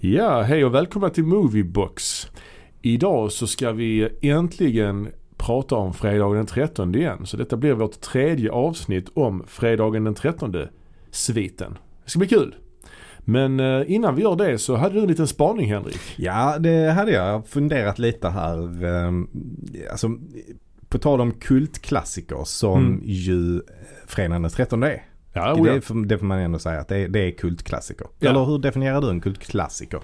Ja, hej och välkomna till Moviebox. Idag så ska vi äntligen prata om fredagen den 13 igen. Så detta blir vårt tredje avsnitt om fredagen den 13 sviten. Det ska bli kul. Men eh, innan vi gör det så hade du en liten spaning Henrik. Ja, det hade jag. Jag har funderat lite här. ehm, Alltså, på tal om kultklassiker som Mm. ju Fredagen den 13 är. Ja, det, oh ja. är får- det får man ändå säga att det är, det är kultklassiker. Ja. Eller hur definierar du en kultklassiker?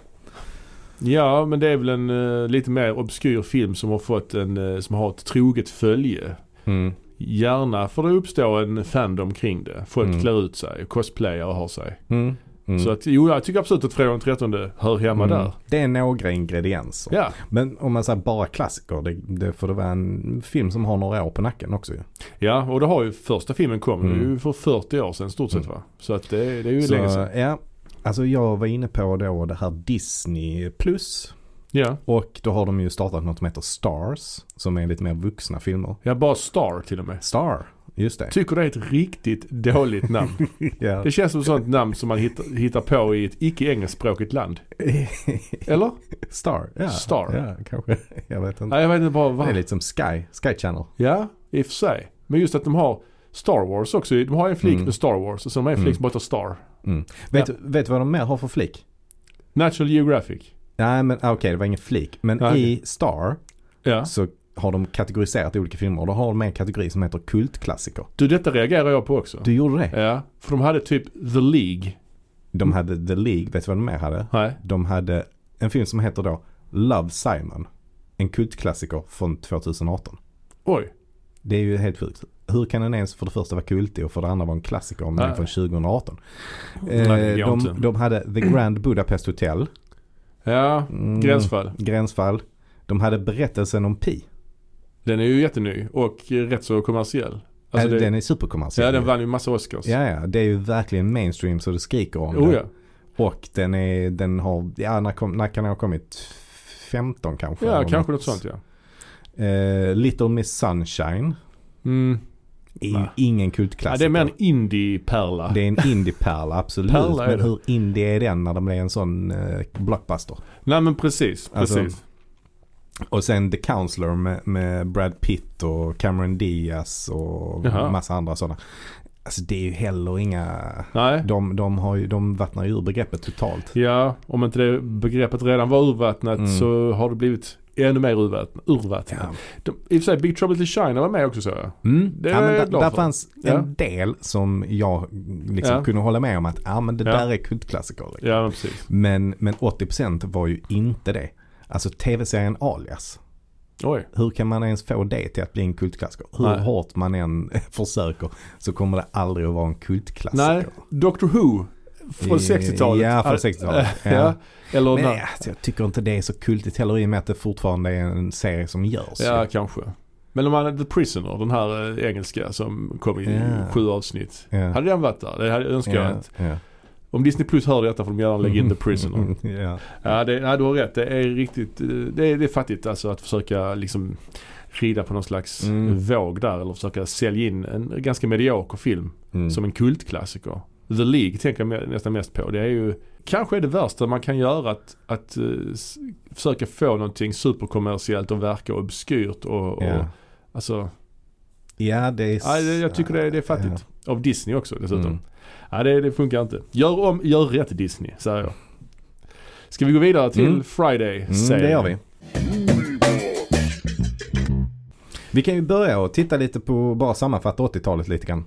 ja, men det är väl en eh, lite mer obskyr film som har fått en, eh, som har ett troget följe. Mm. Gärna får det uppstå en fandom kring det. Folk Mm. klär ut sig, cosplayar och har sig. Mm. Mm. Så att, jo, jag tycker absolut att fredagen den 13 hör hemma Mm. där. Det är några ingredienser. Ja, Men om man säger bara klassiker, det, det får det vara en film som har några år på nacken också ju. ja och det har ju första filmen kom Mm. det är ju för 40 år sedan stort sett va? Så att det, det är ju Så, länge sedan. ja, alltså jag var inne på då det här Disney plus. Ja. Och då har de ju startat något som heter Stars. Som är lite mer vuxna filmer. ja, bara Star till och med. Star, just det. Tycker det är ett riktigt dåligt namn. Ja. Typ. Det känns som ett sånt namn som man hittar, hittar på i ett icke engelskspråkigt land. Eller? Star, ja. Star. Ja, kanske. Jag vet inte. Nej, jag vet inte bara Det är vad. lite som Sky, Sky Channel. Ja, i och för sig. Men just att de har Star Wars också. De har en flik Mm. med Star Wars och sen har de en flik som bara heter Star. Vet, du- vet du vad de mer har för flik? National Geographic. Nej men ah, okej, det var ingen flik. Men Nej, i Star Ja. så har de kategoriserat olika filmer. Och då har de en kategori som heter kultklassiker. Du, detta reagerar jag på också. Du gjorde det? Ja, för de hade typ The League. De hade The League, vet du vad de mer hade? Nej. De hade en film som heter då Love Simon. En kultklassiker från 2018. Oj. Det är ju helt sjukt. Hur kan den ens för det första vara kultig och för det andra vara en klassiker om den är Nej. från 2018? Nej, det Eh, går inte. de, de hade The Grand Budapest Hotel. Ja, Mm, Gränsfall. Gränsfall. De hade Berättelsen om Pi. Den är ju jätteny och eh, rätt så kommersiell. Alltså Eh, det, den är superkommersiell. ja, den vann ju massa Oscars. Ja, ja. Det är ju verkligen mainstream så det skriker om Oh, det. ja. Och den, är, den har, ja när, kom, när kan den ha kommit? 15 kanske? ja, eller kanske något sånt ja. Eh, Little Miss Sunshine. Mm. Är ju Nej. ingen Ja, kultklassiker. det är mer en indie-pärla. Det är en indie-pärla, absolut. Pärla är men det. hur indie är den när den blir en sån eh, blockbuster? Nej men precis, Alltså- precis. Och sen The Counselor med, med Brad Pitt och Cameron Diaz och Jaha. massa andra sådana. Alltså det är ju heller inga... Nej. De, de, har ju, de vattnar ju ur begreppet totalt. Ja, om inte det begreppet redan var urvattnat Mm. så har det blivit ännu mer urvattn- urvattnat. Ja, De, I och för sig, Big Trouble in China var med också så jag. mm. Det ja är men jag där, glad där för. fanns Ja. en del som jag liksom Ja. kunde hålla med om att ah, men det Ja. där är kultklassiker. Ja, men precis. Men, men 80% var ju inte det. Alltså tv-serien Alias. Oj. Hur kan man ens få det till att bli en kultklassiker? Hur Nej. hårt man än försöker så kommer det aldrig att vara en kultklassiker. Nej, Doctor Who från Alltså, Eh, 60-talet. Ja, från Al- 60-talet. Ja. Eller Men när, alltså, jag tycker inte det är så kultigt heller i och med att det fortfarande är en serie som görs. Ja, kanske. Men om man hade The Prisoner, den här eh, engelska som kom i Ja. sju avsnitt. Ja. Hade den varit där? Det hade önskar jag ja, att. ja. Om Disney Plus hör detta får de gärna lägga in The Prisoner. ja. Ja, det, nej, du har rätt. Det är riktigt, eh, det är, det är fattigt alltså att försöka liksom rida på någon slags Mm. våg där eller försöka sälja in en ganska medioker film Mm. som en kultklassiker. The League tänker jag me- nästan mest på. Det är ju kanske är det värsta man kan göra att, att eh, s- försöka få någonting superkommersiellt och verka obskyrt och, och ja. Alltså, ja, det är... Mm. nej, det- jag tycker det är, det är fattigt. Av Disney också dessutom. Nej, det, det funkar inte. Gör om, gör rätt Disney, säger jag. Ska vi gå vidare till Mm. Friday? Mm, det gör vi. Vi kan ju börja och titta lite på, bara sammanfatta 80-talet lite grann.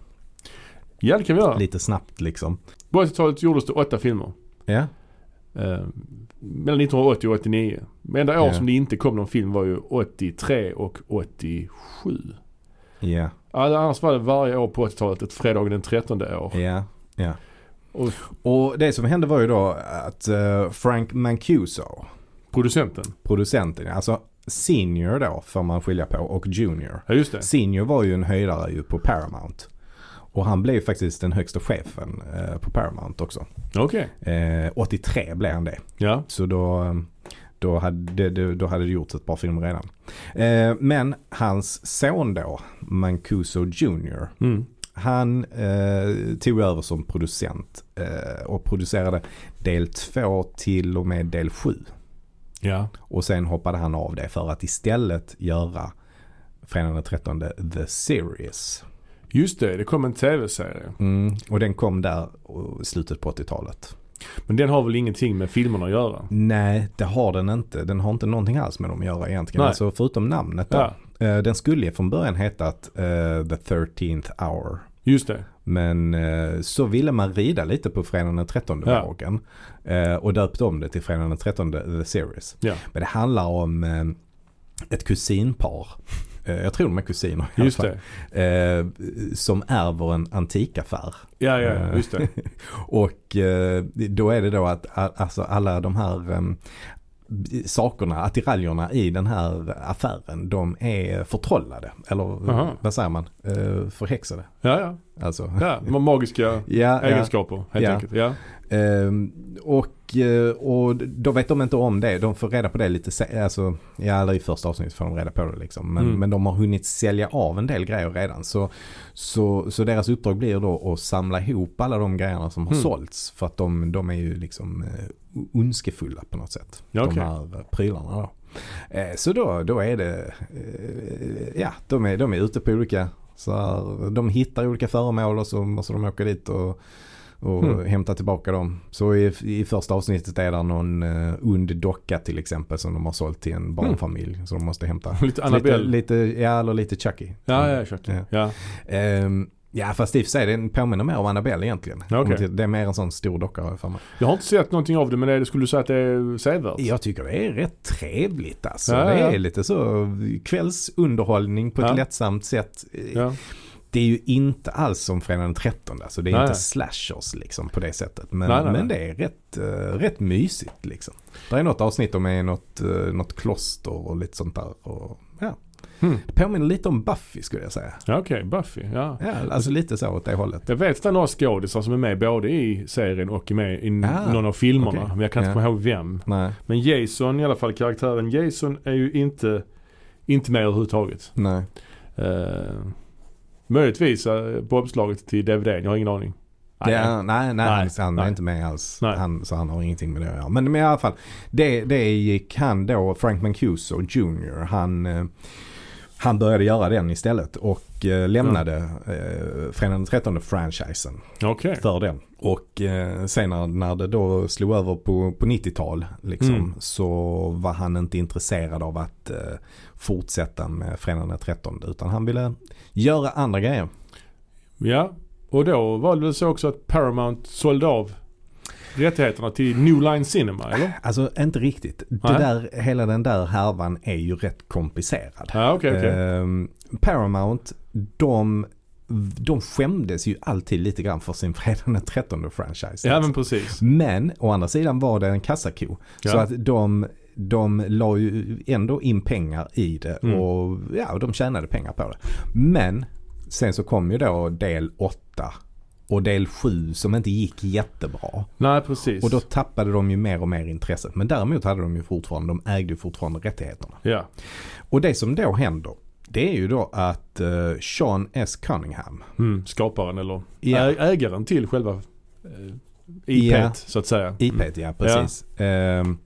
Ja, det kan vi göra. Lite snabbt liksom. På 80-talet gjordes det åtta filmer. Ja, Eh, mellan 1980 och 89. Det enda år Ja. som det inte kom någon film var ju 83 och 87. ja, Alltså, annars var det varje år på 80-talet ett fredagen den 13 år. ja. ja. Och Och det som hände var ju då att eh, Frank Mancuso, producenten. producenten, alltså senior då får man skilja på och junior. Ja, just det. Senior var ju en höjdare ju på Paramount. Och han blev ju faktiskt den högsta chefen eh, på Paramount också. Okej. Eh, 83 blev han det. Ja. Så då, eh, då, hade, det- då hade det gjorts ett par filmer redan. Eh, Men hans son då, Mancuso Jr. Mm. Han eh, tog över som producent eh, och producerade del 2 till och med del 7. Ja. Och sen hoppade han av det för att istället göra Fredagen den 13 The Series. Just det, det kom en tv-serie. Mm. Och den kom där i slutet på 80-talet. Men den har väl ingenting med filmerna att göra? Nej, det har den inte. Den har inte någonting alls med dem att göra egentligen. Nej. Alltså förutom namnet då. Ja, Eh, Den skulle ju från början hetat eh, The 13th Hour. just det. Men eh, så ville man rida lite på Fredagen den 13 Ja. vågen. Eh, och döpte om det till Fredagen den 13 The Series. Ja. Men det handlar om eh, ett kusinpar. Eh, jag tror de är kusiner i Just alla det. fall. Eh, som ärver en antikaffär. Ja, ja, Eh. ja, just det. Och eh, då är det då att a- alltså alla de här em, b- sakerna, attiraljerna i den här affären, de är förtrollade. Eller Aha. vad säger man? Eh, förhäxade. Ja, ja. Alltså. ja. ma- Magiska Ja, ja. egenskaper helt Ja. enkelt. Ja. Ehm, och, eh, och då vet de inte om det. De får reda på det lite se- alltså, ja, eller i första avsnittet får de reda på det liksom. Men, Mm. men de har hunnit sälja av en del grejer redan. Så, så, så deras uppdrag blir då att samla ihop alla de grejerna som har Mm. sålts. För att de, de är ju liksom eh, ondskefulla på något sätt. Ja, De okej. här prylarna då. Eh, så då, då är det, eh, ja de är, de är ute på olika, så här, de hittar olika föremål och så måste de åka dit och och Mm. hämta tillbaka dem. Så i, i första avsnittet är det någon uh, ond docka till exempel som de har sålt till en barnfamilj. Så de måste hämta. Lite Lite, Hmm. Annabelle. lite, ja, eller lite Chucky. Mm. Ja, ja, exakt. Ja. Ja. Ehm, ja, fast i och för sig den påminner mer om Annabelle egentligen. Ja, okej. Om det- Det är mer en sån stor docka har jag för mig. Jag har inte sett någonting av det men är det, skulle du säga att det är sevärt? Jag tycker det är rätt trevligt alltså. Alltså. Ja, det ja. är lite så eh, kvällsunderhållning på ett Ja. lättsamt sätt. Eh, Ja. Det är ju inte alls som Fredagen den 13 alltså. Det är Nej. inte slashers liksom på det sättet. Men, Nej, nej, men det är rätt, eh, rätt mysigt liksom. Det är något avsnitt om är något, uh, något kloster och lite sånt där. Och, ja. Hmm. Det påminner lite om Buffy skulle jag säga. Ja, Okej, Buffy. Ja. Ja, alltså lite så åt det hållet. Jag vet att det är några skådisar som är med både i serien och är med i n- Ah, någon av filmerna. okej. Men jag kan inte Ja. komma ihåg vem. Nej, Men Jason i alla fall, karaktären Jason är ju inte, inte med överhuvudtaget. nej. Uh, möjligtvis eh, på uppslaget till DVDn, jag har ingen aning. Det Nej. är, nej, nej, han, han är nej. inte med alls. Nej. Han, så han har ingenting med det att göra. Men, men i alla fall, det, det gick han då, Frank Mancuso Jr. Han, eh, han började göra den istället och eh, lämnade eh, Fredagen den 13 franchisen Okej. för den. Och eh, sen när, när det då slog över på, på 90-tal liksom, Mm. så var han inte intresserad av att eh, fortsätta med Fredagen den 13 utan han ville göra andra grejer. Ja, och då var det väl så också att Paramount sålde av rättigheterna till New Line Cinema, eller? Alltså inte riktigt. Det Nej. där, hela den där härvan är ju rätt komplicerad. Ja, okej, okej. Ehm, Paramount, de, de skämdes ju alltid lite grann för sin Fredagen den 13 franchise. Ja, men precis. Men å andra sidan var det en kassako. Så Ja. att de, de la ju ändå in pengar i det Mm. och ja, de tjänade pengar på det. Men sen så kom ju då del 8 och del 7 som inte gick jättebra. Nej, precis. Och då tappade de ju mer och mer intresset. Men däremot hade de ju fortfarande, de ägde ju fortfarande rättigheterna. Ja. Och det som då händer, det är ju då att eh, Sean S. Cunningham. Mm, skaparen eller Ja. ä- ägaren till själva eh, IP't Ja. så att säga. IP, ja precis. Ehm,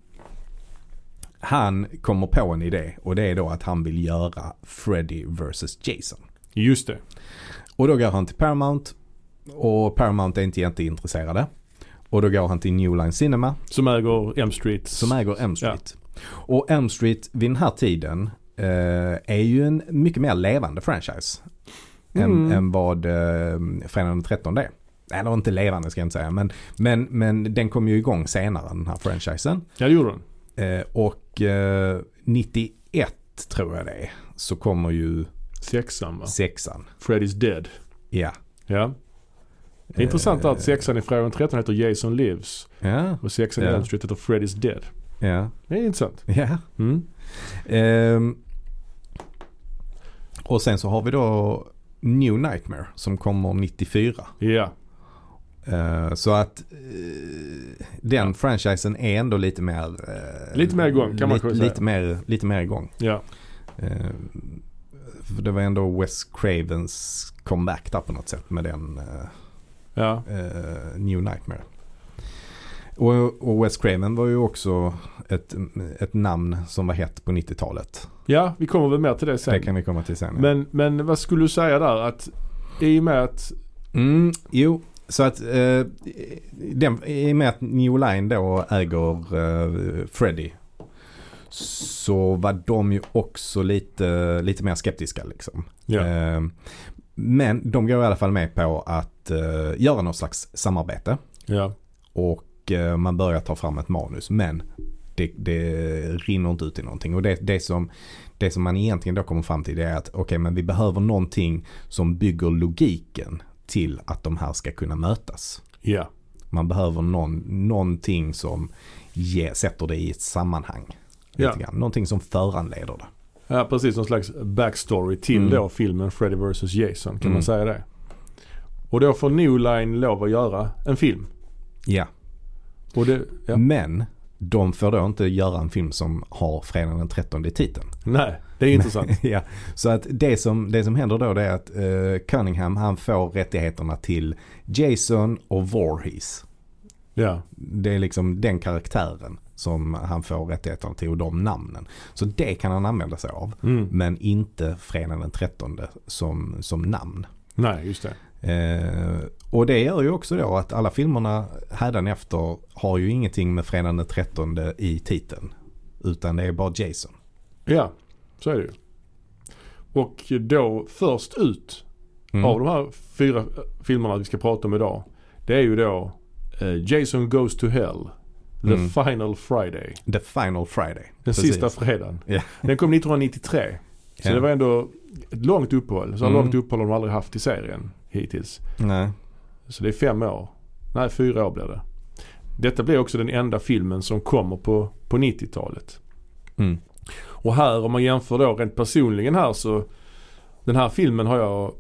han kommer på en idé och det är då att han vill göra Freddy vs. Jason. Just det. Och då går han till Paramount och Paramount är inte jätteintresserade. Och då går han till New Line Cinema Som äger M Street. som äger M Street. Och M Street vid den här tiden eh, är ju en mycket mer levande franchise. Mm. Än, än vad eh, Fredagen den 13 är. Eller inte levande ska jag inte säga men, men, men den kom ju igång senare den här franchisen. Ja, det gjorde den. Eh, och eh, 91 tror jag det är, så kommer ju Sexan va? sexan. Freddy's Dead. Ja. Ja. Det är intressant Eh, att sexan i frågan 13 heter Jason Lives Ja, och sexan i Ja. M Street heter Freddy's Dead. ja, Det är intressant. ja. Mm. Ehm, och sen så har vi då New Nightmare som kommer 94. Ja. Eh, så att eh, den franchisen är ändå lite mer... eh, Lite mer igång, kan man lite, kanske säga. lite mer, lite mer igång. Ja. Eh, För det var ändå Wes Cravens comeback där på något sätt med den eh, Ja, eh, New Nightmare. Och, och Wes Craven var ju också ett, ett namn som var hett på 90-talet. ja vi kommer väl mer till det sen. Det kan vi komma till sen. ja. men, men vad skulle du säga där? Att i och med att... Mm, jo, så att eh, den, i och med att New Line då äger eh, Freddy så var de ju också lite, lite mer skeptiska liksom. Ja, Eh, men de går i alla fall med på att eh, göra någon slags samarbete ja, och eh, man börjar ta fram ett manus. Men det, det rinner inte ut i någonting. Och det, det, som, det som man egentligen då kommer fram till det är att okej men vi behöver någonting som bygger logiken till att de här ska kunna mötas. ja. Man behöver någon, någonting som ge, sätter det i ett sammanhang. Ja. Lite grann. Någonting som föranleder det. ja precis. Någon slags backstory till Mm. då filmen Freddy vs Jason. Kan Mm. man säga det? Och då får New Line lov att göra en film. Ja. Och det, ja. Men de får då inte göra en film som har fredagen den 13 i titeln. Nej, det är intressant. ja, så att det som, det som händer då det är att eh, Cunningham han får rättigheterna till Jason och Voorhees. Ja, Det är liksom den karaktären som han får rättigheterna till och de namnen. Så det kan han använda sig av. mm. Men inte fredagen den 13 som, som namn. nej just det. Eh, och det gör ju också då att alla filmerna hädanefter har ju ingenting med fredagen den 13 i titeln. Utan det är bara Jason. Ja, så är det ju. Och då först ut Mm. av de här fyra eh, filmerna vi ska prata om idag. Det är ju då eh, Jason Goes to Hell. The Mm. Final Friday. The Final Friday. Den Precis. sista fredagen. Ja. Den kom 1993. Så Ja. det var ändå ett långt uppehåll. Så Mm. långt uppehåll har de aldrig haft i serien hittills. Nej. Så det är fem år. Nej, fyra år blir det. Detta blir också den enda filmen som kommer på, på 90-talet. Mm. Och här om man jämför då rent personligen här så den här filmen har jag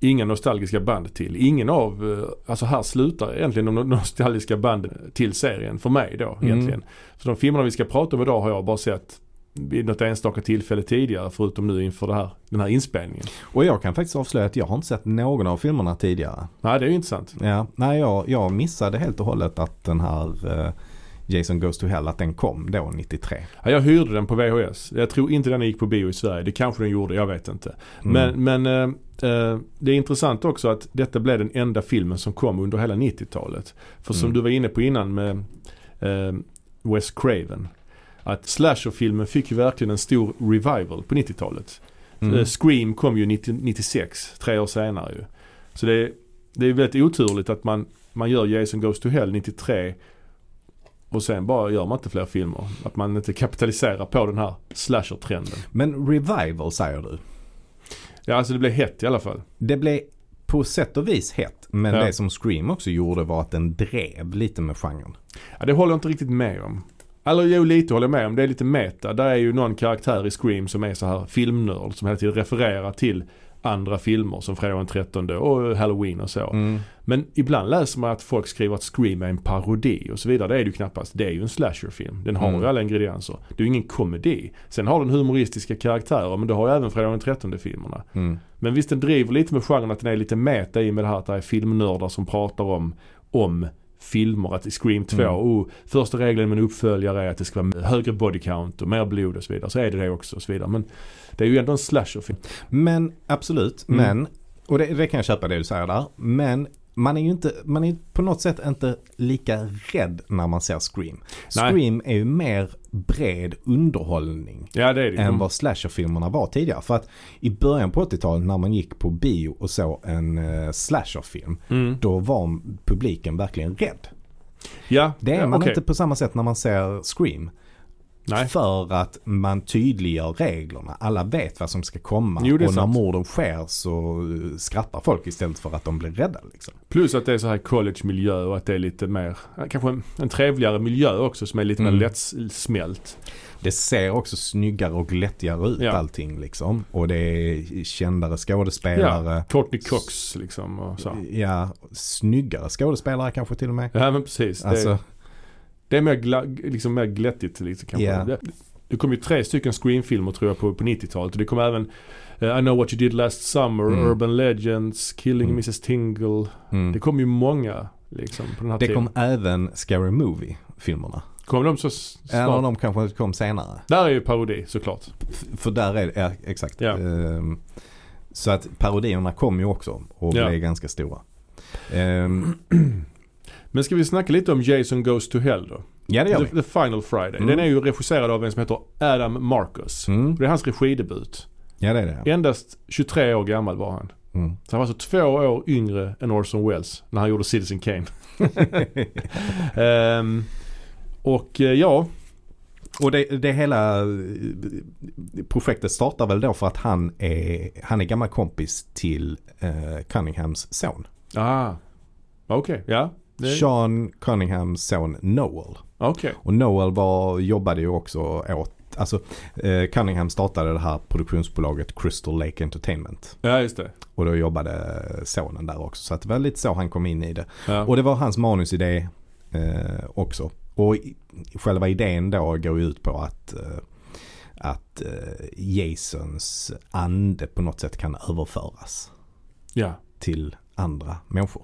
inga nostalgiska band till. Ingen av, eh, alltså här slutar egentligen de nostalgiska banden till serien för mig då Mm. egentligen. Så de filmerna vi ska prata om idag har jag bara sett vid något enstaka tillfälle tidigare förutom nu inför det här, den här inspelningen. Och jag kan faktiskt avslöja att jag har inte sett någon av filmerna tidigare. Nej det är ju intressant. Ja, nej, jag, jag missade helt och hållet att den här eh, Jason Goes to Hell, att den kom då Mm. 93. Ja, jag hyrde den på VHS. Jag tror inte den gick på bio i Sverige. Det kanske den gjorde, jag vet inte. Mm. Men, men eh, eh, det är intressant också att detta blev den enda filmen som kom under hela 90-talet. För som Mm. du var inne på innan med eh, Wes Craven. Att slasherfilmen fick ju verkligen en stor revival på 90-talet. Eh, Mm. Scream kom ju 90, 96, tre år senare ju. Så det är, det är väldigt oturligt att man, man gör Jason Goes to Hell 93 och sen bara gör man inte fler filmer. Att man inte kapitaliserar på den här slasher-trenden. Men Revival säger du. Ja, alltså det blev hett i alla fall. Det blev på sätt och vis hett. Men Ja. det som Scream också gjorde var att den drev lite med genren. Ja, det håller jag inte riktigt med om. Eller jo, lite håller jag med om. Det är lite meta. Där är ju någon karaktär i Scream som är så här filmnörd som hela tiden refererar till andra filmer som Fredag den 13 och Halloween och så. Mm. Men ibland läser man att folk skriver att Scream är en parodi och så vidare. Det är det ju knappast. Det är ju en slasherfilm. Den har Mm. ju alla ingredienser. Det är ju ingen komedi. Sen har den humoristiska karaktärer men det har ju även Fredag den 13 filmerna. Mm. Men visst den driver lite med genren att den är lite meta i med det här att det är filmnördar som pratar om, om filmer. Att i Scream 2, Mm. oh, första regeln med en uppföljare är att det ska vara högre body count och mer blod och så vidare. Så är det det också och så vidare. Men det är ju ändå en slasherfilm. Men absolut, Mm. men. Och det, det kan jag köpa det du säger där. Men man är ju inte, man är på något sätt inte lika rädd när man ser Scream. Nej. Scream är ju mer bred underhållning Ja det är det ju. än vad slasherfilmerna var tidigare. För att i början på 80-talet när man gick på bio och såg en eh, slasherfilm, Mm. då var publiken verkligen rädd. Ja, Det är ja, man okej. inte på samma sätt när man ser Scream. Nej. För att man tydliggör reglerna. Alla vet vad som ska komma. Jo, det är och när sant. morden sker så eh, skrattar folk istället för att de blir rädda. Liksom. Plus att det är så här collegemiljö och att det är lite mer, kanske en, en trevligare miljö också som är lite Mm. mer lättsmält. Det ser också snyggare och glättigare ut Ja. allting. Liksom. Och det är kändare skådespelare. Courtney Cox liksom och så. Ja, snyggare skådespelare kanske till och med. Ja men precis. Det, Alltså, det är mer, gla, liksom mer glättigt liksom, kanske. Ja. Det, det kom ju tre stycken Scream-filmer tror jag på, på 90-talet och det kom även eh, I know what you did last summer, Mm. Urban Legends, Killing Mm. Mrs Tingle. Mm. Det Det, kom ju många liksom på den här tiden. kom även Scary Movie-filmerna. Kom de så s- Eller snart? de kanske kom senare. Där är ju parodi såklart. F- För där är det, ja, exakt. Ja. Ehm, Så att parodierna kom ju också och Ja. blev ganska stora. Ehm, Men ska vi snacka lite om Jason Goes to Hell då? Ja det gör vi. The, The Final Friday. Mm. Den är ju regisserad av en som heter Adam Marcus. Mm. Det är hans regidebut. Ja det är det. Endast 23 år gammal var han. Mm. Så han var alltså två år yngre än Orson Welles när han gjorde Citizen Kane. Ehm, och eh, ja, Och det, det hela eh, projektet startar väl då för att han är, han är gammal kompis till eh, Cunninghams son. ah, okej, ja. Det- Sean Cunninghams son Noel. Okej, Och Noel var, jobbade ju också åt, alltså eh, Cunningham startade det här produktionsbolaget Crystal Lake Entertainment. ja just det. Och då jobbade sonen där också. Så att det var lite så han kom in i det. Ja. Och det var hans manusidé eh, också. Och i- själva idén då går ju ut på att, eh, att eh, Jasons ande på något sätt kan överföras ja. till andra människor.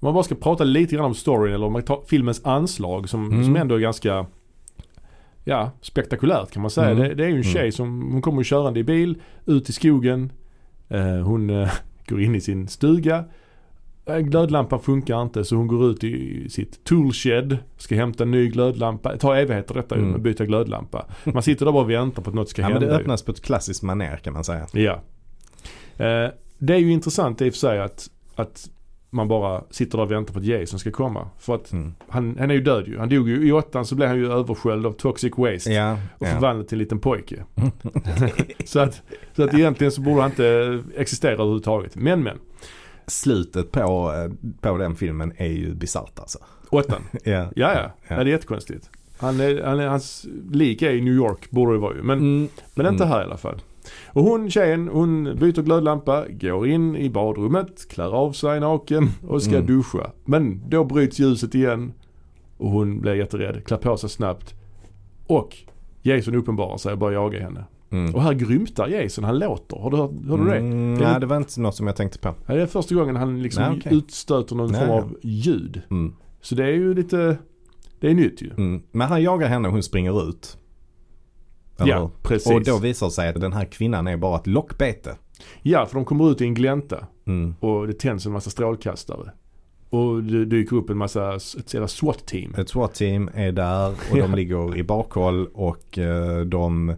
Om man bara ska prata lite grann om storyn eller om man tar filmens anslag som, Mm. som ändå är ganska ja, spektakulärt kan man säga. Mm. Det, det är ju en tjej Mm. som hon kommer körande i bil ut i skogen. Eh, hon eh, går in i sin stuga. Eh, Glödlampan funkar inte så hon går ut i sitt toolshed. Ska hämta en ny glödlampa. Det tar evigheter detta ju, Mm. att byta glödlampa. Man sitter där bara och väntar på att något ska Ja, men hända. det ju. öppnas på ett klassiskt manér kan man säga. Ja. Eh, det är ju intressant i och för sig att, att man bara sitter där och väntar på att Jason ska komma. För att Mm. han, han är ju död ju. Han dog ju i åttan så blev han ju översköljd av toxic waste. Ja, Och ja. förvandlad till en liten pojke. så, att, så att egentligen så borde han inte existera överhuvudtaget. Men men, Slutet på, eh, på den filmen är ju bisarrt alltså. åttan. Ja. Ja ja, Ja. Nej, det är jättekonstigt. Han är, han är, hans lik är i New York, borde det vara ju. Men Mm. Men inte Mm. här i alla fall. Och hon tjejen, hon byter glödlampa, går in i badrummet, klär av sig naken och ska Mm. duscha. Men då bryts ljuset igen och hon blir jätterädd, klär på sig snabbt. Och Jason uppenbarar sig och börjar jaga henne. Mm. Och här grymtar Jason, han låter. Har du, hört- hörde du det? Mm, Det är- nej, det var inte något som jag tänkte på. Ja, Det är första gången han liksom Nej, okej. utstöter någon Nej, form ja. av ljud. Mm. Så det är ju lite, det är nytt ju. Mm. Men han jagar henne och hon springer ut. Eller hur? Ja, precis. Och då visar det sig att den här kvinnan är bara ett lockbete. Ja, för de kommer ut i en glänta. Mm. och det tänds en massa strålkastare. Och det dyker upp en massa, ett jävla SWAT-team. Ett SWAT-team är där och de Ja. ligger i bakhåll och eh, de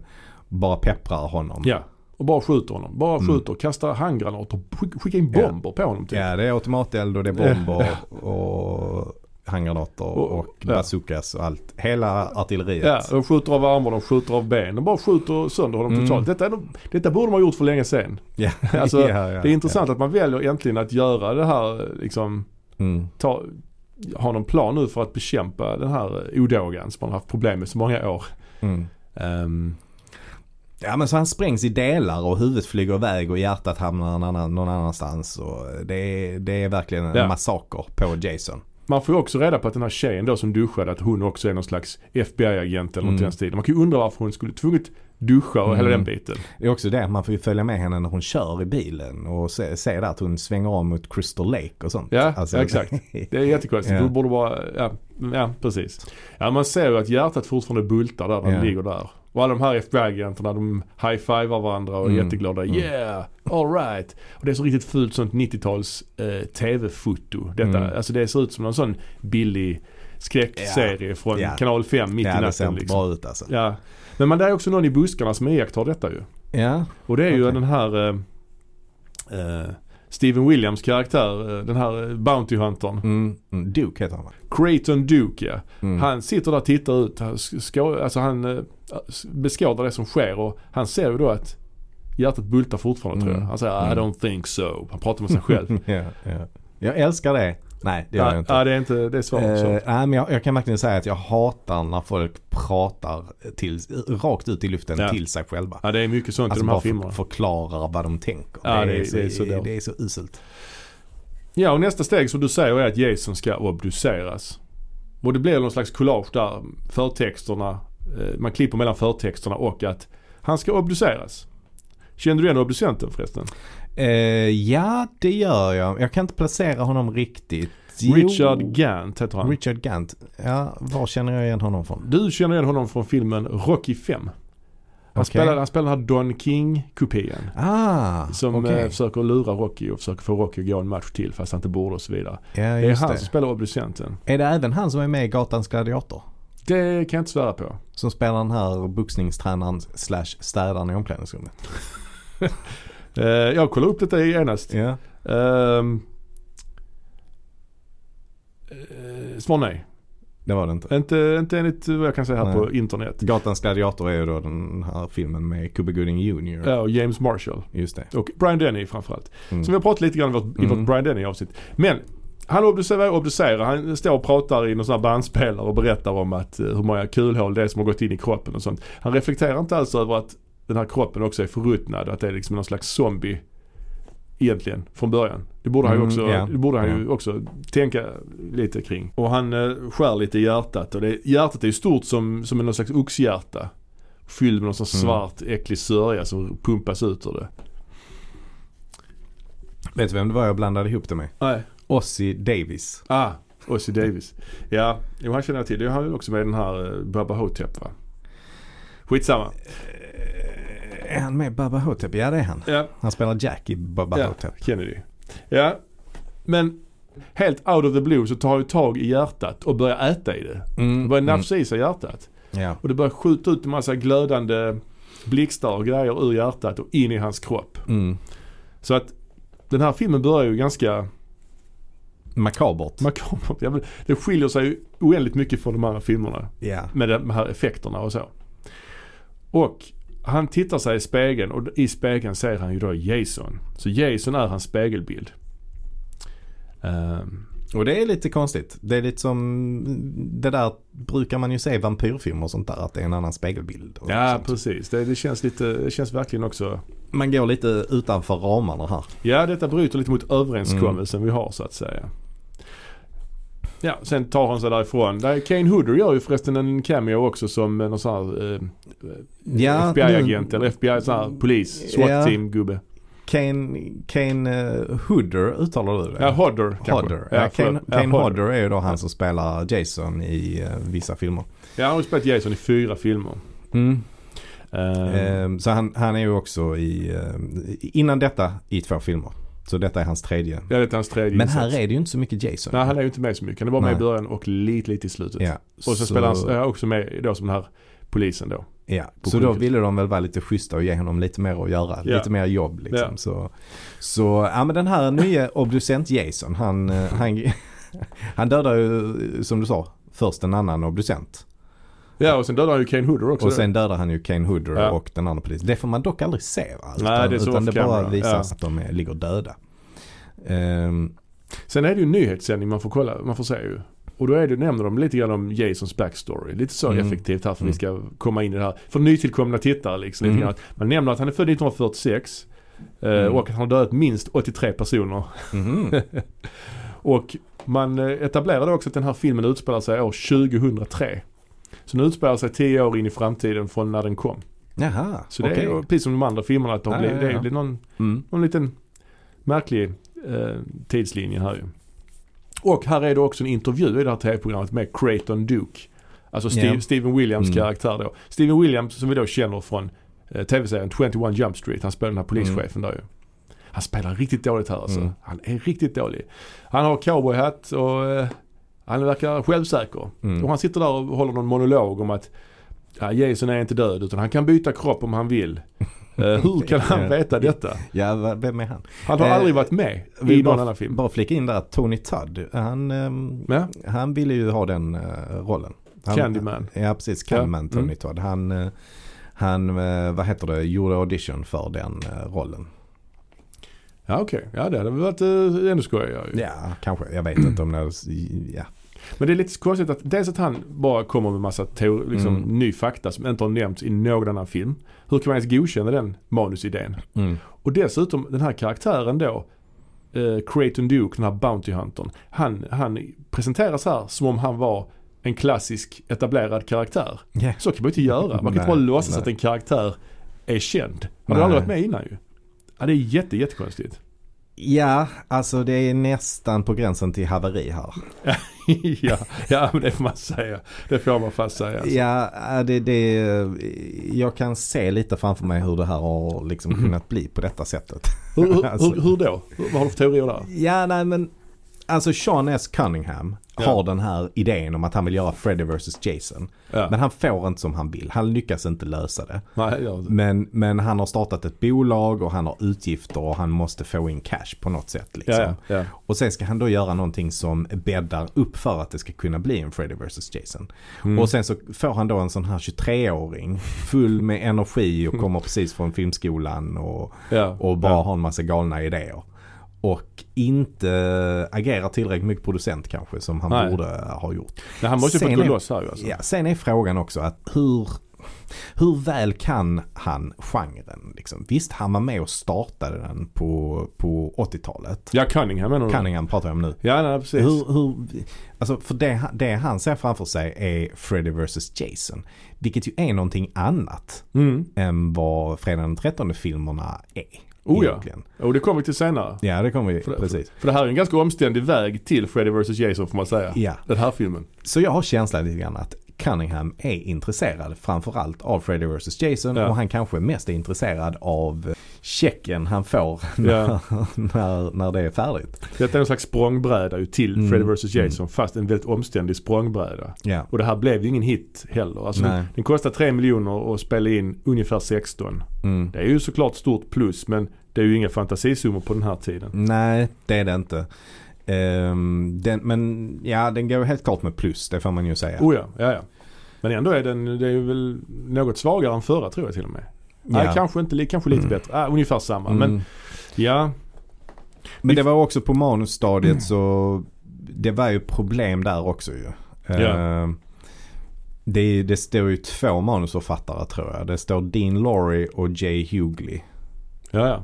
bara pepprar honom. Ja, och bara skjuter honom. Bara Mm. skjuter, kastar handgranater, skick- skickar in Ja. bomber på honom typ. Ja, det är automateld och det är bomber och handgranater Och- och ja. bazookas och allt. Hela artilleriet. Ja, de skjuter av armar, de skjuter av ben. De bara skjuter sönder honom Mm. totalt. Detta, är de, detta borde de ha gjort för länge sedan. Ja. Alltså, Ja, ja, det är intressant att man väljer äntligen att göra det här, liksom, Ja. Mm. ta, ha någon plan nu för att bekämpa den här odågan som man har haft problem med så många år. Mm. Ehm, Ja men så han sprängs i delar och huvudet flyger iväg och hjärtat hamnar någon, annan, någon annanstans. Och det, är, det är verkligen en Ja. massaker på Jason. Man får ju också reda på att den här tjejen då som duschade att hon också är någon slags FBI-agent eller något i Mm. den stilen. Man kan ju undra varför hon skulle tvunget duscha och hela Mm. den biten. Det är också det, man får ju följa med henne när hon kör i bilen och se, se där att hon svänger om mot Crystal Lake och sånt. Ja, Alltså- exakt. Det är jättekonstigt. Ja. Du borde bara, ja, ja precis. Ja man ser ju att hjärtat fortfarande bultar där när Ja. den ligger där. Och alla de här FBI-agenterna de high-fivar varandra och är Mm. jätteglada. Mm. Yeah, alright. Och det är så riktigt fult sånt 90-tals eh, TV-foto. Detta, Mm. alltså det ser ut som någon sån billig skräckserie från Ja. kanal 5 mitt ja, i det ser natten inte liksom. bra ut alltså. Ja. Men man, det är också någon i buskarna som iakttar detta ju. Ja. Och det är ju Okej. den här eh, eh, Steven Williams karaktär, eh, den här eh, Bounty Huntern. Mm, mm. Duke heter han va? Creighton Duke ja. Mm. Han sitter där och tittar ut. Han, ska, alltså han eh, s- beskådar det som sker och han ser ju då att hjärtat bultar fortfarande tror jag. Mm. Han säger I Mm. don't think so. Han pratar med sig själv. ja, ja. Jag älskar det. Nej, det gör jag Nej, inte. nej, det är inte, det är svårt. Eh, så. nej, men jag, jag kan verkligen säga att jag hatar när folk pratar till, rakt ut i luften Ja. till sig själva. Ja det är mycket sånt Alltså i de här bara filmerna. för, förklarar vad de tänker. Ja, det är- det är så dumt. det är så uselt. Ja och nästa steg som du säger är att Jason ska obduceras. Och det blir någon slags collage där förtexterna, eh, man klipper mellan förtexterna och att han ska obduceras. Kände du igen obducenten förresten? Eh, ja, det gör jag. Jag kan inte placera honom riktigt. Jo, Richard Gant heter han. Richard Gant. Ja, var känner jag igen honom från? Du känner igen honom från filmen Rocky 5. Han, Okej. spelar, han spelar den här Don King-kupén. Ah, Som okej. eh, försöker lura Rocky och försöker få Rocky att gå en match till fast han inte borde och så vidare. det ja, är just han det. som spelar obducenten. Är det även han som är med i Gatans Gladiator? Det kan jag inte svära på. Som spelar den här boxningstränaren slash städaren i omklädningsrummet. Eh, jag kollade upp detta genast. Ja. Ehm, eh, Svar nej. Det var det inte. Inte, inte enligt vad jag kan säga här Nej. på internet. Gatans Gladiator är ju då den här filmen med Cuba Gooding Jr. Ja, och James Marshall. Just det. Och Brian Denny framförallt. Mm. Som vi har pratat lite grann om i vårt, i vårt Mm. Brian Denny avsnitt. Men han obducerar, obducerar, han står och pratar i någon sån här bandspelare och berättar om att, eh, hur många kulhål det är som har gått in i kroppen och sånt. Han reflekterar inte alls över att den här kroppen också är förruttnad och att det är liksom någon slags zombie egentligen från början. Det borde han, ju Mm, också, ja. det borde han ju också tänka lite kring. Och han eh, skär lite i hjärtat och det, hjärtat är ju stort som, som någon slags oxhjärta. Fylld med någon sån Mm. svart äcklig sörja som pumpas ut ur det. Vet du vem det var jag blandade ihop det med? Nej. Ossie Davis. Ah, Ossie Davis. Ja, jo, han känner jag till. Det är han också med i den här eh, Baba Hotep va? Skitsamma. Är han med i Baba Hotep? Ja det är han. Ja, Han spelar Jack i Baba Ja. Hotep. Kennedy. Ja, men helt out of the blue så tar han ju tag i hjärtat och börjar äta i det. Mm. Han börjar nafsa i sig hjärtat. Ja. Och det börjar skjuta ut en massa glödande blixtar och grejer ur hjärtat och in i hans kropp. Mm. Så att den här filmen börjar ju ganska Makabert. makabert. Jag vill- Den skiljer sig ju oändligt mycket från de andra filmerna. ja. med de här effekterna och så. Och han tittar sig i spegeln och i spegeln ser han ju då Jason. Så Jason är hans spegelbild. Ehm, Och det är lite konstigt. Det är lite som, det där brukar man ju se i vampyrfilmer och sånt där. Att det är en annan spegelbild. Och ja sånt. precis, det, det känns lite, det känns verkligen också. Man går lite utanför ramarna här. Ja detta bryter lite mot överenskommelsen vi har så att säga. Ja, sen tar han sig därifrån. Där Kane Hooder gör ju förresten en cameo också som någon sån här eh, Ja, FBI-agent nu- eller FBI sån här polis, Ja. SWAT-team-gubbe. Kane, Kane eh, Hooder uttalar du det? Ja, Hodder kanske. Hodder. Ja, Kane, förlåt. Ja, Kane Hodder är ju då han som spelar Jason i eh, vissa filmer. Ja, han har ju spelat Jason i fyra filmer. Mm. Eh, Ehm, så han, han är ju också i, eh, innan detta, i två filmer. Så detta är hans tredje. ja, det är hans tredje Men insats. här är det ju inte så mycket Jason. Nej, han är ju inte med så mycket. Han är bara med i Nej. början och lite, lite i slutet. ja, Och sen spelar han eh, också med då som den här polisen då. Ja, på så då sjukhuset. ville de väl vara lite schyssta och ge honom lite mer att göra. Ja. Lite mer jobb liksom. Ja. Så, så ja, men den här nya obducent Jason, han, eh, han, han dödar ju som du sa först en annan obducent. Ja, och sen dödar han ju Kane Hooder också. Och sen dödar han ju Kane Hooder Ja. och den andra polisen. Det får man dock aldrig se va? Utan, Nej, det är så utan off det bara camera. visas Ja. att de är, ligger döda. Ehm, Sen är det ju en nyhetssändning man får kolla, man får se ju. Och då är det, nämner de lite grann om Jasons backstory. Lite så Mm. effektivt här för Mm. vi ska komma in i det här. För nytillkomna tittare liksom. Lite Mm. grann. att Man nämner att han är född 1946. eh, Mm. Och att han har dödat minst 83 personer. mhm. Och man eh, etablerade också att den här filmen utspelar sig år 2003. Så den utspelar sig 10 år in i framtiden från när den kom. Jaha, Så det är ju okej. precis som de andra filmerna att de Ja, blir, ja, det ja. blir någon, Mm. någon liten märklig eh, tidslinje här ju. Och här är det också en intervju i det här tv-programmet med Creighton Duke. Alltså Steve, Ja. Steven Williams Mm. karaktär då. Steven Williams som vi då känner från eh, tv-serien 21 Jump Street. Han spelar den här polischefen där ju. Han spelar riktigt dåligt här alltså. Mm. Han är riktigt dålig. Han har cowboyhatt och eh, han verkar självsäker. Mm. Och han sitter där och håller någon monolog om att ja, Jason är inte död utan han kan byta kropp om han vill. Eh, hur kan han veta detta? Ja, va- vem är han? Han har Eh, aldrig varit med i vill någon annan film. Bara flika in där att Tony Todd, han, ehm, Ja, han ville ju ha den eh, rollen. Han, Candyman. Ja, precis. Candyman Ja, mm. Tony Todd. Han, eh, han eh, vad heter det, gjorde audition för den eh, rollen. ja okej. Ja det hade väl varit eh, ännu skojigare ju. Ja, kanske. Jag vet inte om det, ja. Men det är lite konstigt att dels att han bara kommer med massa teori, liksom, Mm. ny fakta som inte har nämnts i någon annan film. Hur kan man ens godkänna den manusidén? Mm. Och dessutom den här karaktären då, eh, Creighton Duke, den här Bounty Huntern. Han, han presenteras här som om han var en klassisk etablerad karaktär. Ja. Så kan man ju inte göra. Man kan inte bara Nej, låtsas nej. att en karaktär är känd. Han har Nej. aldrig varit med innan ju. Ja, det är jätte, jättekonstigt. Ja, alltså det är nästan på gränsen till haveri här. Alltså. ja, ja, men det får man säga. Det får man fast säga. Alltså. Ja, äh, det, det, jag kan se lite framför mig hur det här har liksom kunnat bli på detta sättet. Mhm. Hur, hur, Alltså. hur, hur då? Hur- Vad har du för teorier där? Ja, nej men alltså Sean S. Cunningham Ja. har den här idén om att han vill göra Freddy vs. Jason. Ja. Men han får inte som han vill. Han lyckas inte lösa det. Nej, jag, Men, men han har startat ett bolag och han har utgifter och han måste få in cash på något sätt. Liksom. ja, ja, ja. Och sen ska han då göra någonting som bäddar upp för att det ska kunna bli en Freddy vs Jason. Mm. Och sen så får han då en sån här 23-åring full med energi och kommer precis från filmskolan och, ja. och bara har en massa galna idéer. Och inte agerar tillräckligt mycket producent kanske som han Nej. borde ha gjort. Nej, han måste ju fått gå Sen är- loss här ju alltså. Ja, sen är frågan också att hur, hur väl kan han genren? Liksom? Visst, han var med och startade den på, på 80-talet. Ja, Cunningham menar du? Cunningham pratar jag om nu. Ja, nej, precis. Hur, hur, alltså för det, han- det han ser framför sig är Freddy vs Jason. Vilket ju är någonting annat Mm. än vad Fredag den 13 filmerna är. Oh, ja. egentligen. Och det kommer vi till senare. ja, det kommer vi. För det- Precis. För det här är en ganska omständig väg till Freddy vs Jason får man säga. Ja. Den här filmen. Så jag har känslan lite grann att Cunningham är intresserad framförallt av Freddy vs Jason Ja. och han kanske mest är intresserad av checken han får när, Ja. när, när det är färdigt. Detta är en slags språngbräda ju till Mm. Freddy vs Jason fast en väldigt omständig språngbräda. Ja. Och det här blev ju ingen hit heller. Alltså Nej. den, den kostade 3 miljoner och spelade in ungefär 16. Mm. Det är ju såklart stort plus men det är ju inga fantasisummor på den här tiden. Nej, det är det inte. Ehm, den, men ja, den går helt klart med plus, det får man ju säga. Oh ja, ja, ja. Men ändå är den, det är ju väl något svagare än förra tror jag till och med. Nej, Ja. kanske inte, li- kanske lite bättre. Ah, ungefär samma. Mm. Men ja, Men det var också på manusstadiet Mm. så det var ju problem där också ju. Ja. Eh, Det, är- det står ju två manusförfattare tror jag. Det står Dean Laurie och Jay Hughley. ja, ja.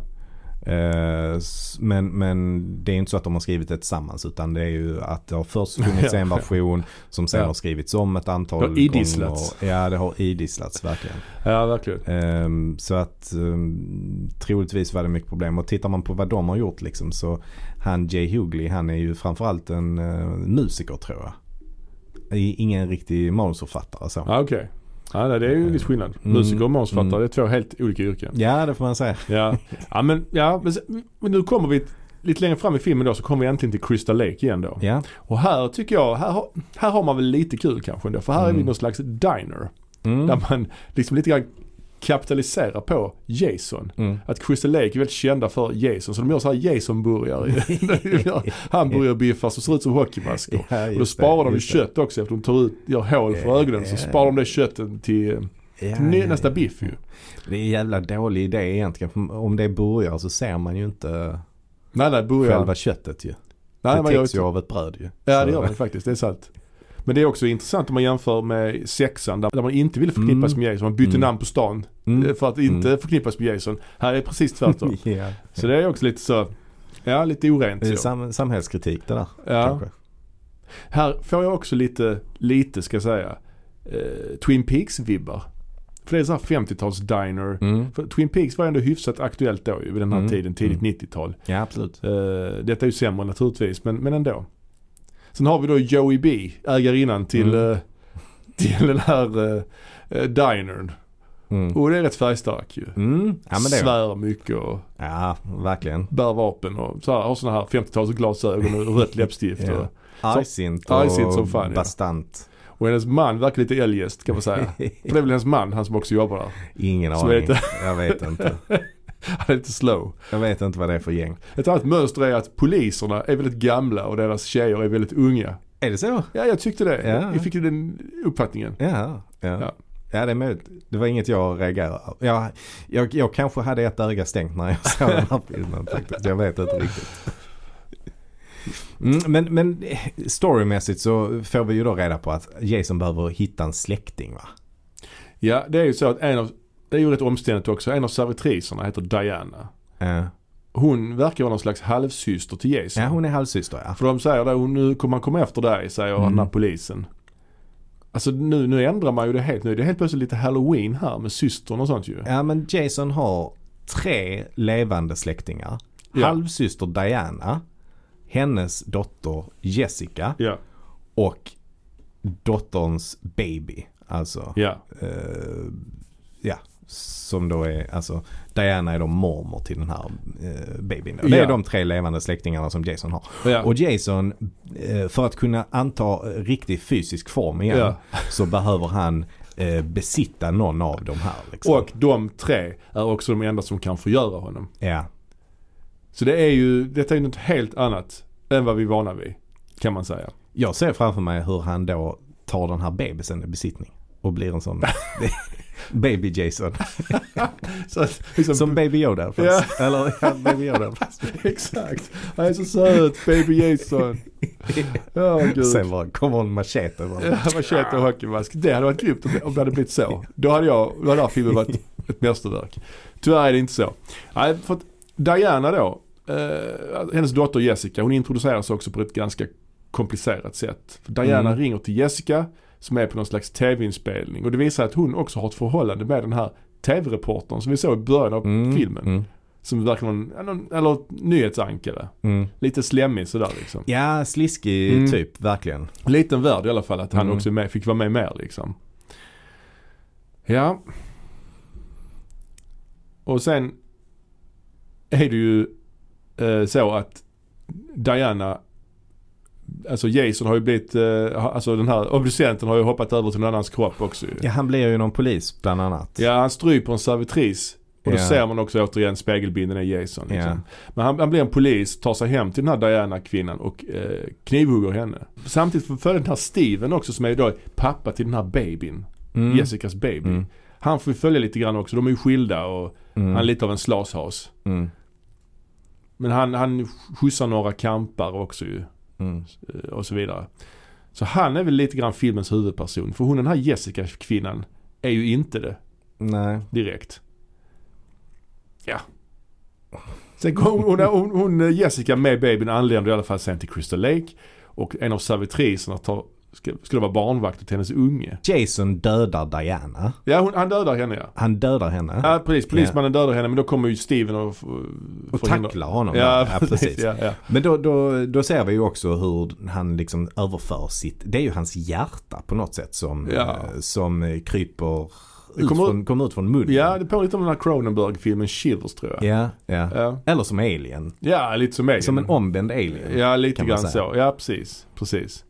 Eh, s- Men, men det är inte så att de har skrivit det tillsammans utan det är ju att det har först funnits en version som sen Ja. har skrivits om ett antal Det har idisslats. gånger. Ja, det har idisslats verkligen. Ja, verkligen. Ehm, så att um, troligtvis var det mycket problem. Och tittar man på vad de har gjort liksom så han Jay Hughley han är ju framförallt en eh, musiker tror jag. I- Ingen riktig manusförfattare så. Ja. Ja, okej. Ja, nej, det är ju en viss skillnad. Musiker och manusförfattare, mm. det är två helt olika yrken. det får man säga. Ja, ja men, ja, men sen- men nu kommer vi lite längre fram i filmen då så kommer vi äntligen till Crystal Lake igen då. Ja. Och här tycker jag, här, har- här har man väl lite kul kanske ändå. För här är vi Mm. någon slags diner. Mm. Där man liksom lite grann kapitaliserar på Jason. Mm. Att Crystal Lake är väldigt kända för Jason. Så de gör så här Jason-burgare. De gör Hamburgerbiffar som ser ut som hockeymasker. Ja, Och då sparar de ju kött också eftersom de tar ut, gör hål för ögonen. Så Ja. sparar de det köttet till, till ny- nästa biff ju. Det är en jävla dålig idé egentligen. För Om det är burgare så ser man ju inte Nej, nej, burgare. själva köttet ju. Nej, det man gör ju täcks ju så. av ett bröd ju. Ja, det Så- gör man faktiskt. Det är sant. Men det är också intressant om man jämför med sexan där, där man inte vill förknippas Mm. med Jason. Man bytte Mm. namn på stan eh, Mm. för att inte Mm. förknippas med Jason. Här är det precis tvärtom. ja. så det är också lite så, ja lite orent. Det är så. sam- samhällskritik det där ja. kanske. Här får jag också lite, lite ska jag säga, eh, Twin Peaks-vibbar. För det är så här 50-tals diner. Mm. För Twin Peaks var ändå hyfsat aktuellt då ju vid den här Mm. tiden, tidigt Mm. 90-tal. Ja, absolut. Eh, detta är ju sämre naturligtvis, men, men ändå. Sen har vi då Joey B, ägarinnan till, Mm. eh, till den här eh, eh, dinern. Mm. Och det är rätt färgstark ju. Mm. Ja, men det Svär mycket och Ja, verkligen. bär vapen och så här, har sådana här 50-talsglasögon och rött läppstift. Ja. och, Så- Argsint och argsint som fan, ja. bastant. och hennes man verkar lite eljest kan man säga. För det är väl hennes man, han som också jobbar där. Ingen Så aning. vet jag. Jag vet inte. Han är lite slow. Jag vet inte vad det är för gäng. Ett annat mönster är att poliserna är väldigt gamla och deras tjejer är väldigt unga. Är det så? Ja, jag tyckte det. Ja. Jag fick ju den uppfattningen. Ja. Ja. Ja. ja. det är möjligt. Det var inget jag reagerade av. Jag, jag, jag kanske hade ett öga stängt när jag såg den här filmen faktiskt. Jag vet inte riktigt. Mm, men, men eh, storymässigt så får vi ju då reda på att Jason behöver hitta en släkting va? Ja, det är ju så att en av, det är ju rätt omständigt också, en av servitriserna heter Diana. Ja. Hon verkar vara någon slags halvsyster till Jason. Ja, hon är halvsyster ja. För de säger det, hon, nu kommer han komma efter dig, säger Mm. den här polisen. Alltså nu, nu ändrar man ju det helt. Nu är det helt plötsligt lite halloween här med systern och sånt ju. Ja men Jason har tre levande släktingar. Ja. Halvsyster Diana, hennes dotter Jessica Ja, och dotterns baby. Alltså, ja, eh, ja. Som då är, alltså Diana är då mormor till den här eh, babyn. Det är Ja. de tre levande släktingarna som Jason har. ja. Och Jason, eh, för att kunna anta eh, riktig fysisk form igen Ja. så behöver han eh, besitta någon av de här. Liksom. Och de tre är också de enda som kan förgöra honom. Ja. Så det är ju, detta är ju något helt annat än vad vi är vana vid. Kan man säga. Jag ser framför mig hur han då tar den här bebisen i besittning och blir en sån baby Jason. Så att, liksom, Som baby Yoda fast. Ja. Eller ja, baby Yoda fast. Exakt. Han är så söt, baby Jason. Ja, gud. Sen bara kommer en machete. och Bara. Ja, Machete och hockeymask. Det hade varit grymt om det- om det hade blivit så. Då hade jag, då hade den här filmen varit ett mästerverk. Tyvärr är det inte så. Nej, för att Diana då, eh, hennes dotter Jessica, hon introduceras också på ett ganska komplicerat sätt. För Diana Mm. ringer till Jessica som är på någon slags tv-inspelning och det visar att hon också har ett förhållande med den här tv-reportern som vi såg i början av Mm, filmen. Mm, Som verkar vara en, någon- eller ett nyhetsankare. mm. Lite slemmig sådär liksom. Ja, sliskig Mm. typ verkligen. Liten värld i alla fall att han Mm. också är med, fick vara med mer liksom. Ja. Och sen är det ju eh, så att Diana, alltså Jason har ju blivit, eh, ha- alltså den här obducenten har ju hoppat över till någon annans kropp också ju. Ja, han blir ju någon polis bland annat. Ja, han stryper en servitris. Och då Ja. ser man också återigen spegelbilden är Jason. Liksom. Ja. Men han, han blir en polis, tar sig hem till den här Diana-kvinnan och eh, knivhugger henne. Samtidigt får följa den här Steven också som är då pappa till den här babyn. Mm. Jessicas baby. Mm. Han får vi följa lite grann också. De är ju skilda och Mm. han är lite av en slashas. Mm. Men han, han skjutsar några kampar också ju. Mm. eh, Och så vidare. Så han är väl lite grann filmens huvudperson. För hon den här Jessica-kvinnan är ju inte det Nej. direkt. Ja. Sen kom hon, hon, hon, eh, Jessica med babyn anländer i alla fall sen till Crystal Lake. Och en av servitriserna tar, ska, skulle vara barnvakt åt hennes unge. Jason dödar Diana. Ja, hon, han dödar henne ja. Han dödar henne. Ja, precis. Polismannen dödar henne men då kommer ju Steven och... f- och förhindrar- tacklar honom. Ja, där. precis. Ja, ja. Men då, då, då ser vi ju också hur han liksom överför sitt, det är ju hans hjärta på något sätt som, Ja. eh, som eh, kryper Det ut kommer- från, kommer ut från munnen. ja, det påminner lite om den här Cronenberg-filmen Shivers tror jag. ja, ja. Ja, Eller som alien. ja lite som mig. Som en omvänd alien. Ja, lite kan man grann säga. så. Ja, precis. Precis.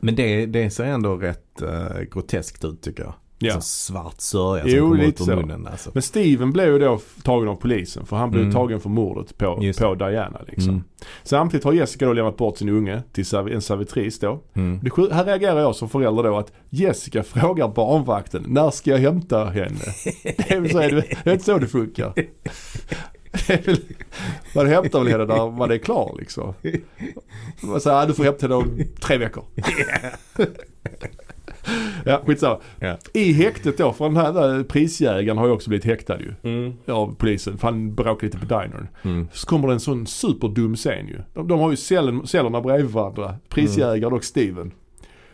Men det, det ser ändå rätt eh, groteskt ut tycker jag. Ja. Så svart sörja Jo, som kommer ut lite ur så. munnen. Alltså. Men Steven blev ju då f- tagen av polisen för han blev Mm. tagen för mordet på, Just det. på Diana. Liksom. Mm, Samtidigt har Jessica då lämnat bort sin unge till serv- en servitris då. mm. Det, sju- här reagerar jag som förälder då att Jessica frågar barnvakten när ska jag hämta henne? Det är väl så, är det, det är inte så det funkar. Det är väl, man hämtar väl henne när man är klar liksom. Man säger "Ah, du får hämta henne om tre veckor. Ja, skitsamma. Ja. I häktet då, för den här där prisjägaren har ju också blivit häktad ju Mm. av polisen för han bråkade lite på dinern. Mm. Så kommer det en sån superdum scen ju. De, de har ju cellen, cellerna bredvid varandra. Prisjägaren och Steven.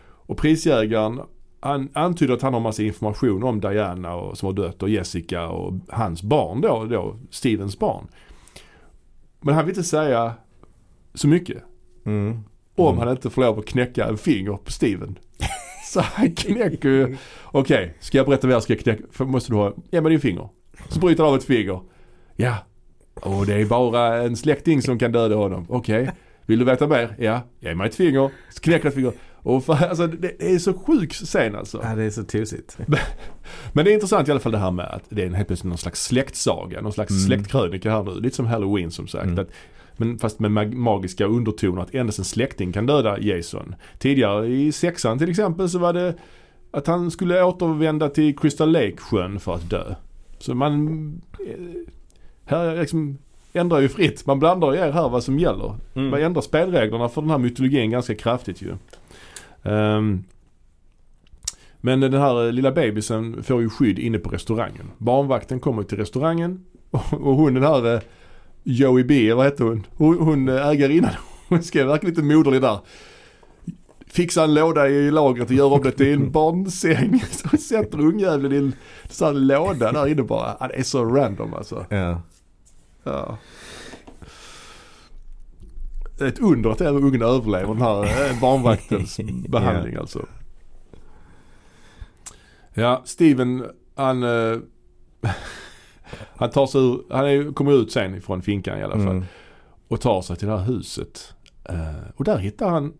Och prisjägaren han antyder att han har massa information om Diana och, som har dött och Jessica och hans barn då, då, Stevens barn. Men han vill inte säga så mycket. Mm. Om han inte får lov att knäcka en finger på Steven. Så han knäcker ju. Okej, ska jag berätta vad jag ska knäcka? För måste du ha, ge mig din finger. Så bryter han av ett finger. Ja. Och det är bara en släkting som kan döda honom. Okej. Vill du veta mer? Ja. Ge mig ett finger. Så knäcker han ett finger. Och fan, alltså, det, det är så sjuk scen alltså. Ja, det är så tusigt. Men det är intressant i alla fall det här med att det är en helt plötsligt någon slags släktsaga, någon slags Mm. släktkrönika här nu. Lite som Halloween som sagt. Mm. Att, men fast med mag- magiska undertoner att endast en släkting kan döda Jason. Tidigare i sexan till exempel så var det att han skulle återvända till Crystal Lake-sjön för att dö. Så man eh, här liksom ändrar ju fritt. Man blandar ju er här Mm. vad som gäller. Mm. Man ändrar spelreglerna för den här mytologin ganska kraftigt ju. Ehm, men den här eh, lilla bebisen får ju skydd inne på restaurangen. Barnvakten kommer till restaurangen och, och hon den här eh, Joey B, vad heter hon? Hon, hon eh, ägarinnan, hon skrev verkligen lite moderlig där. fixa en låda i lagret och göra om det till en barnsäng. Så sätter ungjäveln i en sån här låda där inne bara. Ja, Det är så random alltså. Ja. Ja. Det är Ett under att även ungen överlever den här eh, barnvaktens behandling alltså. Ja, Steven han, eh, han tar sig ur, han är, kommer ut sen ifrån finkan i alla fall Mm. och tar sig till det här huset. Eh, och där hittar han,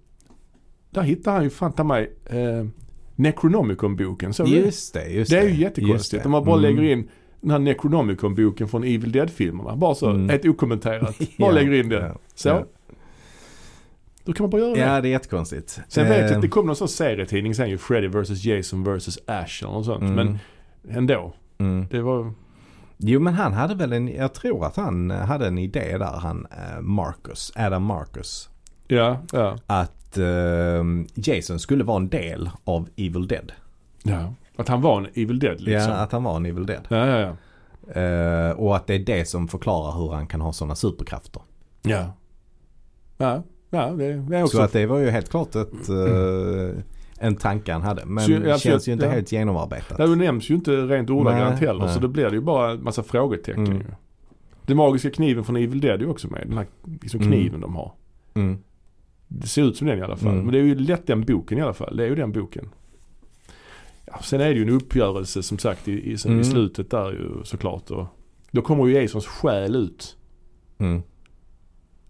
där hittar han ju fan ta mig eh, Necronomicon-boken. Såg du det? Just det, just det det. är ju Just det. jättekonstigt. Om man bara Mm. lägger in den här Necronomicon-boken från Evil Dead-filmerna. Bara så, Mm. ett okommenterat. Bara Ja, lägger in den. Ja. Så. Ja. Då kan man bara göra det. ja, det är jättekonstigt. Sen vet jag Eh, att det kom någon sån serietidning sen ju. Freddy vs Jason vs Ash eller något sånt. mm, Men ändå. mm. Det var... Jo men han hade väl en, jag tror att han eh, hade en idé där han, eh, Marcus, Adam Marcus. Ja, ja. Att eh, Jason skulle vara en del av Evil Dead. ja. Att han var en Evil Dead liksom. Ja, att han var en Evil Dead. Ja, ja, ja. Eh, och att det är det som förklarar hur han kan ha sådana superkrafter. Ja. Ja, ja det, det är också... Så att det var ju helt klart ett, eh, en tanke han hade. Men Så jag- det alltså, känns ju jag- inte ja. helt genomarbetat. Det nämns ju inte rent ordagrant Nej, heller nej. så det blir det ju bara en massa frågetecken Mm. ju. Den magiska kniven från Evil Dead är ju också med. Den här liksom Mm. kniven de har. Mm. Det ser ut som den i alla fall. Mm. Men det är ju lätt den boken i alla fall. Det är ju den boken. Ja, sen är det ju en uppgörelse som sagt i, i, sen Mm. i slutet där ju såklart. Och då kommer ju Jasons själ ut. Mm.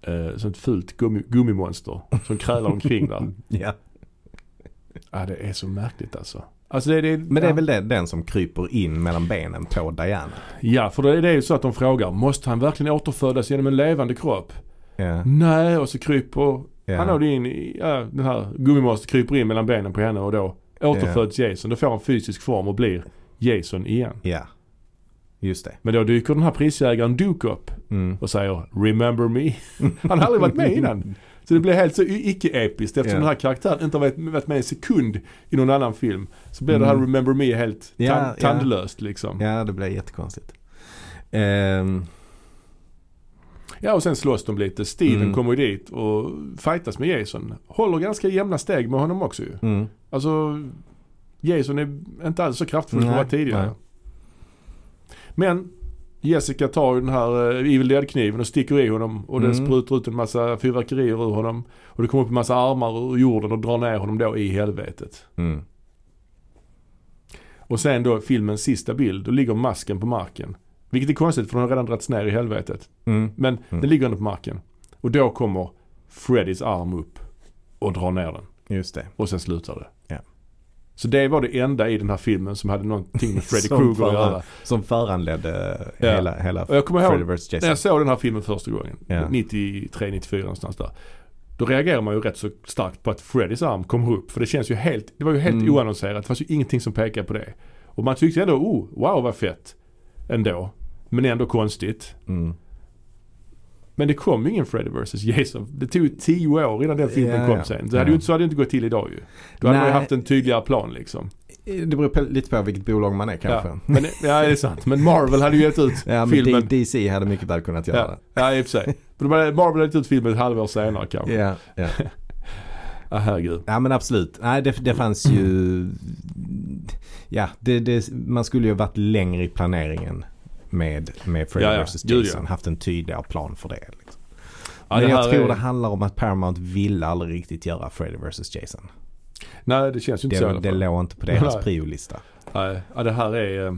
Eh, som ett fult gummi, gummimonster som krälar omkring där. Ja. Ja det är så märkligt alltså. Alltså det, det, Men det är ja. väl den, den som kryper in mellan benen på Diana. Ja, för det är det ju så att de frågar, måste han verkligen återfödas genom en levande kropp? Ja. Nej, och så kryper Ja. han då in i, ja, den här gummimonstret kryper in mellan benen på henne och då återföds Jason. Då får han fysisk form och blir Jason igen. ja. Just det. Men då dyker den här prisjägaren Duke upp Mm. och säger “Remember me”. Han har aldrig varit med innan. Så det blir helt så i- icke-episkt eftersom Ja. den här karaktären inte har varit- varit med en sekund i någon annan film. Så blir det här Mm. “Remember me” helt Ja, tan- ja. tandlöst liksom. Ja, det blir jättekonstigt. Ehm, Ja och sen slåss de lite. Steven Mm. kommer ju dit och fightas med Jason. Håller ganska jämna steg med honom också ju. mm. Alltså Jason är inte alls så kraftfull som han Nej, var tidigare. nej. Men Jessica tar ju den här eh, Evil Dead-kniven och sticker i honom och det Mm. sprutar ut en massa fyrverkerier ur honom. Och det kommer upp en massa armar ur jorden och drar ner honom då i helvetet. Mm. Och sen då filmens sista bild, då ligger masken på marken. Vilket är konstigt för den har redan dragits ner i helvetet. Mm. Men Mm. den ligger ändå på marken. Och då kommer Freddys arm upp och drar ner den. Just det. Och sen slutar det. Ja. Så det var det enda i den här filmen som hade någonting med Freddy Som Krueger att föran- göra. Som föranledde Ja. hela, hela Och jag kommer Freddy ihåg vs. när jag Jason. såg den här filmen första gången. Ja. 93, 94 någonstans där. Då reagerar man ju rätt så starkt på att Freddys arm kommer upp. För det känns ju helt, det var ju helt Mm. oannonserat. Det fanns ju ingenting som pekade på det. Och man tyckte ändå, oh, wow vad fett. Ändå. Men ändå konstigt. Mm. Men det kom ju ingen Freddy vs Jason. Det tog ju tio år innan den filmen Ja, kom ja. sen. Så hade, ju inte, så hade det inte gått till idag ju. Då hade man ju Nej. haft en tydligare plan liksom. Det beror på, lite på vilket bolag man är kanske. Ja. Men, ja, det är sant. Men Marvel hade ju gett ut Ja, men filmen. D- DC hade mycket väl kunnat göra Ja, ja, i och för sig. Men de hade- Marvel hade gett ut filmen ett halvår senare det. kanske. Ja, ja. Ah, herregud. ja, men absolut. Nej, det, det fanns ju... Ja, det, det, man skulle ju ha varit längre i planeringen med, med Freddy Ja, ja. vs. Gud, ja. Jason. Haft en tydligare plan för det. Liksom. Ja, men det jag här tror är- det handlar om att Paramount ville aldrig riktigt göra Freddy vs. Jason. Nej, det känns ju inte så i Det, alla det fall. låg inte på deras Nej. priolista. Nej, ja, det här är... eh,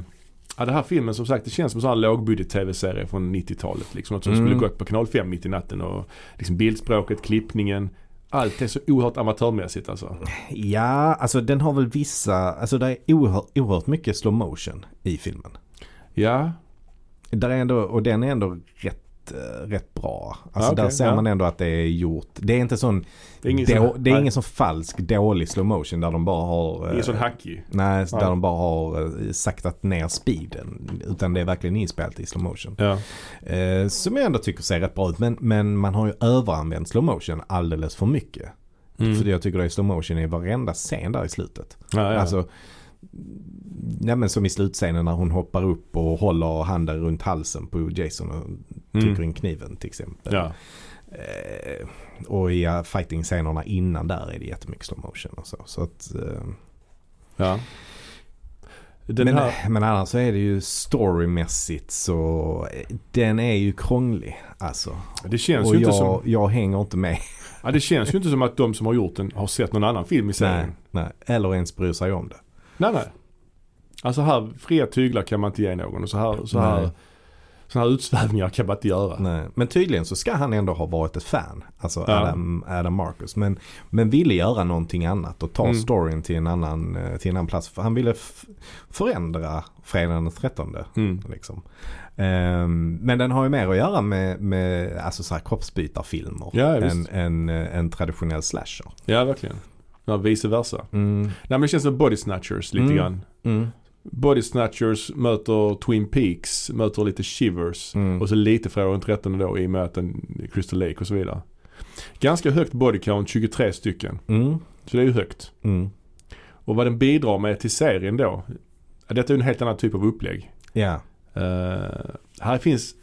Ja, den här filmen som sagt det känns som en sån här lågbudget-tv-serie från 90-talet. Liksom, något som Mm. skulle gått på kanal 5 mitt i natten. Och liksom bildspråket, klippningen. Allt är så oerhört amatörmässigt alltså. Ja, alltså den har väl vissa... Alltså det är oerhört, oerhört mycket slow motion i filmen. Ja, Där är ändå, och den är ändå rätt, eh, rätt bra. Alltså Ja, okej, där ser ja. man ändå att det är gjort. Det är inte sån, Det är ingen då, sån- det är nej. ingen sån falsk dålig slow motion där de bara har... ingen sån eh, hackig. Nej, där Ja. de bara har eh, saktat ner speeden. Utan det är verkligen inspelat i slow motion. Ja. Eh, som jag ändå tycker ser rätt bra ut. Men, men man har ju överanvänt slow motion alldeles för mycket. För jag tycker det är slow motion i varenda scen där i slutet. Mm. Ja, ja. Alltså, nej men som i slutscenen när hon hoppar upp och håller handen Mm. runt halsen på Jason och trycker in kniven till exempel. ja. Eh, Och i eh, fighting-scenerna innan där är det jättemycket slow motion och så. så att, eh, Ja. Den men, eh, här, men annars så är det ju storymässigt så eh, den är ju krånglig alltså. det, känns Och ju inte jag, som, jag hänger inte med. ja, det känns ju inte som att de som har gjort den har sett någon annan film i Nej, serien. nej. Eller ens bryr sig om det. Nej, nej. Alltså här, fria tyglar kan man inte ge någon och så här, så här, Nej. såna här utsvävningar kan man inte göra. Nej. Men tydligen så ska han ändå ha varit ett fan. Alltså Ja. Adam, Adam Marcus. Men, men ville göra någonting annat och ta Mm. storyn till en annan, eh, till en annan plats. För Han ville f- förändra fredagen den 13. Mm. Liksom. Ehm, men den har ju mer att göra med, med alltså så här kroppsbytarfilmer Ja, visst. än, än, eh, en traditionell slasher. Ja, verkligen. Ja, vice versa. Mm. Nej men det känns som body snatchers lite Mm. grann. Mm. Body snatchers möter Twin Peaks, möter lite Shivers. Mm. Och så lite från den 13 då i och med att den Crystal Lake och så vidare. Ganska högt body count, 23 stycken. Mm. Så det är ju högt. Mm. Och vad den bidrar med till serien då. ja, Detta är ju en helt annan typ av upplägg. Ja. Eh, här finns,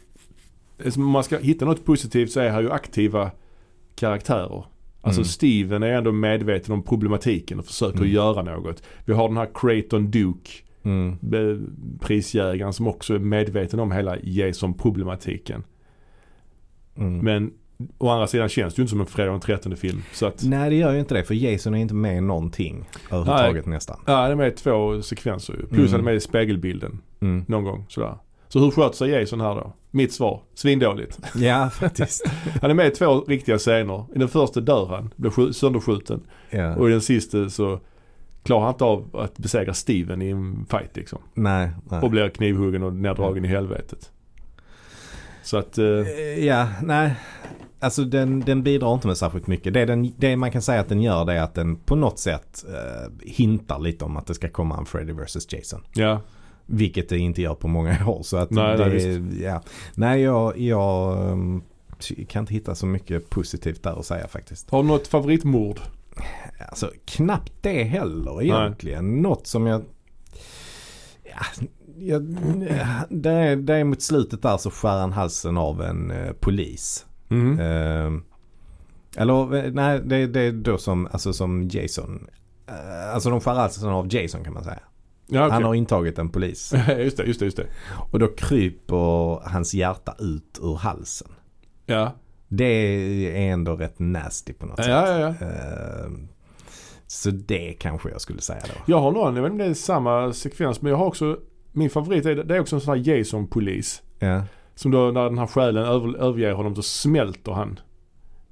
alltså om man ska hitta något positivt så är här ju aktiva karaktärer. Alltså Mm. Steven är ändå medveten om problematiken och försöker Mm. göra något. Vi har den här Creighton Duke, Mm. eh, prisjägaren som också är medveten om hela Jason-problematiken. Mm. Men å andra sidan känns det ju inte som en fredag den 13 film. Så att, Nej det gör ju inte det för Jason är inte med i någonting överhuvudtaget nästan. ja, det är med två sekvenser ju. Plus Mm. han är med i spegelbilden Mm. någon gång sådär. Så hur sköter sig Jason här då? Mitt svar, svindåligt. Ja faktiskt. Han är med i två riktiga scener. I den första dör han, blir skj- sönderskjuten. Ja. Och i den sista så klarar han inte av att besegra Steven i en fight liksom. Nej. Och nej. blir knivhuggen och neddragen i helvetet. Så att, eh, Eh, Ja, nej. Alltså den, den bidrar inte med särskilt mycket. Det, den, det man kan säga att den gör det är att den på något sätt eh, hintar lite om att det ska komma en Freddy vs Jason. ja. Vilket det inte gör på många år. Så att Nej, det, nej, ja. nej jag, jag ehm, ty- kan inte hitta så mycket positivt där att säga faktiskt. Har du något favoritmord? Alltså knappt det heller egentligen. Något som jag... Ja, jag det, är, det är mot slutet där så skär han halsen av en eh, polis. Mm. Ehm, eller eh, nej, det, det är då som, alltså, som Jason. Eh, Alltså de skär halsen av Jason kan man säga. Ja, Han okej. har intagit en polis. just det, just det, just det. Och då kryper hans hjärta ut ur halsen. Ja, Det är ändå rätt nasty på något ja, sätt. ja. ja. Ehm, så det kanske jag skulle säga då. Jag har någon, jag vet inte om det är samma sekvens, men jag har också, min favorit är, det är också en sån här Jason-polis. Ja. Som då när den här själen över, överger honom så smälter han.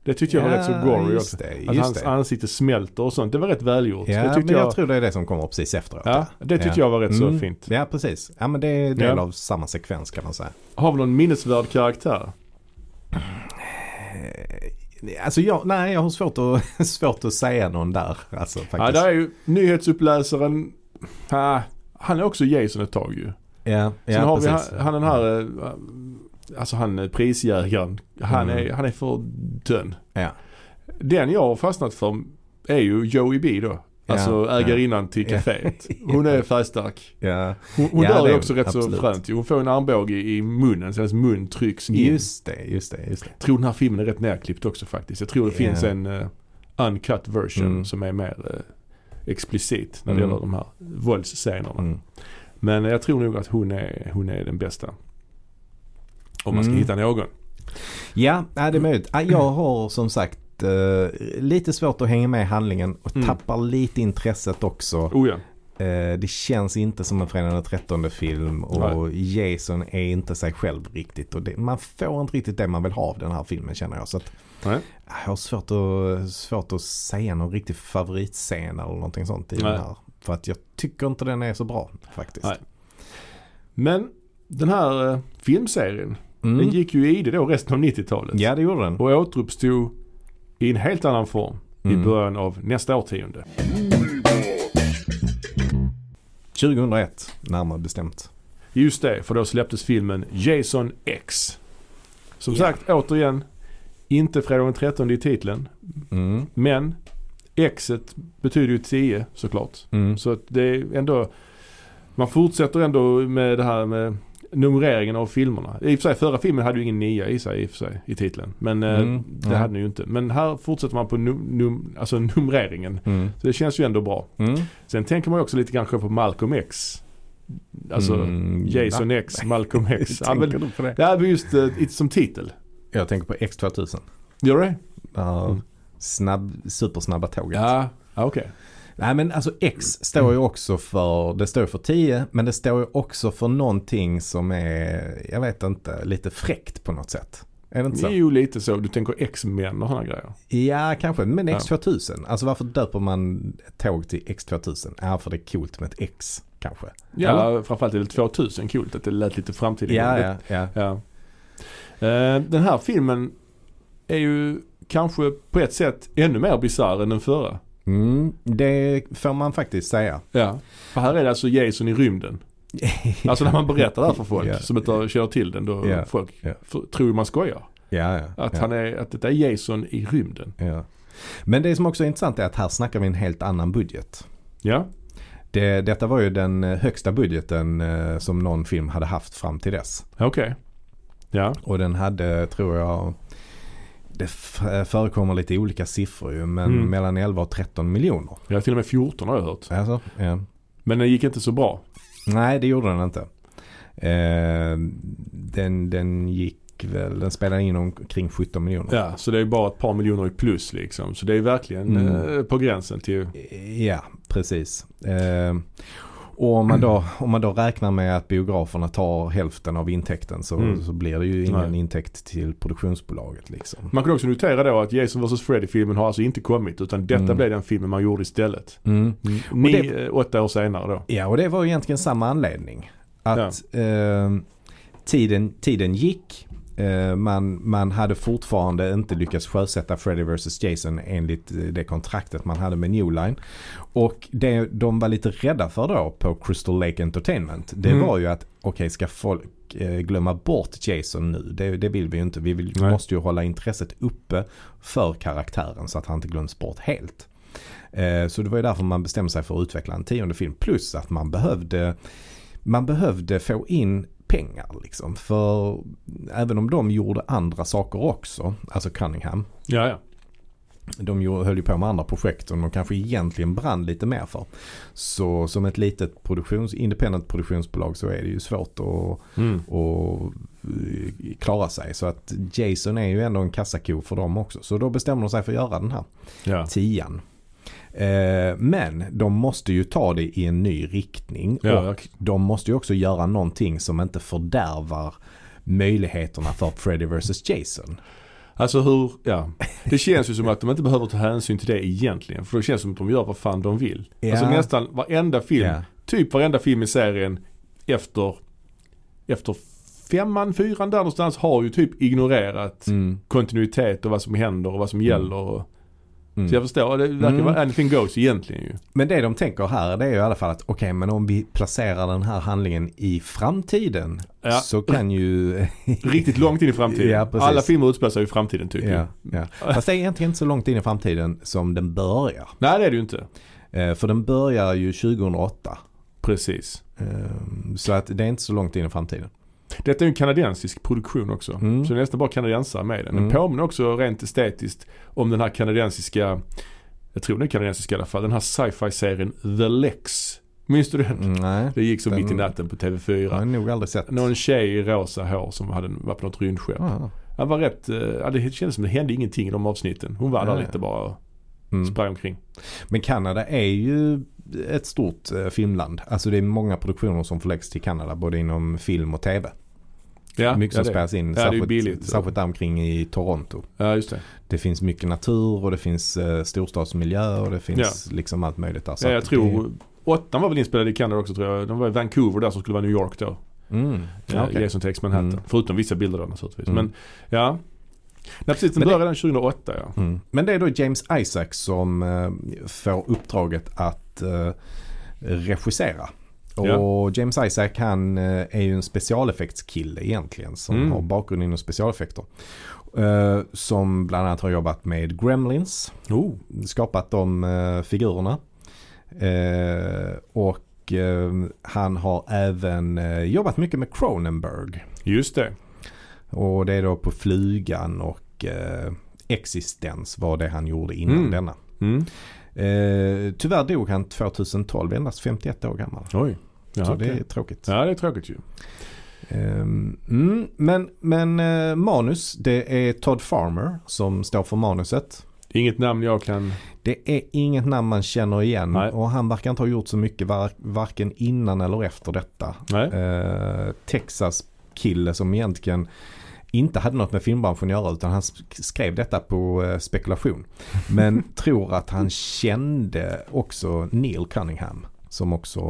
Det tyckte jag var rätt så gory just också. det, Att just hans det. ansikte smälter och sånt. Det var rätt välgjort. Ja, det tyckte men jag, jag, tror det är det som kommer precis efteråt. ja, det tyckte Ja. jag var rätt så Mm. fint. Ja, precis. Ja, men det är en del Ja. av samma sekvens kan man säga. Har vi någon minnesvärd karaktär? Alltså jag, nej jag har svårt att, svårt att säga någon där. Alltså Ja, faktiskt. där är ju nyhetsuppläsaren. Ah, han är också Jason ett tag ju. ja, Sen ja har vi precis. han, han den här, eh, alltså han eh, prisjägaren. Han, Mm. är, han är för dön. Ja. Den jag har fastnat för är ju Joey B då. Alltså Ja, ägarinnan till Ja. kaféet. Hon är färgstark. Ja, Hon, hon Ja, dör det ju är också hon. rätt så Absolut. fränt. ju. Hon får en armbåge i munnen så hennes mun trycks in. just det, just det, just det. Jag tror den här filmen är rätt nerklippt också faktiskt. Jag tror det Ja. finns en eh, uncut version Mm. som är mer eh, explicit när det Mm. gäller de här våldsscenerna. Mm. Men jag tror nog att hon är, hon är den bästa. Om man ska Mm. hitta någon. Ja, nej, det är möjligt. Ja, Jag har som sagt eh, lite svårt att hänga med i handlingen och Mm. tappar lite intresset också. Oh ja. Eh, det känns inte som en Fredagen den 13 film och Jason är inte sig själv riktigt. Och det, man får inte riktigt det man vill ha av den här filmen känner jag. Så att, eh, Nej. jag har svårt att, svårt att säga någon riktig favoritscen eller någonting sånt i Nej. den här. För att jag tycker inte den är så bra faktiskt. Nej. Men den här eh, filmserien, Mm. den gick ju i det då resten av 90-talet. Ja det gjorde den. Och återuppstod i en helt annan form Mm. i början av nästa årtionde. 2001 närmare bestämt. Just det, för då släpptes filmen Jason X. Som Ja. sagt, återigen, inte fredag den 13 i titeln. Mm. Men Xet betyder ju 10 såklart. Mm. Så att det är ändå, man fortsätter ändå med det här med numreringen av filmerna. I och för sig, förra filmen hade ju ingen nia i sig i, och för sig, i titeln. Men eh, Mm, det nej. hade den ju inte. Men här fortsätter man på num- num- alltså numreringen. Mm. Så det känns ju ändå bra. Mm. Sen tänker man ju också lite kanske på Malcolm X. Alltså Mm, Jason X, Malcolm X. ja, men, du på det? det här är just eh, it- som titel. Jag tänker på X2000. Gör det? Ja, Mm. Snabb, supersnabba tåget. Ja, ja, Ah, okej. Nej men alltså X står ju också för, det står ju för 10 men det står ju också för någonting som är, jag vet inte, lite fräckt på något sätt. Är det inte Det är så? ju lite så. Du tänker X-Men och sådana grejer. Ja kanske, men Ja. X2000. Alltså varför döper man ett tåg till X2000? Ja för det är coolt med ett X kanske. Ja, framförallt är det 2000 coolt att det lät lite framtida. Ja, Det- ja, ja. Ja. Eh, Den här filmen är ju kanske på ett sätt ännu mer bisarr än den förra. Mm, det får man faktiskt säga. Ja. För här är det alltså Jason i rymden. Alltså när man berättar det här för folk Ja. som inte har- känner till den då Ja. folk Ja. f- tror ju man skojar. Ja, ja. Att, ja. han är, att detta är Jason i rymden. Ja. Men det som också är intressant är att här snackar vi en helt annan budget. Ja, Det, detta var ju den eh, högsta budgeten eh, som någon film hade haft fram till dess. okej. Ja, Och den hade, tror jag, det f- eh, förekommer lite olika siffror ju, men Mm. mellan 11 och 13 miljoner. jag har till och med 14 har jag hört. Alltså, ja. Men den gick inte så bra. Nej, det gjorde den inte. Eh, den, den gick väl, den spelade in omkring 17 miljoner. Ja, så det är bara ett par miljoner i plus liksom. Så det är verkligen Mm. eh, på gränsen till... Ja, precis. Eh, och om man, då, om man då räknar med att biograferna tar hälften av intäkten så, Mm. så blir det ju ingen Nej. intäkt till produktionsbolaget. Liksom. Man kan också notera då att Jason vs Freddy-filmen har alltså inte kommit utan detta Mm. blev den filmen man gjorde istället. Mm. Ni, det- eh, åtta år senare då. Ja, och det var ju egentligen samma anledning. Att eh, tiden, tiden gick. Eh, man, man hade fortfarande inte lyckats sjösätta Freddy vs Jason enligt eh, det kontraktet man hade med New Line. Och det de var lite rädda för då på Crystal Lake Entertainment. Det Mm. var ju att okej ska folk eh, glömma bort Jason nu? Det, det vill vi ju inte. Vi vill, Nej. måste ju hålla intresset uppe för karaktären så att han inte glöms bort helt. Eh, Så det var ju därför man bestämde sig för att utveckla en tionde film. Plus att man behövde, man behövde få in pengar liksom. För även om de gjorde andra saker också, alltså Cunningham. Ja, ja. De gjorde- höll ju på med andra projekt som de kanske egentligen brann lite mer för. Så som ett litet produktions, independent produktionsbolag så är det ju svårt att Mm. och eh, klara sig. Så att Jason är ju ändå en kassako för dem också. Så då bestämde de sig för att göra den här ja. tian. Eh, men de måste ju ta det i en ny riktning. Ja, och verkligen. de måste ju också göra någonting som inte fördärvar möjligheterna för Freddy vs Jason. Alltså hur, ja. Det känns ju som att de inte behöver ta hänsyn till det egentligen. För det känns som att de gör vad fan de vill. Ja. Alltså nästan varenda film, Ja. typ varenda film i serien efter, efter femman, fyran där någonstans har ju typ ignorerat Mm. kontinuitet och vad som händer och vad som gäller. Och, Mm. Så jag förstår, det verkar Mm. vara anything goes egentligen ju. Men det de tänker här det är ju i alla fall att okej men om vi placerar den här handlingen i framtiden Ja. så kan ju... Riktigt långt in i framtiden. Ja, precis. Alla filmer utspelar sig i framtiden typ. ja, ja. Fast det är egentligen inte så långt in i framtiden som den börjar. Nej det är det ju inte. Eh, för den börjar ju 2008. Precis. Eh, så att det är inte så långt in i framtiden. Detta är ju en kanadensisk produktion också. Mm. Så det är nästan bara kanadensare med i den. Den Mm. påminner också rent estetiskt om den här kanadensiska, jag tror den är kanadensisk i alla fall, den här sci-fi serien The Lex. Minns du den? Mm, nej. Det gick som Den- mitt i natten på TV4. Jag har nog aldrig sett. Någon tjej i rosa hår som hade, var på något rymdskepp. Ah. Han var rätt, eh, ja, det kändes som det hände ingenting i de avsnitten. Hon var Ja, där ja. lite bara och Mm. sprang omkring. Men Kanada är ju ett stort eh, filmland. Alltså det är många produktioner som förläggs till Kanada både inom film och tv. Ja, mycket ja, som det. spelas in. det är ju särskilt, billigt. särskilt där omkring i Toronto. Ja, just det. Det finns mycket natur och det finns eh, storstadsmiljö och det finns liksom allt möjligt där. Så Ja, jag att tror, åttan var väl inspelad i Kanada också tror jag. De var i Vancouver där som skulle vara New York då. Det... Mm. Ja, okej. Jason takes Manhattan. Mm. Förutom vissa bilder då naturligtvis. Mm. Men ja. Nej precis, den Men det- började den 2008 ja. Mm. Men det är då James Isaac som eh, får uppdraget att eh, regissera. Och James Isaac han eh, är ju en specialeffektskille egentligen som Mm. har bakgrund inom specialeffekter. Eh, som bland annat har jobbat med Gremlins, Oh. skapat de eh, figurerna. Eh, och Och eh, han har även eh, jobbat mycket med Cronenberg. Just det. Och det är då på Flugan och eh, Existens var det han gjorde innan Mm. denna. Mm. Eh, tyvärr dog han 2012, endast 51 år gammal. Oj. Ja, så det okej. är tråkigt. ja, det är tråkigt ju. Ehm, mm, men men eh, manus, det är Todd Farmer som står för manuset. Inget namn jag kan... Det är inget namn man känner igen Nej. och han verkar inte ha gjort så mycket var, varken innan eller efter detta. Nej. Eh, Texas kille som egentligen inte hade något med filmbranschen att göra utan han sk- skrev detta på eh, spekulation. Men tror att han kände också Neil Cunningham som också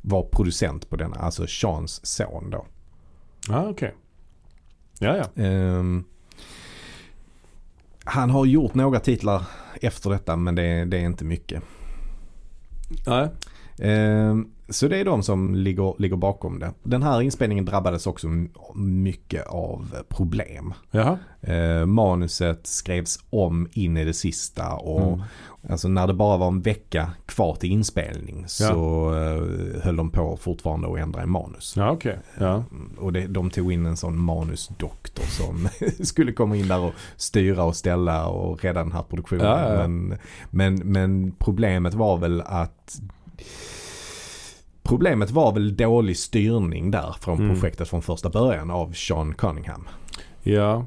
var producent på denna, alltså Seans son då. Ja, okej. Ja, ja. Ehm, han har gjort några titlar efter detta men det, det är inte mycket. Nej. Ehm, så det är de som ligger, ligger bakom det. Den här inspelningen drabbades också m- mycket av problem. Jaha. Eh, manuset skrevs om in i det sista och Mm. alltså när det bara var en vecka kvar till inspelning så eh, höll de på fortfarande att ändra i manus. Ja, okej. Ja. Och det, de tog in en sån manusdoktor som skulle komma in där och styra och ställa och rädda den här produktionen. Ja, ja, ja. Men, men, men problemet var väl att Problemet var väl dålig styrning där från Mm. projektet från första början av Sean Cunningham. Ja.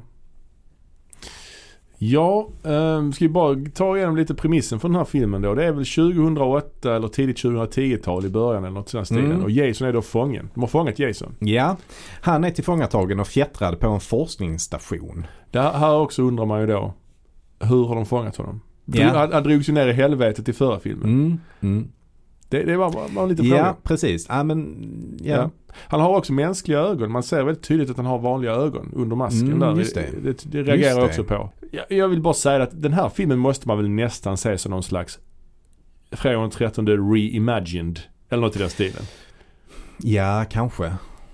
Ja, ehm, ska vi bara ta igenom lite premissen för den här filmen då. Det är väl 2008 eller tidigt 2010-tal i början eller något sånt stilen. Mm. Och Jason är då fången. De har fångat Jason. Ja, han är tillfångatagen och fjättrad på en forskningsstation. Det här, här också undrar man ju då. Hur har de fångat honom? Ja. Han, han drogs ju ner i helvetet i förra filmen. Mm. Mm. Det, det var, var, var en liten Ja, fråga. precis. Ja, men, ja. Ja. Han har också mänskliga ögon. Man ser väldigt tydligt att han har vanliga ögon under masken Mm, där. just det. det, det reagerar jag Just också det. på. Jag, jag vill bara säga att den här filmen måste man väl nästan se som någon slags Fredag den 13 reimagined. Eller något i den stilen. ja kanske.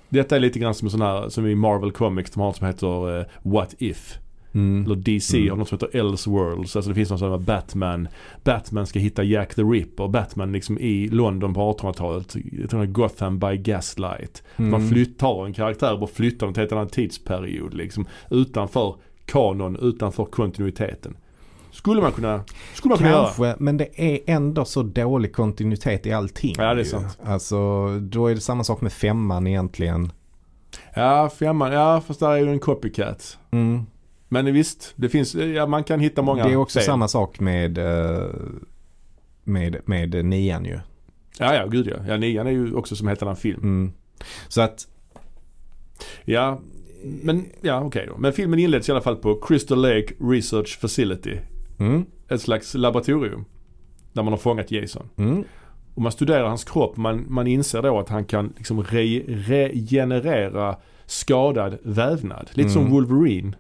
Detta är lite grann som en sån här, som i Marvel Comics, de har något som heter eh, What If. Mm. Eller DC Mm. har något som heter Elseworlds. Alltså det finns någon sån här Batman. Batman ska hitta Jack the Ripper. Batman liksom i London på 1800-talet. Jag tror det är Gotham by Gaslight. Man Mm. flyttar en karaktär och bara flyttar den till en annan tidsperiod liksom. Utanför kanon, utanför kontinuiteten. Skulle man kunna, skulle man kunna göra. Kanske, men det är ändå så dålig kontinuitet i allting. Ja, det är ju. sant. Alltså, då är det samma sak med femman egentligen. Ja, femman, ja fast där är ju en copycat. Mm. Men visst, det finns, ja man kan hitta många det är också fel. samma sak med, eh, med, med nian ju. Ja, ja, gud ja. Ja, nian är ju också som heter en film. Mm. Så att, Ja, men ja okej då. Men filmen inleds i alla fall på Crystal Lake Research Facility. mm, Ett slags laboratorium. Där man har fångat Jason. mm, Och man studerar hans kropp. Man, man inser då att han kan liksom re, regenerera skadad vävnad. Lite som Mm. Wolverine.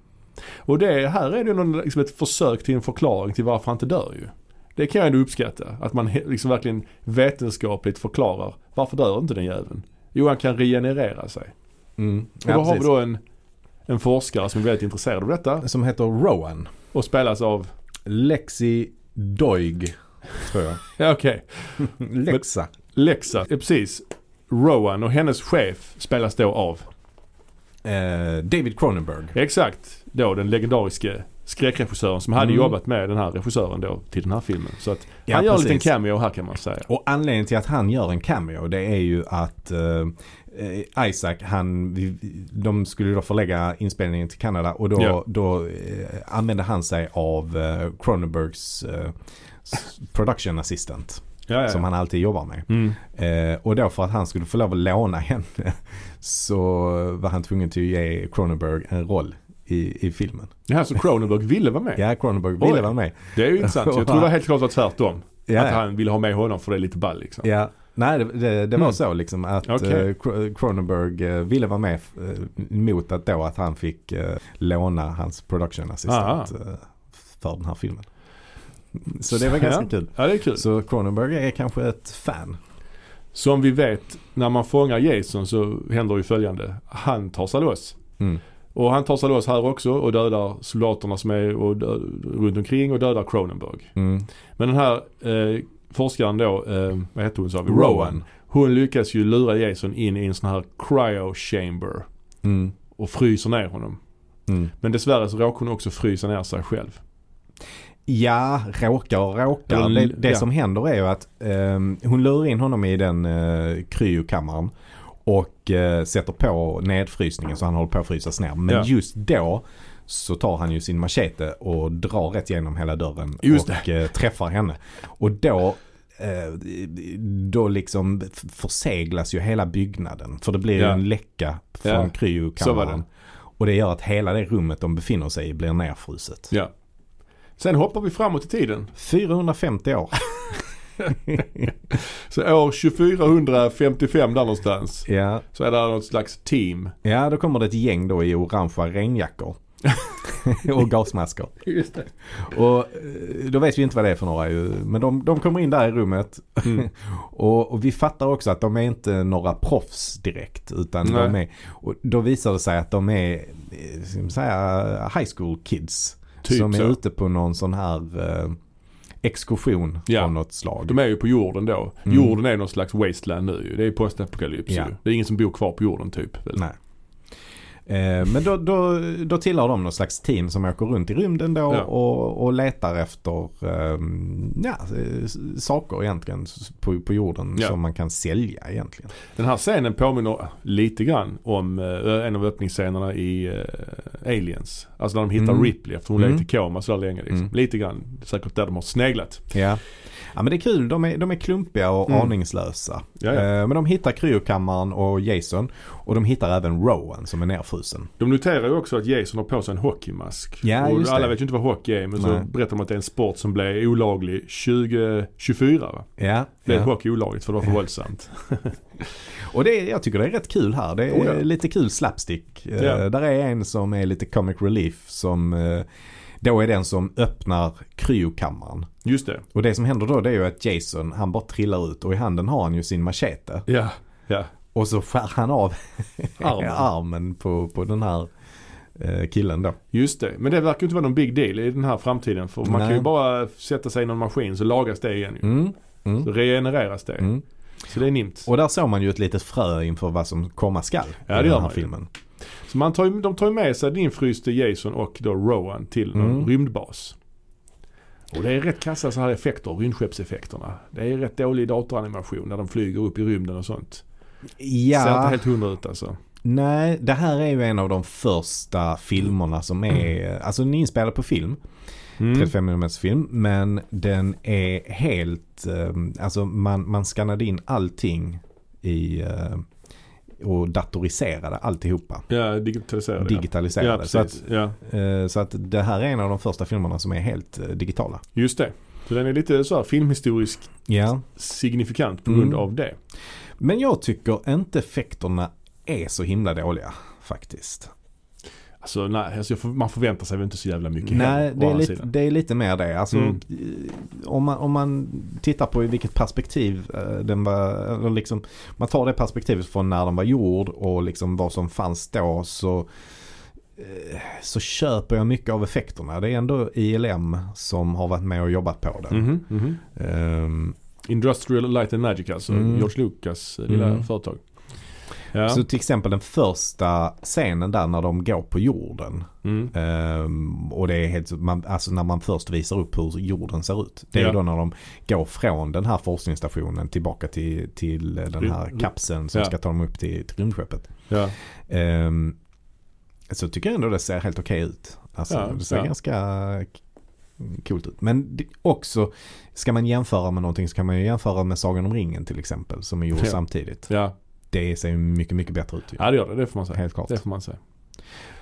Och det här är det någon, liksom ett försök till en förklaring till varför han inte dör ju. Det kan jag ändå uppskatta. Att man he- liksom verkligen vetenskapligt förklarar varför dör inte den jäveln? Jo, han kan regenerera sig. mm. Och då har vi precis. då en, en forskare som är väldigt intresserad av detta Som heter Rowan. och spelas av, Lexi Doig, tror jag. ja okej, Lexa. Lexa, ja, precis. Rowan och hennes chef spelas då av, Eh, David Cronenberg. exakt, då den legendariske skräckregissören som hade Mm. jobbat med den här regissören då till den här filmen. Så att Ja, han gör en liten precis. cameo här kan man säga. Och anledningen till att han gör en cameo det är ju att eh, eh, Isaac, han, vi- de skulle då förlägga inspelningen till Kanada och då, Ja. då eh, använde han sig av eh, Cronenbergs eh, s- production assistant. Ja, ja. Som han alltid jobbar med. Mm. Eh, och då för att han skulle få lov att låna henne så var han tvungen till att ge Cronenberg en roll i, i filmen. Ja, så Cronenberg ville vara med. Ja, Cronenberg ville Oj. vara med. Det är ju intressant. Jag tror det var helt klart var tvärtom. Ja, Att ja. han ville ha med honom för det är lite ball liksom. Ja, nej det, det, det var Mm. så liksom att Okej. eh, Cro- Cronenberg eh, ville vara med eh, mot att då att han fick eh, låna hans production Ah. assistant eh, för den här filmen. Så det var Ja. ganska kul. Ja, det är kul. Så Cronenberg är kanske ett fan. Som vi vet, när man fångar Jason så händer ju följande. Han tar sig loss. Mm. Och han tar sig loss här också och dödar soldaterna som är och dö- runt omkring och dödar Cronenberg. Mm. Men den här eh, forskaren då, eh, vad heter hon sa vi? Hon, Hon lyckas ju lura Jason in i en sån här cryo chamber Mm. och fryser ner honom. Mm. Men dessvärre så råkar hon också frysa ner sig själv. Ja, råkar och råkar. Eller- det det ja. som händer är ju att ehm, hon lurar in honom i den eh, kryokammaren och eh, sätter på nedfrysningen så han håller på att frysas ner. Men Ja. just då så tar han ju sin machete och drar rätt genom hela dörren Just och eh, träffar henne. Och då eh, då liksom f- förseglas ju hela byggnaden. För det blir ju Ja. en läcka från Ja. Så var kryokammaren. det. Och det gör att hela det rummet de befinner sig i blir nerfruset. Ja. Sen hoppar vi framåt i tiden. 450 år. Så år 2455 där någonstans. Ja, Så är det något slags team. ja då kommer det ett gäng då i orangea regnjackor. och gasmasker. Just det. Och eh, då vet vi inte vad det är för några ju. Men de, de kommer in där i rummet. Mm. och, och vi fattar också att de är inte några proffs direkt. Utan Nej. de är, och då visar det sig att de är eh, ska man säga, high school kids. Typ som är så. ute på någon sån här eh, exkursion Ja. av något slag. De är ju på jorden då. Mm. Jorden är någon slags wasteland nu ju. Det är postapokalyps Ja. ju. Det är ingen som bor kvar på jorden typ. Väl? Nej. Eh, Men då, då, då tillhör de någon slags team som åker runt i rymden då Ja. och, och letar efter eh, ja, s- saker egentligen s- på, på jorden Ja. som man kan sälja egentligen. Den här scenen påminner lite grann om eh, en av öppningsscenerna i eh, Aliens. Alltså när de hittar Mm. Ripley efter hon Mm. legat i koma sådär länge. Liksom. Mm. Lite grann säkert där de har sneglat. Ja. ja men det är kul, de är, de är klumpiga och Mm. aningslösa. Ja, ja. Eh, Men de hittar kryokammaren och Jason och de hittar även Rowan som är nerfrusen. De noterar ju också att Jason har på sig en hockeymask. Ja, och just alla det. vet ju inte vad hockey är men Nej. så berättar de att det är en sport som blev olaglig 2024 va? Ja, Blev ja. hockey olagligt för det var för våldsamt. Och det, är- jag tycker det är rätt kul här. Det är Oh, ja. lite kul slapstick. Eh, Ja. Där är en som är lite comic relief som eh, då är den som öppnar kryokammaren. Just det. Och det som händer då det är ju att Jason han bara trillar ut och i handen har han ju sin machete. Ja. Ja. Och så skär han av Armen. armen på, på den här eh, killen då. Just det. Men det verkar ju inte vara någon big deal i den här framtiden. För man Nej. kan ju bara sätta sig i någon maskin så lagas det igen ju. Mm. Mm. Så regenereras det. Mm. Så det är nimt. Och där såg man ju ett litet frö inför vad som komma skall Ja, i det den gör här man ju. filmen. Så man tar, ju- de tar ju med sig den infryste Jason och då Rowan till någon Mm. rymdbas. Och det är rätt kassa så här effekter, rymdskeppseffekterna. Det är rätt dålig datoranimation när de flyger upp i rymden och sånt. Ser inte Ja, helt hundra ut alltså. nej, det här är ju en av de första filmerna som är, alltså den är inspelad på film. Mm. 35 mm film. Men den är helt, eh, alltså man, man skannade in allting i eh, och datoriserade alltihopa. Ja, digitaliserade. ja. Digitaliserade. Ja, så, att, precis. Ja, eh, så att det här är en av de första filmerna som är helt eh, digitala. just det. Så den är lite så här filmhistoriskt Ja. signifikant på Mm. grund av det. Men jag tycker inte effekterna är så himla dåliga faktiskt. Alltså, nej, alltså jag får, man förväntar sig väl inte så jävla mycket Nej, heller, å det är, andra lite, sidan. det är lite mer det. Alltså, Mm. eh, om, man, om man tittar på i vilket perspektiv eh, den var, eller liksom, man tar det perspektivet från när den var gjord och liksom vad som fanns då så, eh, så köper jag mycket av effekterna. Det är ändå ILM som har varit med och jobbat på det. Mhm, mhm. Ehm, Industrial Light and Magic alltså. Mm. George Lucas eh, lilla Mm. företag. Ja. Så till exempel den första scenen där när de går på jorden. mm. Ehm, och det är helt, man, alltså när man först visar upp hur jorden ser ut. Det är Ja. då när de går från den här forskningsstationen tillbaka till, till den här Rymd- kapseln som Ja. ska ta dem upp till, till rymdskeppet. ja. Ehm, så tycker jag ändå det ser helt okej ut. Alltså, Ja, det ser ja. ganska coolt ut. Men det, också, ska man jämföra med någonting så kan man ju jämföra med Sagan om ringen till exempel. Som är gjord Ja. samtidigt. Ja. Det ser ju mycket, mycket bättre ut. ju. ja, det gör det. Det får man säga. Helt klart. Det får man säga.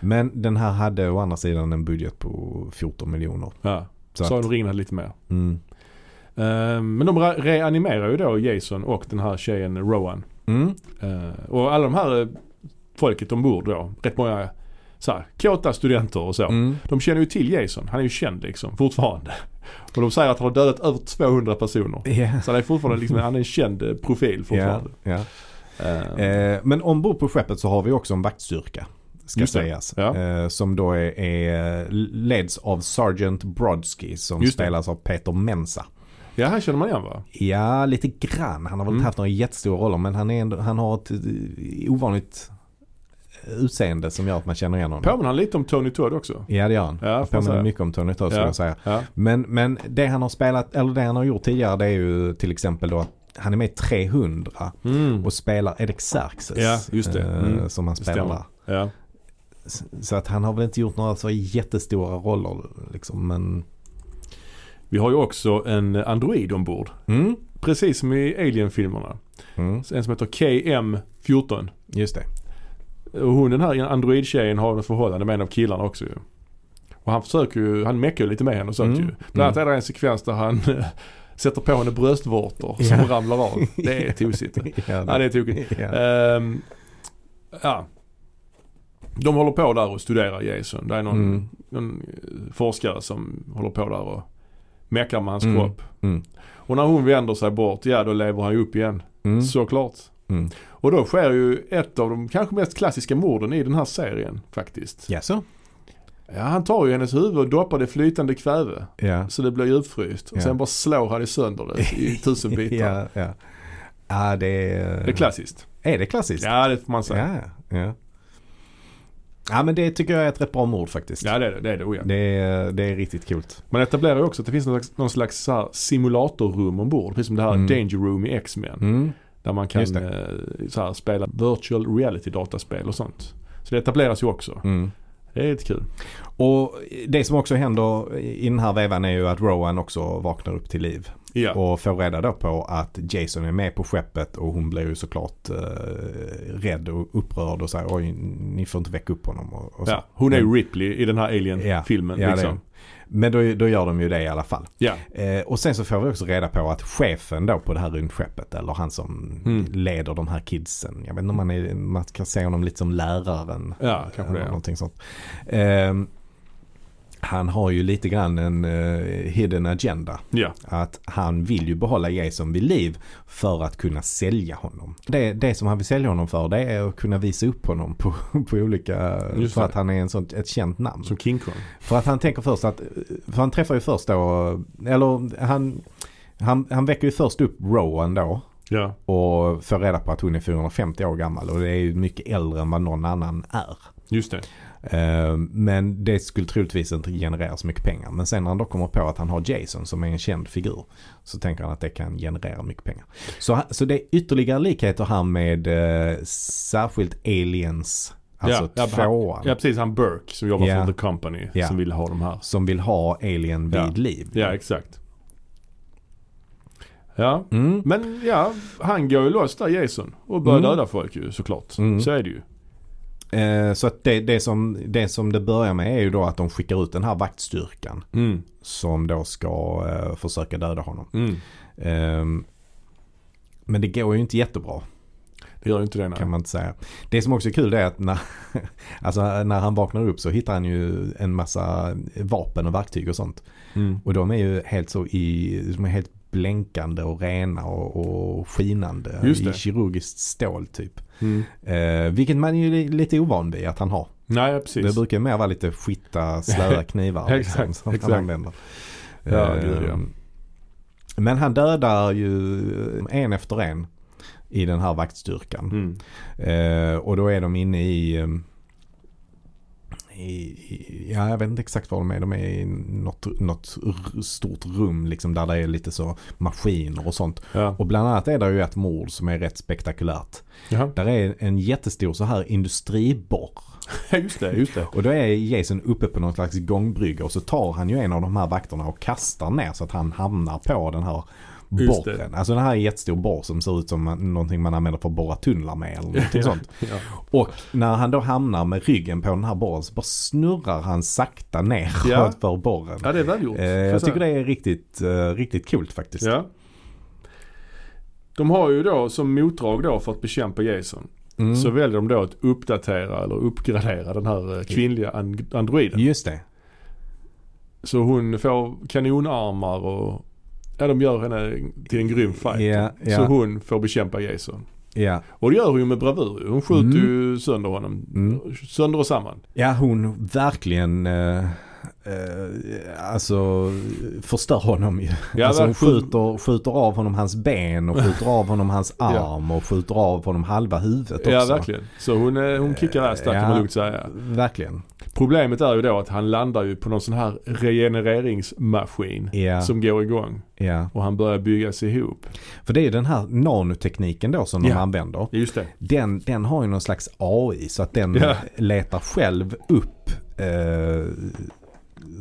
Men den här hade å andra sidan en budget på 14 miljoner. Ja. Så Så att, de ringde lite mer. mm. Eh, men de re- reanimerar ju då Jason och den här tjejen Rowan. Mm. Eh, och alla de här eh, folket ombord då, rätt många så här, kåta studenter och så. Mm. De känner ju till Jason. Han är ju känd liksom, fortfarande. Och de säger att han har dödat över 200 personer. Ja. Så han är fortfarande liksom, han är en känd eh, profil fortfarande. Ja, Eh, ja. Eh, men ombord på skeppet så har vi också en vaktstyrka. Ska Just det. sägas. Ja. Eh, som då är, är leds av Sergeant Brodsky som Just det. spelas av Peter Mensa. Ja, här känner man igen va? Ja, lite grann. Han har väl Mm. inte haft några jättestora roller men han, är ändå, han har ett eh, ovanligt eh, utseende som gör att man känner igen honom. Påminner han lite om Tony Todd också? Ja det gör han. Ja, får man Påminner säga. mycket om Tony Todd skulle Ja. jag säga. Ja. Men, men det han har spelat, eller det han har gjort tidigare det är ju till exempel då att han är med i 300 Mm. och spelar Erik Xerxes. Ja, just det. eh, Mm. Som han spelar Stämmer. där. Ja. S- Så att han har väl inte gjort några så jättestora roller liksom men... Vi har ju också en android ombord. Mm. Precis som i Alien-filmerna. Mm. En som heter KM14. Just det. Och hon den här android-tjejen har ett förhållande med en av killarna också ju. Och han försöker ju, han meckar ju lite med henne och sånt Mm. ju. Bland annat är det en sekvens där han eh, sätter på henne bröstvårtor som Ja. ramlar av. Det är tosigt. Ja, ja det är tokigt. ja. Ehm, ja. De håller på där och studerar Jason. Det är någon, Mm. någon eh, forskare som håller på där och meckar med hans Mm. kropp. Mm. Och när hon vänder sig bort, ja då lever han ju upp igen. Mm. Såklart. Mm. Och då sker ju ett av de kanske mest klassiska morden i den här serien faktiskt. Ja, så. Ja, han tar ju hennes huvud och doppar det i flytande kväve. Ja. Så det blir djupfryst. Och Ja. sen bara slår han i sönder det i tusen bitar. Ja, ja. Ja, det är... Det är klassiskt. Är det klassiskt? Ja det får man säga. Ja, ja, ja. Ja, men det tycker jag är ett rätt bra mord faktiskt. det är det. det, är det oh, ja. Det, är, det är riktigt kul. Man etablerar ju också att det finns någon slags, någon slags så här simulatorrum ombord. Precis som det här Mm. Danger Room i X-Men. Mm. Där man kan Just eh, så här, spela virtual reality dataspel och sånt. Så det etableras ju också. Mm. Det är lite kul. Och det som också händer i den här vevan är ju att Rowan också vaknar upp till liv. Ja. Och får reda då på att Jason är med på skeppet och hon blir ju såklart eh, rädd och upprörd och säger oj ni får inte väcka upp honom. Och, och så. ja. Hon är ju Men- Ripley i den här Alien-filmen. Mm. ja, det är liksom. hon. Men då, då gör de ju det i alla fall. Ja, Eh, och sen så får vi också reda på att chefen då på det här rymdskeppet eller han som Mm. leder de här kidsen. Jag vet inte om man, är, man kan se honom lite som läraren. ja kanske eller det. Ja. Någonting sånt. Ehm, han har ju lite grann en eh, hidden agenda. ja. Att han vill ju behålla Jason vid liv för att kunna sälja honom. Det, det som han vill sälja honom för det är att kunna visa upp honom på, på olika... Just för det. att han är en sån, ett känt namn. Som King Kong. För att han tänker först att, för han träffar ju först då, eller han, han, han väcker ju först upp Rowan då Ja, och får reda på att hon är 450 år gammal och det är ju mycket äldre än vad någon annan är. just det. Eh, Men det skulle troligtvis inte generera så mycket pengar. Men sen när han då kommer på att han har Jason som är en känd figur så tänker han att det kan generera mycket pengar. Så, han- så det är ytterligare likheter här med eh, särskilt Aliens, alltså ja, han- tvåan. Ja, precis. Han Burke som jobbar Ja. för The Company Ja. som vill ha de här. Som vill ha Alien vid Ja. liv. Ja, exakt. Ja, Mm. men ja, han går ju loss där Jason och börjar Mm. döda folk ju såklart. Mm. Så är det ju. Eh, så att det, det, som, det som det börjar med är ju då att de skickar ut den här vaktstyrkan. Mm. Som då ska eh, försöka döda honom. Mm. Ehm, men det går ju inte jättebra Det gör ju inte det nej. kan man inte säga. Det som också är kul det är att när, alltså, när han vaknar upp så hittar han ju en massa vapen och verktyg och sånt. Mm. Och de är ju helt så i, de är helt blänkande och rena och, och skinande. Just det. I kirurgiskt stål typ. Mm. Eh, vilket man är ju lite ovan vid att han har. Nej, precis. Det brukar ju mer vara lite skitta, slöa knivar. liksom, Exakt, som han exakt. använder. Ja, Eh, gud, ja. Men han dödar ju en efter en i den här vaktstyrkan. Mm. Eh, och då är de inne i, eh, i, i ja, jag vet inte exakt var de är. De är i något, något r- stort rum liksom där det är lite så maskiner och sånt. Ja. Och bland annat är det ju ett mord som är rätt spektakulärt. Jaha. Där är en jättestor så här industriborr. Ja, just det, just det. Och då är Jason uppe på någon slags gångbrygga och så tar han ju en av de här vakterna och kastar ner så att han hamnar på den här Just borren. Alltså den här är en jättestor borr som ser ut som man- någonting man använder för att borra tunnlar med eller någonting sånt. Ja. Och när han då hamnar med ryggen på den här borren så bara snurrar han sakta ner Ja. för borren. ja, det är välgjort. Eh, får säga. jag tycker det är riktigt, eh, riktigt coolt faktiskt. Ja. De har ju då som motdrag då för att bekämpa Jason Mm. så väljer de då att uppdatera eller uppgradera den här eh, kvinnliga and- androiden. Just det. Så hon får kanonarmar och ja, de gör henne till en grym fighter. Ja, ja. Så hon får bekämpa Jason. Ja. Och det gör hon ju med bravur. ju. Hon skjuter Mm. ju sönder honom. Mm. Sönder och samman. ja, hon verkligen eh, eh, alltså förstör honom ju. Ja, alltså hon verkligen. skjuter, skjuter av honom hans ben och skjuter av honom hans arm och skjuter av honom halva huvudet också. Ja, verkligen. Så hon, eh, hon kickar ass där kan Ja. man lugnt säga. Verkligen. Problemet är ju då att han landar ju på någon sån här regenereringsmaskin Ja, som går igång ja. och han börjar byggas ihop. För det är ju den här nanotekniken då som de Ja. använder. Just det. Den, den har ju någon slags AI så att den Ja. letar själv upp eh,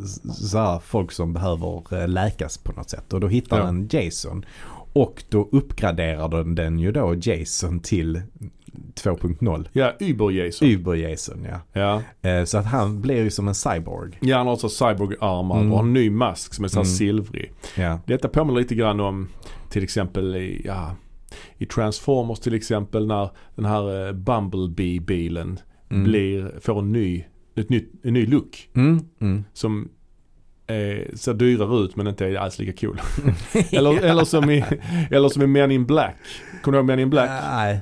s- så här, folk som behöver eh, läkas på något sätt. Och då hittar Ja. den Jason. Och då uppgraderar den, den ju då Jason till 2.0. Ja, Uber-Jason. Uber-Jason ja. Ja. Eh, så att han blir ju som en cyborg. ja, han har så cyborg-armar Mm. och har en ny mask som är så här Mm. silvrig. Ja. Detta påminner lite grann om till exempel i, ja, i Transformers till exempel när den här eh, Bumblebee-bilen Mm. blir, får en ny, ett nytt, en ny look. Mm. Mm. som eh, ser dyrare ut men inte är alls lika cool. eller, eller, som i, eller som i Men in Black. Kommer du ihåg Men in Black? Nej.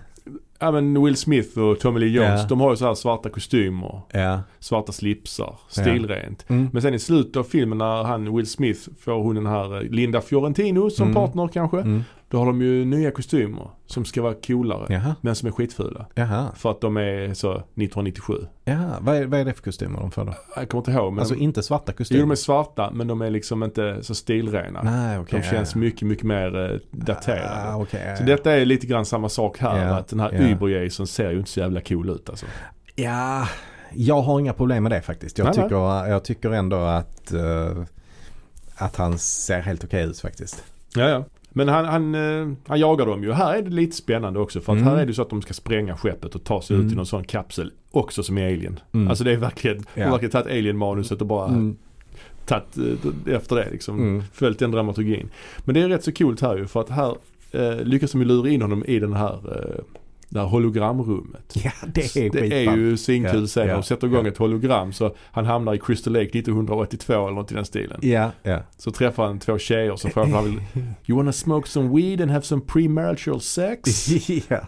Ja men Will Smith och Tommy Lee Jones, Ja. de har ju så här svarta kostymer, Ja. svarta slipsar, stilrent. Mm. Men sen i slutet av filmen när han, Will Smith, får hon den här eh, Linda Fiorentino som Mm. partner kanske. Mm. Då har de ju nya kostymer som ska vara coolare. Jaha. Men som är skitfula. Jaha. För att de är så 1997. Jaha. Vad, är, vad är det för kostymer de får då? Jag kommer inte ihåg men... Alltså inte svarta jo kostymer? de är svarta men de är liksom inte så stilrena. Nej, okej. De känns mycket, mycket mer eh, daterade. Ah, okej, ja, Så ja. detta är lite grann samma sak här. Ja, Att den här ja. Uber-Jason ser ju inte så jävla cool ut alltså. Ja, jag har inga problem med det faktiskt. Jag, Nej, nej. tycker, jag tycker ändå att, eh, att han ser helt okej ut faktiskt. Ja, ja. Men han, han, eh, han jagar dem ju. Här är det lite spännande också för att Mm. här är det ju så att de ska spränga skeppet och ta sig ut Mm. i någon sån kapsel. Också som i Alien. Mm. Alltså det är verkligen, de Ja. har verkligen tagit Alien-manuset och bara tagit eh, efter det liksom. Mm. Följt den dramaturgin. Men det är rätt så kul här ju för att här eh, lyckas de ju lura in honom i den här, eh, det här hologramrummet. Ja, det är det är skitballt. ju svinkul Ja, scen. ja, De sätter igång ja. ett hologram så han hamnar i Crystal Lake 1982 eller något i den stilen. Ja, ja. Så träffar han två tjejer som frågar om han vill You wanna smoke some weed and have some premarital sex? ja.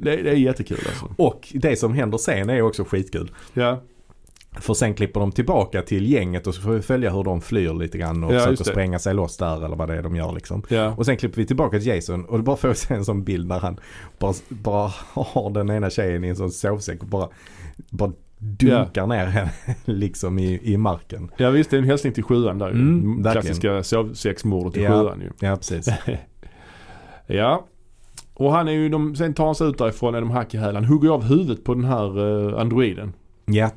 Det, det är jättekul alltså. Och det som händer sen är också skitkul. Ja, För sen klipper de tillbaka till gänget och så får vi följa hur de flyr lite grann och Ja, just försöker det. spränga sig loss där eller vad det är de gör liksom. ja. Och sen klipper vi tillbaka till Jason och då bara får vi se en sån bild när han bara, bara har den ena tjejen i en sån sovsäck och bara, bara dunkar ner henne liksom i, i marken. ja visst, det är en hälsning till sjuan där ju. Mm, verkligen. Klassiska sovsexmordet till Ja. sjuan ju. Ja precis. Ja. Och han är ju, de, sen tar han sig ut därifrån i de hack i häl. Han hugger av huvudet på den här eh, androiden. Ja.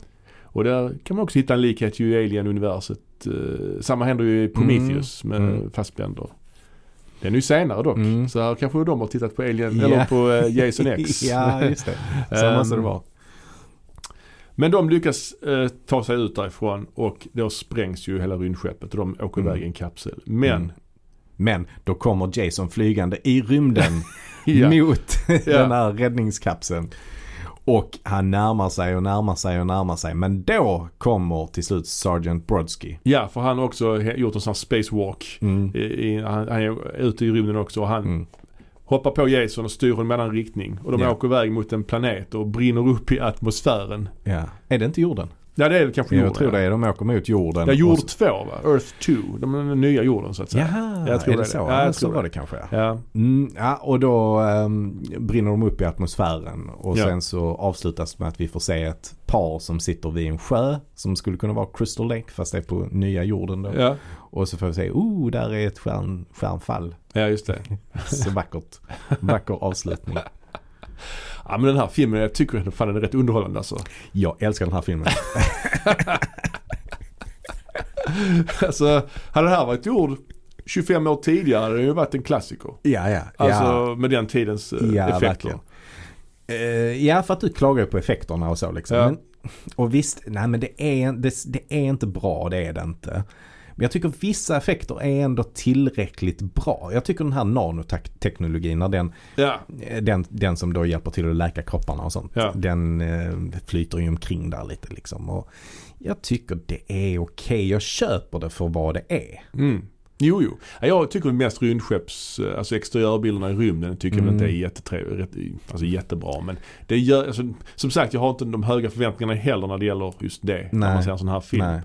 Och där kan man också hitta en likhet ju i Alien-universet. Eh, samma händer ju i Prometheus med Mm. fastbänder. Den är ju senare dock. Mm. Så här kanske de har tittat på Alien, Ja. eller på eh, Jason X. ja just det. Så måste det Ehm, vara. Men de lyckas eh, ta sig ut därifrån och då sprängs ju hela rymdskeppet och de åker Mm. iväg i en kapsel. Men, Mm. Men då kommer Jason flygande i rymden ja, mot Ja. den här räddningskapseln. Och han närmar sig och närmar sig och närmar sig. Men då kommer till slut Sergeant Brodsky. ja, för han har också he- gjort en sån här spacewalk. Mm. I, i, han, han är ute i rymden också och han Mm. hoppar på Jason och styr honom mellan riktning. Och de Ja. åker iväg mot en planet och brinner upp i atmosfären. Ja. Är det inte jorden? Ja det är det kanske Jag jorden, tror ja. det är de åker mot jorden. Ja, jord och så- 2 va? Earth 2. De är den nya jorden så att säga. Jaha, Jag tror är det, det är så? det. Ja, Ja, jag så tror var det. det kanske. Ja. Ja. Mm, ja, och då ehm, brinner de upp i atmosfären och Ja. sen så avslutas med att vi får se ett par som sitter vid en sjö som skulle kunna vara Crystal Lake fast det är på nya jorden då. Ja. ja. Och så får vi se, oh där är ett stjärn, stjärnfall. just det. Så vackert. Vacker avslutning. Ja men den här filmen, jag tycker ändå fan den är rätt underhållande alltså. Jag älskar den här filmen. alltså hade det här varit gjord 25 år tidigare hade det ju varit en klassiker. Ja, ja. Alltså ja. med den tidens eh, Ja, effekter. verkligen. Eh, ja, för att du klagar ju på effekterna och så liksom. Ja. Men, och visst, nej men det är, det, det är inte bra, det är det inte. Men jag tycker vissa effekter är ändå tillräckligt bra. Jag tycker den här nanoteknologin, när den, Ja, eh, den, den som då hjälper till att läka kropparna och sånt, Ja. den eh, flyter ju omkring där lite liksom. Och jag tycker det är okej, jag köper det för vad det är. mm. Jo, jo. Ja, Jag tycker mest rymdskepps, eh, alltså exteriörbilderna i rymden tycker jag väl Mm. inte är jättetrevliga, rätt- alltså jättebra. Men det gör, alltså, som sagt jag har inte de höga förväntningarna heller när det gäller just det. När Nej. man ser en sån här film. Nej.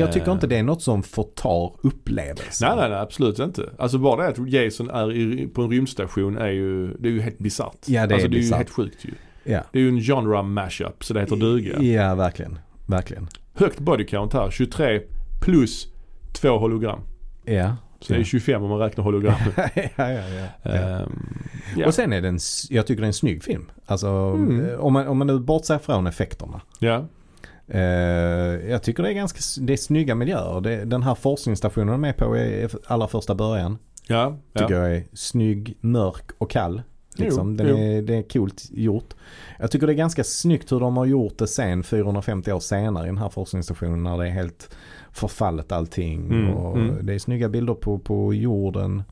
Jag tycker inte det är något som förtar upplevelsen. Eh. Nej, nej, nej, absolut inte. Alltså bara det att Jason är i, på en rymdstation är ju, det är ju helt bisarrt. Ja, det är alltså det är ju bisarrt. helt sjukt ju. Ja. Det är ju en genre mashup så det heter duga. ja, verkligen. Verkligen. Högt body count här, 23 plus två hologram. Ja. Så det är 25 om man räknar hologram. ja, ja, ja. ja. Ehm, ja. Och sen är den, s- jag tycker det är en snygg film. Alltså Mm. eh, om, man, om man nu bortser från effekterna. ja. Eh, jag tycker det är ganska, s- det är snygga miljöer. Det, den här forskningsstationen de är på i f- allra första början. Ja, ja. Tycker jag är snygg, mörk och kall. Liksom. Jo, den jo. Är, det är coolt gjort. Jag tycker det är ganska snyggt hur de har gjort det sen 450 år senare i den här forskningsstationen när det är helt förfallet allting. Mm, Och mm. Det är snygga bilder på, på jorden.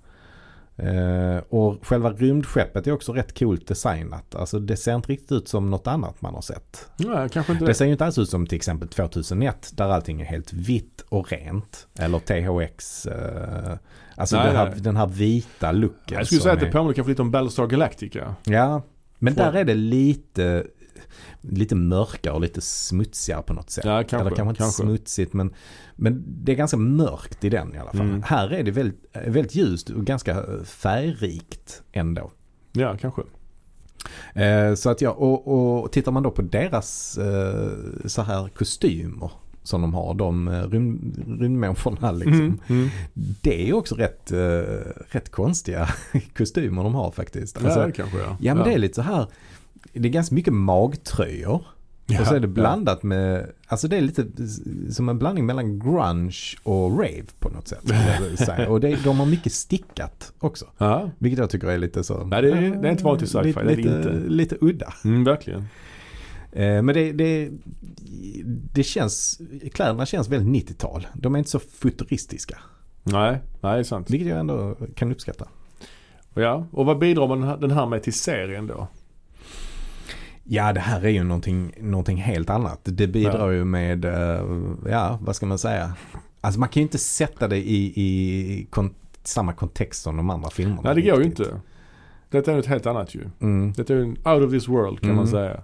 Eh, och själva rymdskeppet är också rätt coolt designat. Alltså det ser inte riktigt ut som något annat man har sett. Nej, kanske inte Det det. ser ju inte alls ut som till exempel 2001 där allting är helt vitt och rent. Eller THX. Eh, alltså Nej, den, här, nej. den här vita looken. Jag skulle säga som att det är- påminner kanske lite om Battlestar Galactica. Ja, men Får- där är det lite, lite mörkare och lite smutsigare på något sätt. Ja, kanske. Eller kanske inte kanske. smutsigt men, men det är ganska mörkt i den i alla fall. Mm. Här är det väldigt, väldigt ljust och ganska färgrikt ändå. Ja, kanske. Mm. Eh, så att ja, och, och tittar man då på deras eh, så här kostymer som de har, de eh, rym, rymdmänniskorna liksom. Mm. Mm. Det är också rätt, eh, rätt konstiga kostymer de har faktiskt. Alltså, Ja, det kanske ja. Ja men det är lite så här. Det är ganska mycket magtröjor. Ja, och så är det ja. blandat med, alltså det är lite s- som en blandning mellan grunge och rave på något sätt. skulle jag vilja säga. och det, de har mycket stickat också. Ja. Vilket jag tycker är lite så. Nej, det är- det är inte vanligt i sci-fi, Lite, det är det lite, inte. lite udda. Mm, verkligen. Eh, Men det, det, det känns, kläderna känns väldigt 90-tal. De är inte så futuristiska. Nej, nej det är sant. Vilket jag ändå kan uppskatta. Ja, och vad bidrar man den här- den här med till serien då? Ja, det här är ju någonting, någonting helt annat. Det bidrar ju med, eh, ja, vad ska man säga? Alltså man kan ju inte sätta det i, i kon- samma kontext som de andra filmerna. Nej, det går ju riktigt. inte. Detta är något helt annat ju. Mm. Detta är ju en out of this world kan Mm. man säga.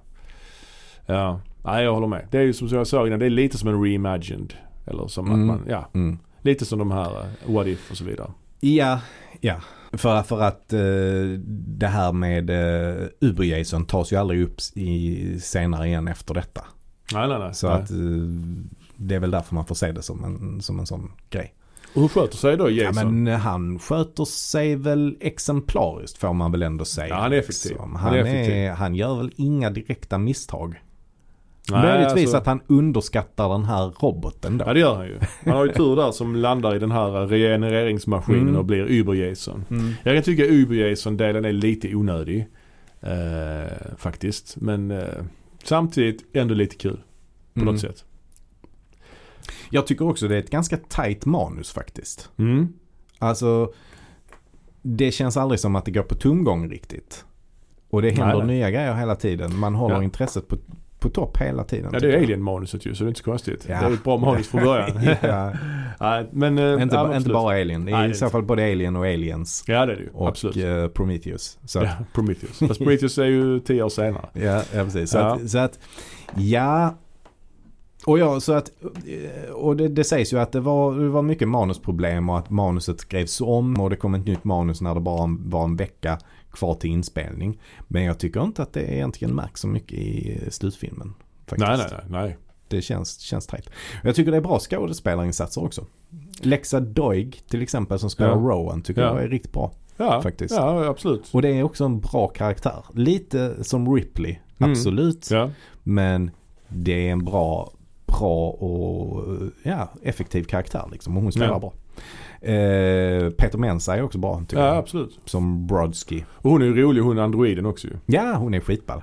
Ja, nej jag håller med. Det är ju som jag sa innan, det är lite som en reimagined. Eller som Mm. att man, ja, Mm. lite som de här eh, What If och så vidare. Ja, ja. För, för att eh, det här med eh, Uber-Jason tas ju aldrig upp i, senare igen efter detta. Nej, nej, nej. Så nej. att eh, det är väl därför man får se det som en, som en sån grej. Och hur sköter sig då Ja, Jason? men han sköter sig väl exemplariskt får man väl ändå säga. Ja, han är effektiv. Liksom. Han Han, är är effektiv. han gör väl inga direkta misstag. nej, Möjligtvis alltså- att han underskattar den här roboten då. Ja det gör han ju. Han har ju tur där som landar i den här eh, regenereringsmaskinen Mm. och blir Uber-Jason. Mm. Jag kan tycka Uber-Jason-delen är lite onödig. Eh, faktiskt. Men eh, samtidigt ändå lite kul på Mm. något sätt. Jag tycker också det är ett ganska tajt manus faktiskt. Mm. Alltså, det känns aldrig som att det går på tumgång riktigt. Och det händer Nej, nej. nya grejer hela tiden. Man håller Ja. intresset på, på topp hela tiden. Ja det tycker är jag. Alien-manuset ju så det är inte så konstigt. Ja. Det är ett bra manus från början. ja. Nej, men, eh, ja, men inte, ba- inte absolut. bara Alien. Det Nej, är det är i så fall både Alien och Aliens. Ja det är det ju. Och Absolut. eh, Prometheus. Så att, Ja, Prometheus. Fast Prometheus är ju tio år senare. Ja, ja precis. Så, Ja. Att, så att, ja. Och ja, så att, eh, och det, det sägs ju att det var, det var mycket manusproblem och att manuset skrevs om och det kom ett nytt manus när det bara var en vecka kvar till inspelning. Men jag tycker inte att det egentligen märks så mycket i eh, slutfilmen. Faktiskt. Nej nej nej. nej. Det känns, känns tajt. Och Jag tycker det är bra skådespelarinsatser också. Lexa Doig till exempel som spelar Ja. Rowan tycker Ja. jag är riktigt bra. Ja, Faktiskt. ja absolut. Och det är också en bra karaktär. Lite som Ripley, Mm. absolut. Ja. Men det är en bra, bra och ja, effektiv karaktär liksom. Och hon spelar Ja. bra. Eh, Peter Mensa är också bra tycker ja jag. absolut. Som Brodsky. Och hon är ju rolig hon androiden också ju. Ja, hon är skitball.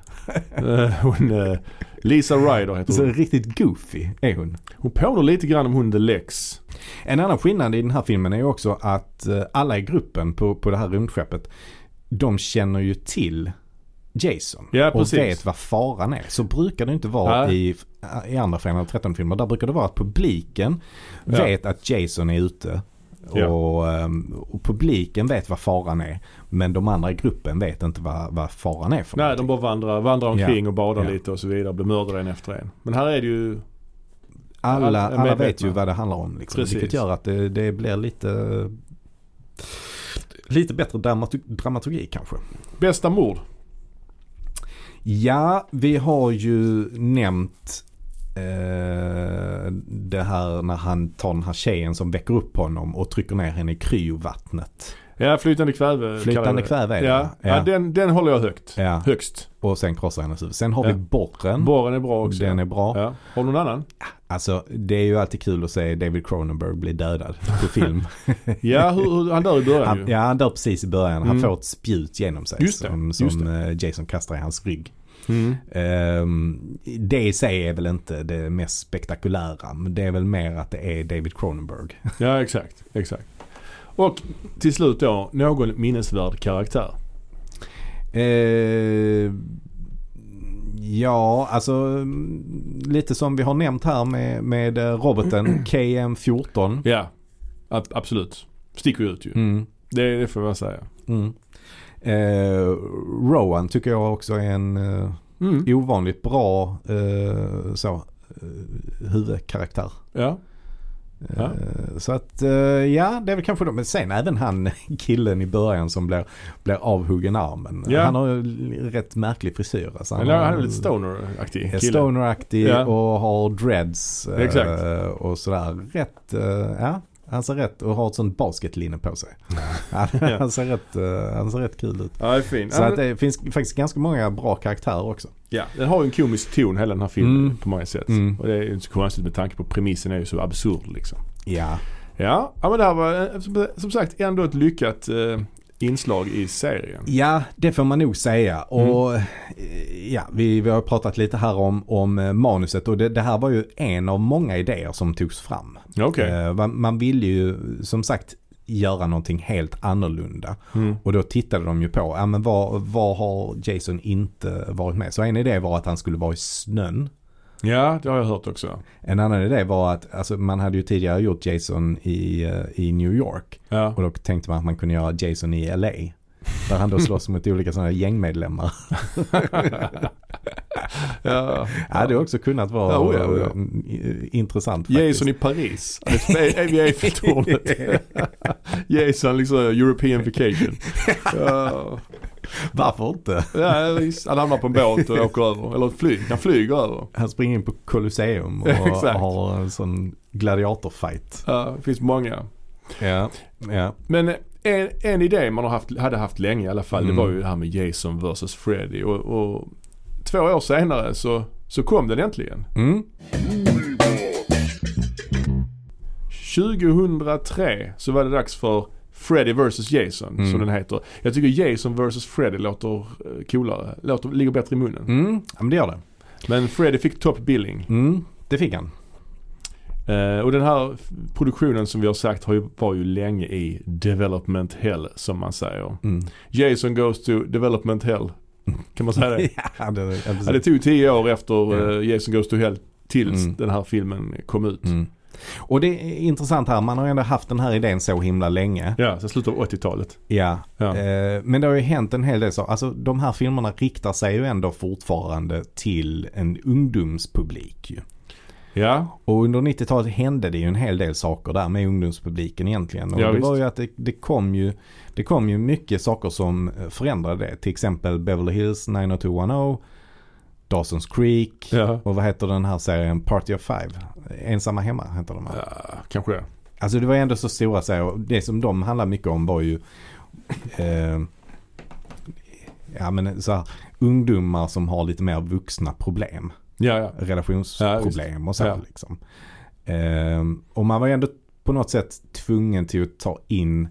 Eh, hon, eh, Lisa Ryder heter Så hon. riktigt goofy är hon. Hon påminner lite grann om hon The Lex. En annan skillnad i den här filmen är ju också att eh, alla i gruppen på, på det här rymdskeppet, de känner ju till Jason Ja, och precis. vet vad faran är. Så brukar det inte vara Nej. i, i andra Fredag den 13 filmer. Där brukar det vara att publiken Ja. vet att Jason är ute. Och, Ja. ehm, och publiken vet vad faran är. Men de andra i gruppen vet inte vad, vad faran är för Nej, de någonting. bara vandrar, vandrar omkring och badar Ja. lite och så vidare. Blir mördade en efter en. Men här är det ju alla, Alla är alla vet medvetna. ju vad det handlar om. Liksom, Precis. vilket gör att det, det blir lite, lite bättre dramaturgi, dramaturgi kanske. Bästa mord? Ja, vi har ju nämnt eh, det här när han tar den här tjejen som väcker upp honom och trycker ner henne i kryovattnet. Ja, flytande kväve. Eh, kallar Flytande vi kväve är det. det. Ja, ja. den, den håller jag högt. Ja. Högst. Och sen krossar hennes huvud. Sen har Ja. vi borren. Borren är bra också. Den är bra. ja. Har du någon annan? Alltså det är ju alltid kul att se David Cronenberg bli dödad på film. Ja, hur, hur, han dör i början han, ju. ja, han dör precis i början. Han Mm. får ett spjut genom sig Just det, som, just som eh, Jason kastar i hans rygg. Mm. Ehm, det i sig är väl inte det mest spektakulära. Men det är väl mer att det är David Cronenberg. Ja, exakt. exakt. Och till slut då, någon minnesvärd karaktär. Ehm, ja, alltså mm, lite som vi har nämnt här med, med eh, roboten KM14. Ja, ab- absolut. Sticker ju ut ju. Mm. Det, det får man säga. Mm. Eh, Rowan tycker jag också är en eh, Mm. ovanligt bra eh, så, eh, huvudkaraktär. Ja. Eh, Ja. Så att eh, ja, det är väl kanske de. Men sen även han killen i början som blir, blir avhuggen armen. Ja. Han har ju l- rätt märklig frisyr. Alltså, Han, han är lite stoner-aktig är kille. stoneraktig Ja. och har dreads. eh, Exakt. Och sådär. Rätt, eh, ja. Han ser rätt och har ett sånt basketlinne på sig. Han, Ja. han, ser rätt, eh, han ser rätt kul ut. Ja, det är fin. Så Ja, att men, det finns faktiskt ganska många bra karaktärer också. ja, den har ju en komisk ton hela den här filmen Mm. på många sätt. Mm. Och det är ju inte så konstigt med tanke på premissen är ju så absurd liksom. Ja. Ja, ja men det här var eh, som- som sagt ändå ett lyckat eh, inslag i serien. Ja, det får man nog säga. Mm. Och eh, ja, vi, vi har pratat lite här om, om eh, manuset och det, det här var ju en av många idéer som togs fram. Okej. Eh, Man, man ville ju som sagt göra någonting helt annorlunda. Mm. Och då tittade de ju på, ja men vad, vad har Jason inte varit med? Så en idé var att han skulle vara i snön. Ja, det har jag hört också. En annan idé var att, alltså man hade ju tidigare gjort Jason i, eh, i New York. Ja. Och då tänkte man att man kunde göra Jason i LA. Där han då slåss mot olika sådana gängmedlemmar. ja. Det hade också kunnat vara Ja, oja, oja. eh, intressant faktiskt. Jason i Paris. Det är vid Eiffeltornet. Jason liksom European vacation. Ja. Varför inte? Ja, visst. han hamnar på en båt och åker över. Eller ett flyg. Han flyger över. Han springer in på Colosseum och Exakt. har en sån gladiatorfight. Ja, det finns många. Ja, ja. Men en, en idé man har haft, hade haft länge i alla fall Mm. det var ju det här med Jason vs Freddy. Och, och två år senare så, så kom den äntligen. Mm. 2003 så var det dags för Freddy vs Jason Mm. som den heter. Jag tycker Jason vs Freddy låter eh, coolare. Låter, ligger bättre i munnen. Mm. Ja, men det gör det. Men Freddy fick top billing. Mm. Det fick han. Eh, och den här f- produktionen som vi har sagt har ju, var ju länge i development hell som man säger. Mm. Jason goes to development hell. Kan man säga det? Ja, det, ja, precis. ja, det tog tio år efter Ja. eh, Jason goes to hell tills Mm. den här filmen kom ut. Mm. Och det är intressant här, man har ändå haft den här idén så himla länge. Ja, sen slutet av 80-talet. Ja, Ja. Eh, Men det har ju hänt en hel del så. Alltså de här filmerna riktar sig ju ändå fortfarande till en ungdomspublik. Ju. Ja, Och under 90-talet hände det ju en hel del saker där med ungdomspubliken egentligen. Och Ja, det visst. var ju att det, det, kom ju, det kom ju mycket saker som eh, förändrade det. Till exempel Beverly Hills 90210, Dawson's Creek ja. och vad heter den här serien Party of Five? Ensamma hemma heter de här. ja kanske det. Alltså det var ändå så stora serier. Och Det som de handlade mycket om var ju eh, ja, men så här, ungdomar som har lite mer vuxna problem. Ja, ja. Relationsproblem och så. här, Ja. Liksom. Eh, och man var ju ändå på något sätt tvungen till att ta in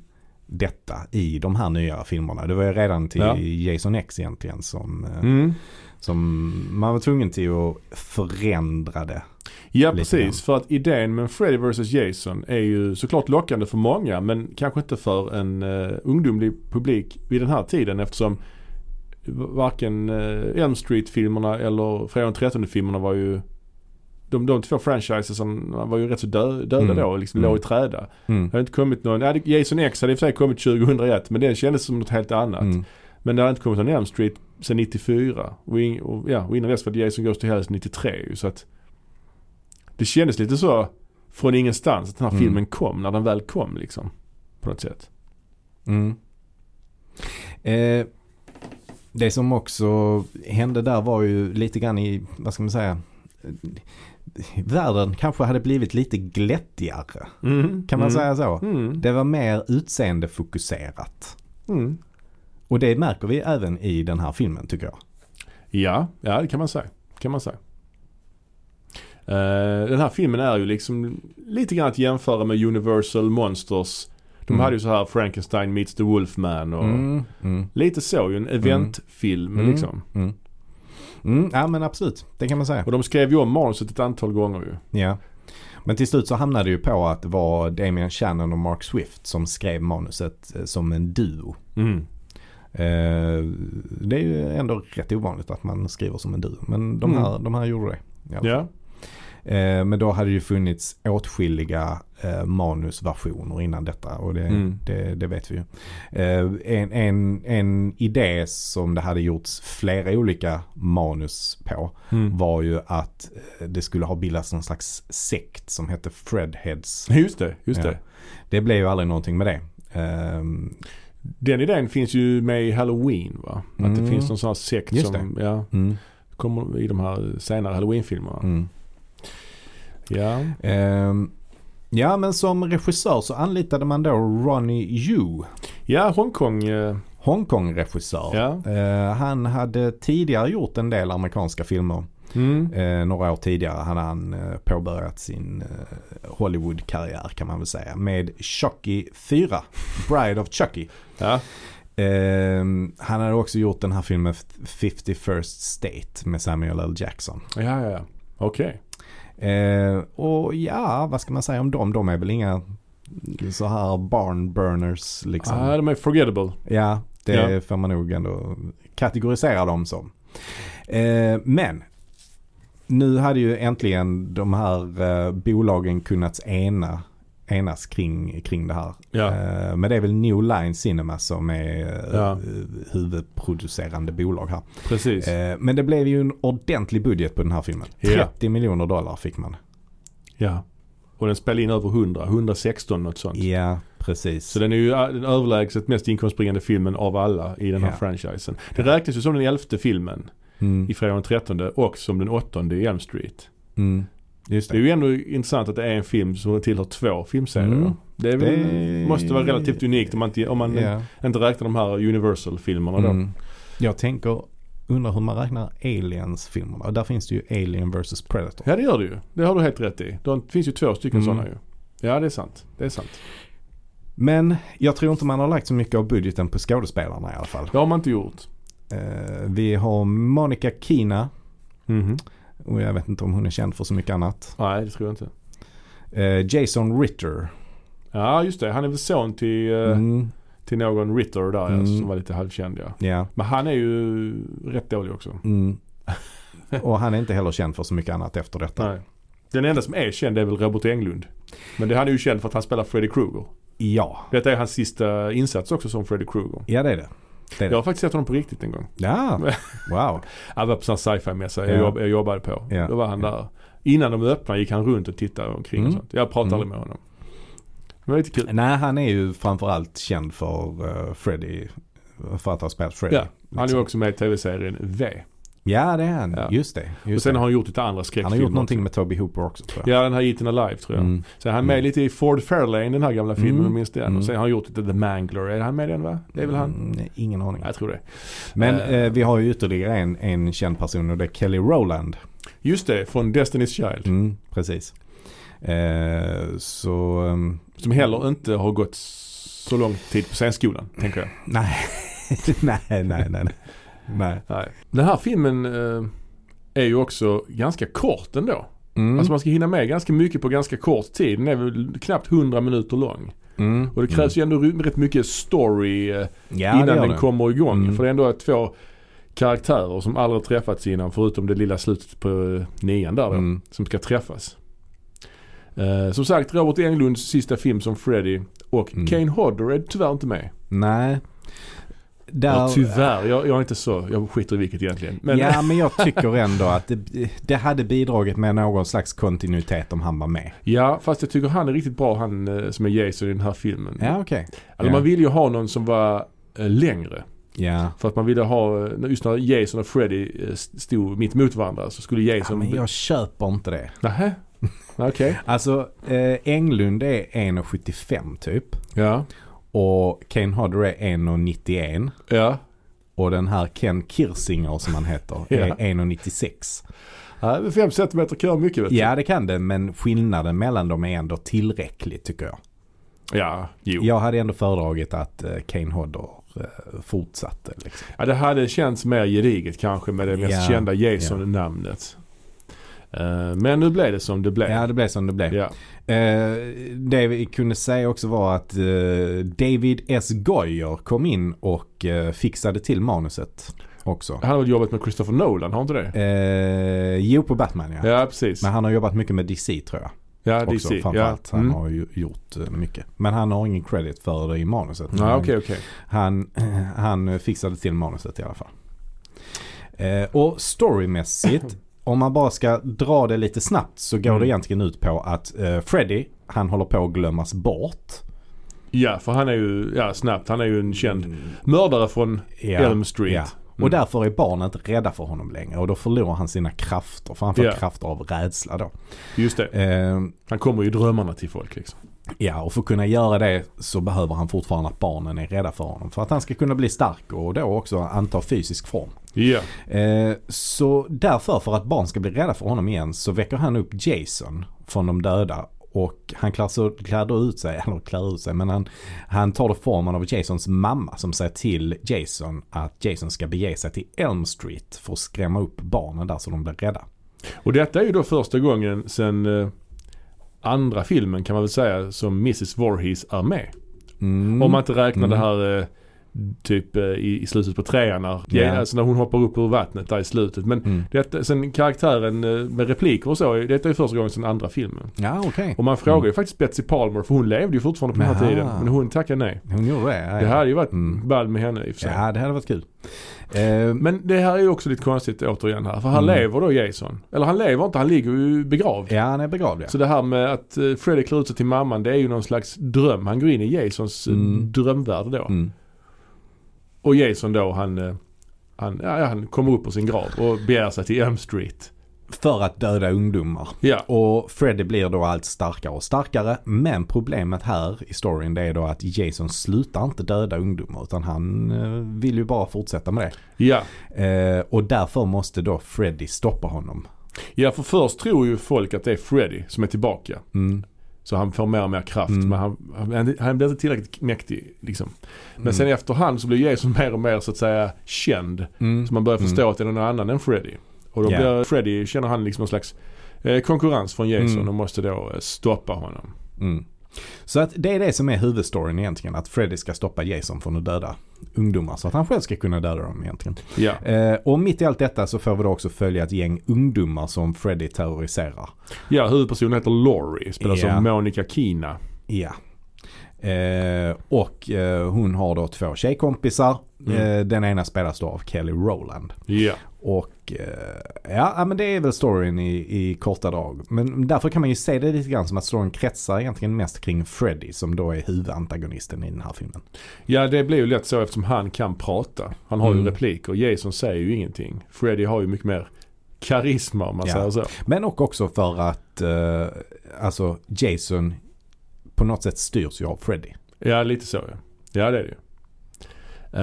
detta i de här nya filmerna. Det var ju redan till Ja. Jason X egentligen som, eh, Mm. som man var tvungen till att förändra det. Ja Lite grann. precis, för att idén med Freddy vs Jason är ju såklart lockande för många men kanske inte för en eh, ungdomlig publik vid den här tiden eftersom varken eh, Elm Street-filmerna eller Fredag den 13-filmerna var ju de, de två franchisesen var ju rätt så dö, döda Mm. då, liksom Mm. låg i träda. Det Mm. hade inte kommit någon, ja, det- Jason X hade i och för sig kommit 2001 men den kändes som något helt annat. Mm. Men det hade inte kommit någon Elm Street sedan 94. Och, in, och, ja, och innan dess var det Jason Goes to Hell 93 ju, så att Det kändes lite så från ingenstans att den här Mm. filmen kom när den väl kom liksom. På något sätt. Mm. Eh, det som också hände där var ju lite grann i, vad ska man säga, eh, världen kanske hade blivit lite glättigare. Kan man Mm. säga så? Mm. Det var mer utseendefokuserat. Mm. Och det märker vi även i den här filmen tycker jag. Ja, ja det kan man säga. Kan man säga. Eh, den här filmen är ju liksom lite grann att jämföra med Universal Monsters. De Mm. hade ju så här Frankenstein meets the Wolfman och Mm, mm, lite så ju. En eventfilm Mm. liksom. mm. Mm, ja men absolut, det kan man säga. Och de skrev ju om manuset ett antal gånger ju. Ja. Men till slut så hamnade det ju på att det var Damien Shannon och Mark Swift som skrev manuset eh, som en duo. Mm. Eh, det är ju ändå rätt ovanligt att man skriver som en duo. Men de här, de här gjorde det. i alla fall. Ja. Eh, men då hade det ju funnits åtskilliga eh, manusversioner innan detta. Och det, Mm. det, det vet vi ju. Eh, en, en, en idé som det hade gjorts flera olika manus på var ju att eh, det skulle ha bildats någon slags sekt som hette Fredheads. Just det, just Ja. det. Det blev ju aldrig någonting med det. Ehm, Den idén finns ju med i Halloween va? Att Mm. det finns någon sån här sekt Just som ja, mm, kommer i de här senare Halloween-filmerna. mm. Ja. Ehm, ja, men som regissör så anlitade man då Ronnie Yu, ja, Hongkong. eh, Hongkong-regissör. Ja. Eh, han hade tidigare gjort en del amerikanska filmer. Mm. Eh, några år tidigare hade han eh, påbörjat sin eh, Hollywood-karriär kan man väl säga. Med Chucky 4, Bride of Chucky. Ja. Ehm, han hade också gjort den här filmen 51st State med Samuel L. Jackson. Ja, ja, ja. Okej. Eh, och ja, vad ska man säga om dem? De är väl inga så här barn burners liksom. Ah, de är forgettable. Ja, det Ja. får man nog ändå kategorisera dem som. Eh, men nu hade ju äntligen de här eh, bolagen kunnat ena, enas kring, kring det här. Ja. Eh, men det är väl New Line Cinema som är eh, Ja. huvudproducerande bolag här. Precis. Eh, men det blev ju en ordentlig budget på den här filmen. Ja. 30 miljoner dollar fick man. Ja. Och den spelade in över 100, 116 något sånt. Ja, precis. Så den är ju eh, den överlägset mest inkomstbringande filmen av alla i den här Ja. franchisen. Det räknas ju som den elfte filmen Mm, i Fredag den 13 och som den åttonde i Elm Street. mm. Just Det är ju ändå intressant att det är en film som tillhör två filmserier. Mm. Det, är väl, Det- måste vara relativt unikt om man, inte- om man Ja. inte räknar de här Universal-filmerna då. Mm. Jag tänker, undrar hur man räknar Aliens-filmerna. Och Där finns det ju Alien vs Predator. Ja det gör det ju. Det har du helt rätt i. Det finns ju två stycken Mm. sådana ju. Ja det är sant. Det är sant. Men jag tror inte man har lagt så mycket av budgeten på skådespelarna i alla fall. Det har man inte gjort. Eh, vi har Monica Kina. Mhm. Och jag vet inte om hon är känd för så mycket annat. Nej det tror jag inte. Eh, Jason Ritter. Ja just det. Han är väl son till, eh, Mm, till någon Ritter där ja, Mm. som var lite halvkänd ja. ja. Men han är ju rätt dålig också. Mm. Och han är inte heller känd för så mycket annat efter detta. Nej. Den enda som är känd är väl Robert Englund. Men det, han är ju känd för att han spelar Freddy Krueger. Ja. Detta är hans sista insats också som Freddy Krueger. ja, det är det. det, är Jag det. har faktiskt sett honom på riktigt en gång. Ja. Wow. Han var på sån sci-fi mässa Ja. jag, jobb, jag jobbade på. Ja. Då var han Ja. där. Innan de öppnade gick han runt och tittade omkring Mm. och sånt. Jag pratade Mm. aldrig med honom. Det var lite kul. Nej, han är ju framförallt känd för eh, Freddy. För att ha spelat Freddy. Ja, Han är ju liksom. också med i tv-serien V. Ja det är han. Ja. Just det. Och Just sen det. har han gjort lite andra han skräckfilmer. har gjort någonting också. med Toby Hooper också tror jag. Ja, den här Eaten Alive tror jag. Mm. Sen är han med Mm. lite i Ford Fairlane, den här gamla filmen, Mm. om du minns den. Mm. Och sen har han gjort lite The Mangler. Är han med i den va? Det är väl han? Mm, nej, ingen aning. Jag tror det. Men eh, eh, vi har ju ytterligare en, en känd person och det är Kelly Rowland. Just det, från Destiny's Child. Mm, precis. Eh, så... ehm, Som heller inte har gått så lång tid på scenskolan, tänker jag. Nej. nej, nej, nej, nej. nej. Nej. Den här filmen eh, är ju också ganska kort ändå. Mm, Alltså man ska hinna med ganska mycket på ganska kort tid. Den är väl knappt 100 minuter lång. mm, Och det krävs ju ändå ry- rätt mycket story eh, mm. ja, innan den det. kom. kommer igång. Mm. För det är ändå två karaktärer som aldrig träffats innan förutom det lilla slutet på eh, nian där då, Mm. som ska träffas. Eh, som sagt, Robert Englunds sista film som Freddy och Mm. Kane Hodder är tyvärr inte med. Nej. Där, Ja, tyvärr, jag, jag är inte så, jag skiter i vilket egentligen. Men, Ja men jag tycker ändå att det, det hade bidragit med någon slags kontinuitet om han var med. ja, fast jag tycker han är riktigt bra han eh, som är Jason i den här filmen. Ja okej. Alltså, Man ville ju ha någon som var eh, längre. Ja. För att man ville ha, eh, just när Jason och Freddy eh, stod mitt mot varandra så skulle ja Jason... men jag köper inte det. Nähä? Okej. Alltså eh, Englund är 1,75 typ. Ja. Och Kane Hodder är 1,91. Ja. Och den här Ken Kirsinger som han heter är Ja. 1,96. Ja, men Fem centimeter kör mycket vet du. Ja det kan det men skillnaden mellan dem är ändå tillräcklig tycker jag. Ja, jo. Jag hade ändå föredragit att eh, Kane Hodder eh, fortsatte. Liksom. Ja, det hade känts mer gediget kanske med det mest Ja, kända Jason-namnet. Eh, men nu blev det som det blev. Ja det blev som det blev. Ja. Eh, det vi kunde säga också var att eh, David S. Goyer kom in och eh, fixade till manuset också. Han har väl jobbat med Christopher Nolan, har han inte det? Eh, jo, på Batman ja. Ja, precis. Men han har jobbat mycket med DC tror jag. Ja, Också, DC. Ja. framförallt. Han Mm. har ju gjort eh, mycket. Men han har ingen credit för det i manuset. Men Ja, okej, okej. han, han fixade till manuset i alla fall. Eh, och storymässigt, om man bara ska dra det lite snabbt så går Mm. det egentligen ut på att eh, Freddy, han håller på att glömmas bort. Ja, för han är ju, ja snabbt, han är ju en känd mördare från Ja, Elm Street. ja. Och Mm. därför är barnet rädda för honom längre och då förlorar han sina krafter. För han får Ja. krafter av rädsla då. Just det. Eh, Han kommer ju i drömmarna till folk liksom. ja, och för att kunna göra det så behöver han fortfarande att barnen är rädda för honom. För att han ska kunna bli stark och då också anta fysisk form. Ja, Eh, så därför, för att barn ska bli rädda för honom igen, så väcker han upp Jason från de döda. Och han klär, så, klär då ut sig, eller klär ut sig, men han, han tar då formen av Jasons mamma som säger till Jason att Jason ska bege sig till Elm Street för att skrämma upp barnen där så de blir rädda. Och detta är ju då första gången sen eh, andra filmen kan man väl säga som Mrs Voorhees är med. Mm. Om man inte räknar Mm. det här eh, typ eh, i, i slutet på trean när, Ja. alltså när hon hoppar upp ur vattnet där i slutet. Men Mm. detta, sen karaktären eh, med repliker och så, detta är ju första gången sen andra filmen. Ja, okej. Och man Mm. frågar ju faktiskt Betsy Palmer för hon levde ju fortfarande på den Aha. här tiden. Men hon tackade nej. Hon gjorde det. ja, Det här ja. hade ju varit Mm. ball med henne i och för sig. Ja, det hade varit kul. Eh, Men det här är ju också lite konstigt återigen här. För han Mm. lever då Jason. Eller han lever inte, han ligger ju begravd. ja, han är begravd ja. Så det här med att eh, Freddy klär ut sig till mamman det är ju någon slags dröm. Han går in i Jasons eh, Mm. drömvärld då. Mm. Och Jason då han, eh, han, ja, han kommer upp på sin grav och begär sig till Elm Street. För att döda ungdomar. Ja, Och Freddy blir då allt starkare och starkare. Men problemet här i storyn det är då att Jason slutar inte döda ungdomar utan han eh, vill ju bara fortsätta med det. ja. Eh, och därför måste då Freddy stoppa honom. ja, för först tror ju folk att det är Freddy som är tillbaka. Mm. Så han får mer och mer kraft. Mm. Men han, han, han blir inte tillräckligt mäktig liksom. Men Mm. sen efterhand så blir Jason mer och mer så att säga känd. Mm. Så man börjar Mm. förstå att det är någon annan än Freddy. Och då Ja. blir Freddy, känner han liksom någon slags eh, konkurrens från Jason Mm. och måste då eh, stoppa honom. Mm. Så att det är det som är huvudstoryn egentligen. Att Freddy ska stoppa Jason från att döda ungdomar. Så att han själv ska kunna döda dem egentligen. Ja. Eh, och mitt i allt detta så får vi då också följa ett gäng ungdomar som Freddy terroriserar. ja, huvudpersonen heter Laurie, spelas Ja. av Monica Kina. Ja. Eh, och eh, hon har då två tjejkompisar. Eh, den ena spelas då av Kelly Rowland. Ja. Och eh, ja, ja, men det är väl storyn i, i korta drag. Men därför kan man ju se det lite grann som att storyn kretsar egentligen mest kring Freddy som då är huvudantagonisten i den här filmen. Ja det blir ju lätt så eftersom han kan prata. Han har Mm. ju repliker. Jason säger ju ingenting. Freddy har ju mycket mer karisma om man Ja. säger så. Men och också för att eh, alltså Jason på något sätt styrs ju av Freddy. Ja lite så ja. Ja det är det ju.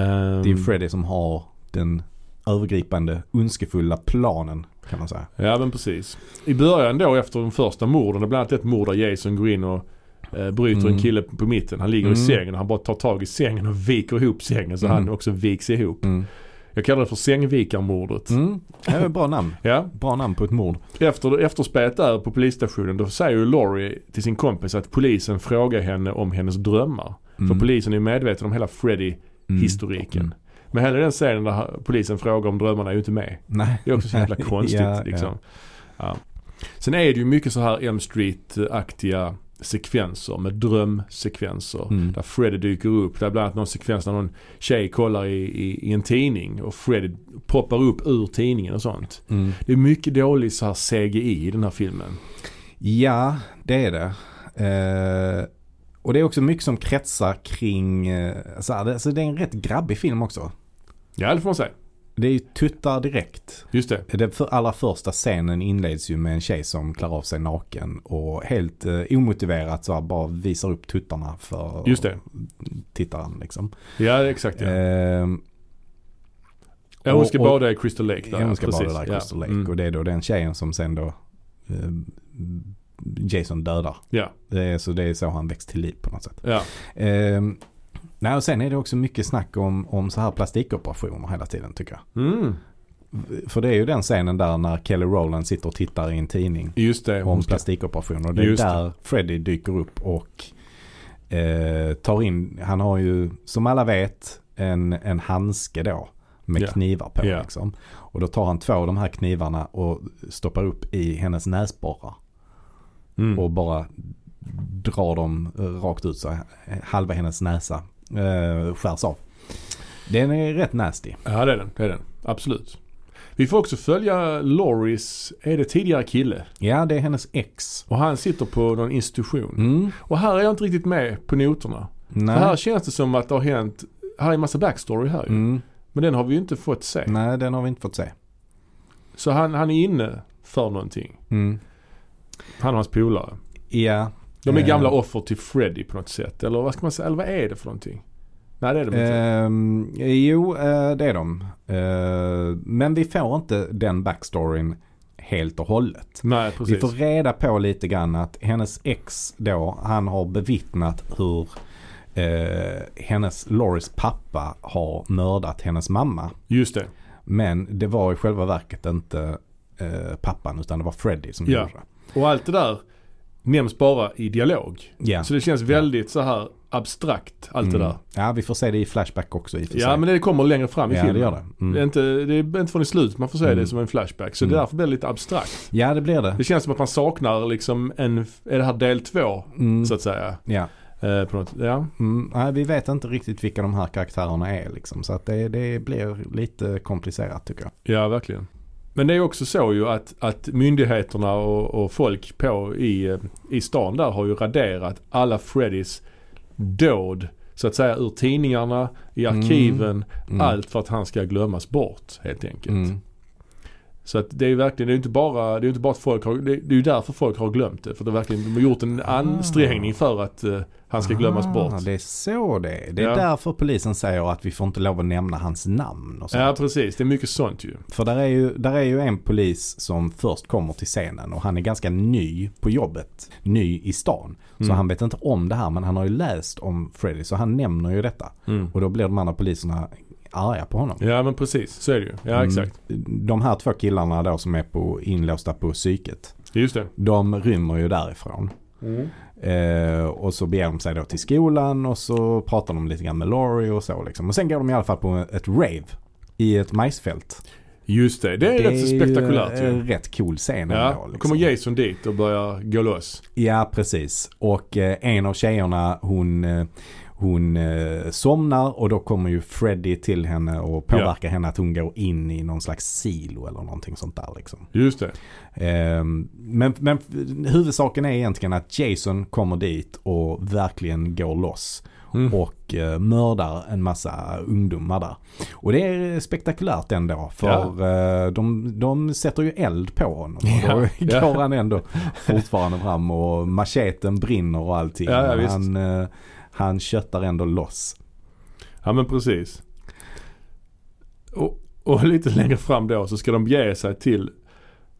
Ehm, Det är ju Freddy som har den övergripande ondskefulla planen kan man säga. Ja men precis. I början då efter de första morden, det är bland annat ett mord där Jason går in och eh, bryter Mm. en kille på mitten. Han ligger i Mm. sängen och han bara tar tag i sängen och viker ihop sängen så Mm. han också viks ihop. Mm. Jag kallar det för sängvikarmordet. Mm, det är ett bra namn. Ja. Bra namn på ett mord. Efter efterspelet där på polisstationen då säger ju Laurie till sin kompis att polisen frågar henne om hennes drömmar. För polisen är ju medveten om hela Freddy-historiken. Mm. Men hela den scenen där polisen frågar om drömmarna är ju inte med. Nej. Det är också så jävla Ja, konstigt ja. liksom. Ja. Sen är det ju mycket så här Elm Street-aktiga sekvenser med drömsekvenser. Mm. Där Freddy dyker upp. Där är bland annat någon sekvens när någon tjej kollar i, i, i en tidning och Freddy poppar upp ur tidningen och sånt. Mm. Det är mycket dålig så här CGI i den här filmen. Ja, det är det. Eh, och det är också mycket som kretsar kring, eh, så här, det- alltså det är en rätt grabbig film också. Ja det får man säga. Det är ju tuttar direkt. Just det. Den för allra första scenen inleds ju med en tjej som klär av sig naken och helt eh, omotiverat så här, bara visar upp tuttarna för Just det. tittaren. Liksom. Ja exakt ja. Eh, ja hon ska och- och- bada i Crystal Lake där. hon ska precis. bara där i Ja. Crystal Lake Mm. och det är då den tjejen som sen då eh, Jason dödar. Ja, Det är, så det är så han väcks till liv på något sätt. ja. Ehm, nej, och sen är det också mycket snack om, om så här plastikoperationer hela tiden tycker jag. Mm. För det är ju den scenen där när Kelly Rowland sitter och tittar i en tidning Just det. om Hon ska, plastikoperationer. Det är Just det. där Freddy dyker upp och eh, tar in, han har ju som alla vet en, en handske då med Ja. knivar på. Ja. Liksom. Och då tar han två av de här knivarna och stoppar upp i hennes näsborrar. mm. och bara drar dem eh, rakt ut så här, halva hennes näsa eh, skärs av. Den är rätt nasty. Ja det är den, det är den. Absolut. Vi får också följa Loris, är det tidigare kille? Ja, det är hennes ex. Och han sitter på någon institution. Mm. Och här är jag inte riktigt med på noterna. För här Nej. känns det som att det har hänt, här är en massa backstory här ju. Mm. Men den har vi ju inte fått se. Nej, den har vi inte fått se. Så han, han är inne för någonting. Mm. Han och hans polare. Ja. De är Eh, gamla offer till Freddy på något sätt. Eller vad ska man säga, eller vad är det för någonting? Nej det är de inte. ehm, jo, eh, det är de. Eh, men vi får inte den backstoryn helt och hållet. Nej Vi precis. får reda på lite grann att hennes ex då, han har bevittnat hur eh, hennes, Loris pappa har mördat hennes mamma. Just det. Men det var i själva verket inte eh, pappan utan det var Freddy som Ja. gjorde det. Och allt det där nämns bara i dialog. Ja. Så det känns väldigt så här abstrakt allt det Mm. där. Ja, vi får se det i Flashback också i och för Ja sig. men det kommer längre fram i ja, filmen. det gör det. Det, är Mm. inte, det är inte från i slutet man får se Mm. det som en flashback. Så Mm. det därför blir det lite abstrakt. Ja, det blir det. Det känns som att man saknar liksom en, är det här del två Mm. så att säga? Ja. Eh, på något, ja. Mm. Nej, vi vet inte riktigt vilka de här karaktärerna är liksom. Så att det, det blir lite komplicerat tycker jag. ja, verkligen. Men det är ju också så ju att, att myndigheterna och, och folk på i, eh, i stan där har ju raderat alla Freddys dåd så att säga ur tidningarna, i arkiven, Mm. allt för att han ska glömmas bort helt enkelt. Mm. Så att det är ju verkligen, det är ju inte bara, det är ju inte bara att folk har, det, det är ju därför folk har glömt det. För att det verkligen, de har gjort en ansträngning för att eh, han ska glömmas Ah, bort. Det är så det är. Det är Ja. därför polisen säger att vi får inte lov att nämna hans namn och så. Ja precis, det är mycket sånt ju. För där är, ju, där är ju en polis som först kommer till scenen och han är ganska ny på jobbet. Ny i stan. Så Mm. han vet inte om det här men han har ju läst om Freddy så han nämner ju detta. Och då blir de andra poliserna arga på honom. Ja men precis, så är det ju. Ja Mm. exakt. De här två killarna då som är på, inlåsta på psyket. Just det. De rymmer ju därifrån. Mm. Eh, och så beger de sig då till skolan och så pratar de lite grann med Laurie och så liksom. Och sen går de i alla fall på ett rave i ett majsfält. Just det, det är rätt så ju spektakulärt ju. en rätt cool scen liksom. Ja, då kommer Jason dit och börjar gå loss. Ja, precis. Och eh, en av tjejerna hon, eh, hon eh, somnar och då kommer ju Freddy till henne och påverkar henne att hon går in i någon slags silo eller någonting sånt där liksom. Just det. Ehm, men, men huvudsaken är egentligen att Jason kommer dit och verkligen går loss. Mm. Och eh, mördar en massa ungdomar där. Och det är spektakulärt ändå. För eh, de, de sätter ju eld på honom. Och då Ja, går han ändå fortfarande fram och macheten brinner och allting. Ja, ja, Men visst. han, eh, han köttar ändå loss. Ja men precis. Och, och lite längre fram då så ska de bege sig till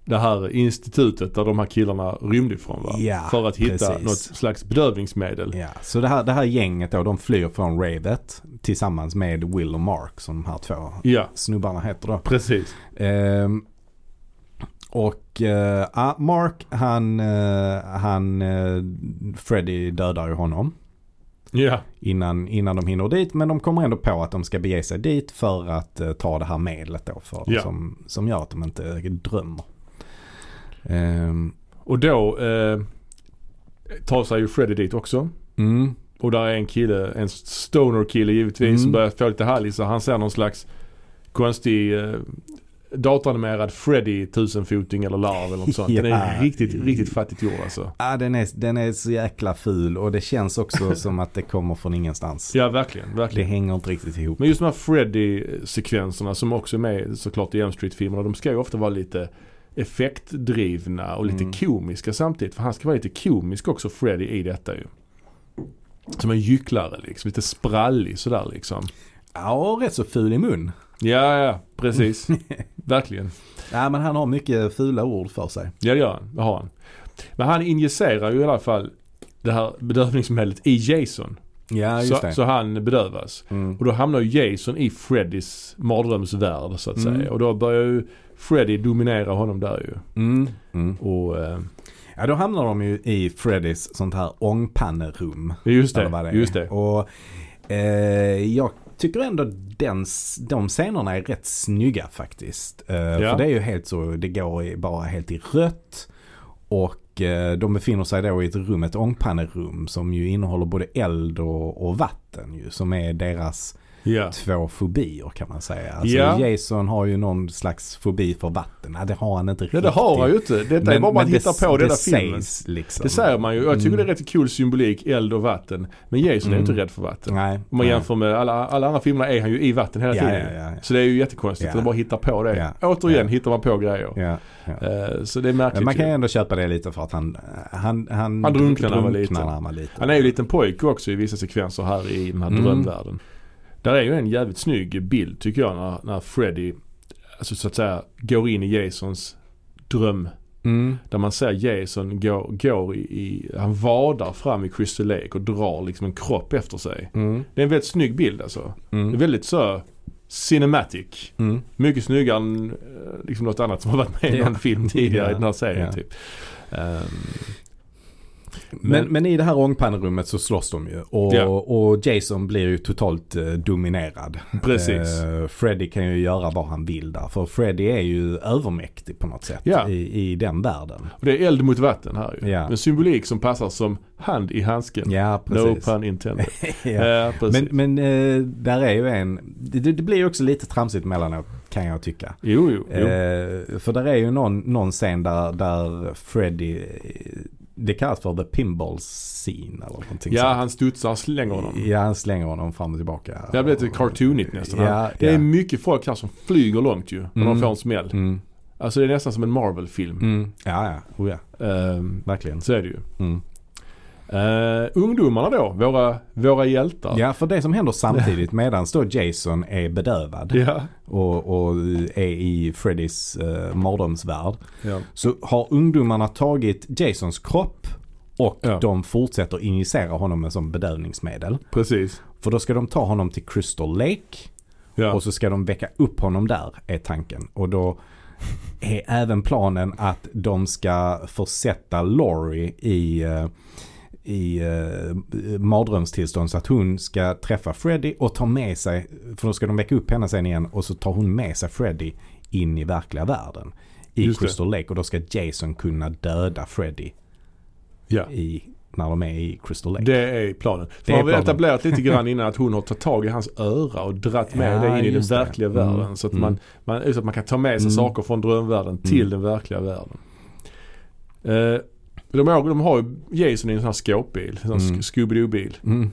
det här institutet där de här killarna rymde ifrån va? Ja, För att hitta precis. något slags bedövningsmedel. Ja, så det här, det här gänget då, de flyr från ravet tillsammans med Will och Mark som de här två Ja, snubbarna heter då. precis. Ehm, och eh, ah, Mark, han, eh, han eh, Freddy dödar ju honom Ja, innan, innan de hinner dit. Men de kommer ändå på att de ska bege sig dit för att eh, ta det här medlet då. För, Ja. som, som gör att de inte drömmer. Ehm, och då eh, tar sig ju Freddy dit också. Mm. Och där är en kille, en stoner-kille givetvis, Mm. som börjar få lite hallisar. Han ser någon slags konstig eh, datoranimerad Freddy tusenfoting eller larv eller något sånt. Den är Ja. riktigt, riktigt fattigt gjord alltså. Ah, den, är, den är så jäkla ful och det känns också som att det kommer från ingenstans. Ja, verkligen. Det verkligen. hänger inte riktigt ihop. Men just de här Freddy-sekvenserna som också är med såklart i Elm Street-filmerna. De ska ju ofta vara lite effektdrivna och lite Mm. komiska samtidigt. För han ska vara lite komisk också, Freddy, i detta ju. Som en gycklare liksom. Lite sprallig sådär liksom. Ja, rätt så ful i mun. Ja, ja, precis. Verkligen. Ja, men han har mycket fula ord för sig. Ja, det gör han. Det har han. Men han injicerar ju i alla fall det här bedövningsmedlet i Jason. Ja, så, så han bedövas. Mm. Och då hamnar ju Jason i Freddys mardrömsvärld så att Mm. säga. Och då börjar ju Freddy dominera honom där ju. Mm. Mm. Och eh, Ja, då hamnar de ju i Freddys sånt här ångpannerum. just eller det, vad är. just det. Och eh, jag tycker ändå den, s- de scenerna är rätt snygga faktiskt. Eh, För det är ju helt så, det går i- bara helt i rött. Och eh, de befinner sig då i ett rum, ett ångpannerum som ju innehåller både eld och, och vatten ju. Som är deras Ja. två fobier kan man säga. Alltså Ja. Jason har ju någon slags fobi för vatten. Nej, det har han inte Nej, riktigt. det har han ju inte. Detta är bara man hittar på i den det där filmen. sägs liksom. Det säger man ju. Jag tycker det är rätt cool symbolik, eld och vatten. Men Jason är ju Mm. inte rädd för vatten. Nej. Om man nej. jämför med alla, alla andra filmer är han ju i vatten hela Ja, tiden. ja, ja, ja. Så det är ju jättekonstigt Ja. att bara hitta på det. Ja. Återigen Ja. hittar man på grejer. Ja, ja. Eh, Så det är Men märkligt man kan ju ju. ändå köpa det lite för att han, han, han, Han drunknar när han var drunknar liten. när han var liten. Han är ju en liten pojke också i vissa sekvenser här i den här Mm. drömvärlden. Där är ju en jävligt snygg bild tycker jag när, när Freddy, alltså så att säga, går in i Jasons dröm. Mm. Där man ser Jason gå, går i, i, han vadar fram i Crystal Lake och drar liksom en kropp efter sig. Mm. Det är en väldigt snygg bild alltså. Det är Mm. väldigt så cinematic. Mm. Mycket snyggare än eh, liksom något annat som har varit med i Ja. någon film tidigare i den här serien Ja. typ. Ehm, Men, men i det här ångpannerummet så slåss de ju. Och, Ja. och Jason blir ju totalt eh, dominerad. Precis. Eh, Freddy kan ju göra vad han vill där. För Freddy är ju övermäktig på något sätt Ja. i, i den världen. Och det är eld mot vatten här ju. Ja. En symbolik som passar som hand i handsken. Ja, no precis. pun intended. ja. ja. Men, precis. men eh, där är ju en, det, det blir ju också lite tramsigt mellanåt kan jag tycka. jo, jo, jo. Eh, för där är ju någon, någon scen där, där Freddy, eh, det kallas för the pinball scene eller någonting ja, sånt. han studsar, slänger honom. Ja, han slänger honom fram och tillbaka. Det här blir lite cartoonigt nästan. Ja, det är ja. mycket folk här som flyger långt ju. När de Mm. får en smäll. Mm, Alltså det är nästan som en Marvel-film. mm. Ja, ja. Oh, ja. Ehm, Verkligen. så är det ju. Mm. Eh, ungdomarna då, våra, våra hjältar. Ja, för det som händer samtidigt medan då Jason är bedövad Ja. och, och är i Freddys eh, mardrömsvärld. Ja. Så har ungdomarna tagit Jasons kropp och Ja. de fortsätter injicera honom med som bedövningsmedel. Precis. För då ska de ta honom till Crystal Lake Ja. Och så ska de väcka upp honom där är tanken. Och då är även planen att de ska försätta Laurie i, eh, i eh, mardrömstillstånd så att hon ska träffa Freddy och ta med sig, för då ska de väcka upp henne sen igen och så tar hon med sig Freddy in i verkliga världen. I Just det. Crystal Lake och då ska Jason kunna döda Freddy ja. i, när de är i Crystal Lake. Det är planen. För Det man är har väl planen. etablerat lite grann innan att hon har tagit tag i hans öra och dratt med Ja, det in i den just det. verkliga Mm. världen. Så att, Mm. man, man, så att man kan ta med sig Mm. saker från drömvärlden till Mm. den verkliga världen. Eh, de, har- de har ju Jason i en sån här skåpbil, en sån Mm. mm. Scooby-Doo-bil. Mm.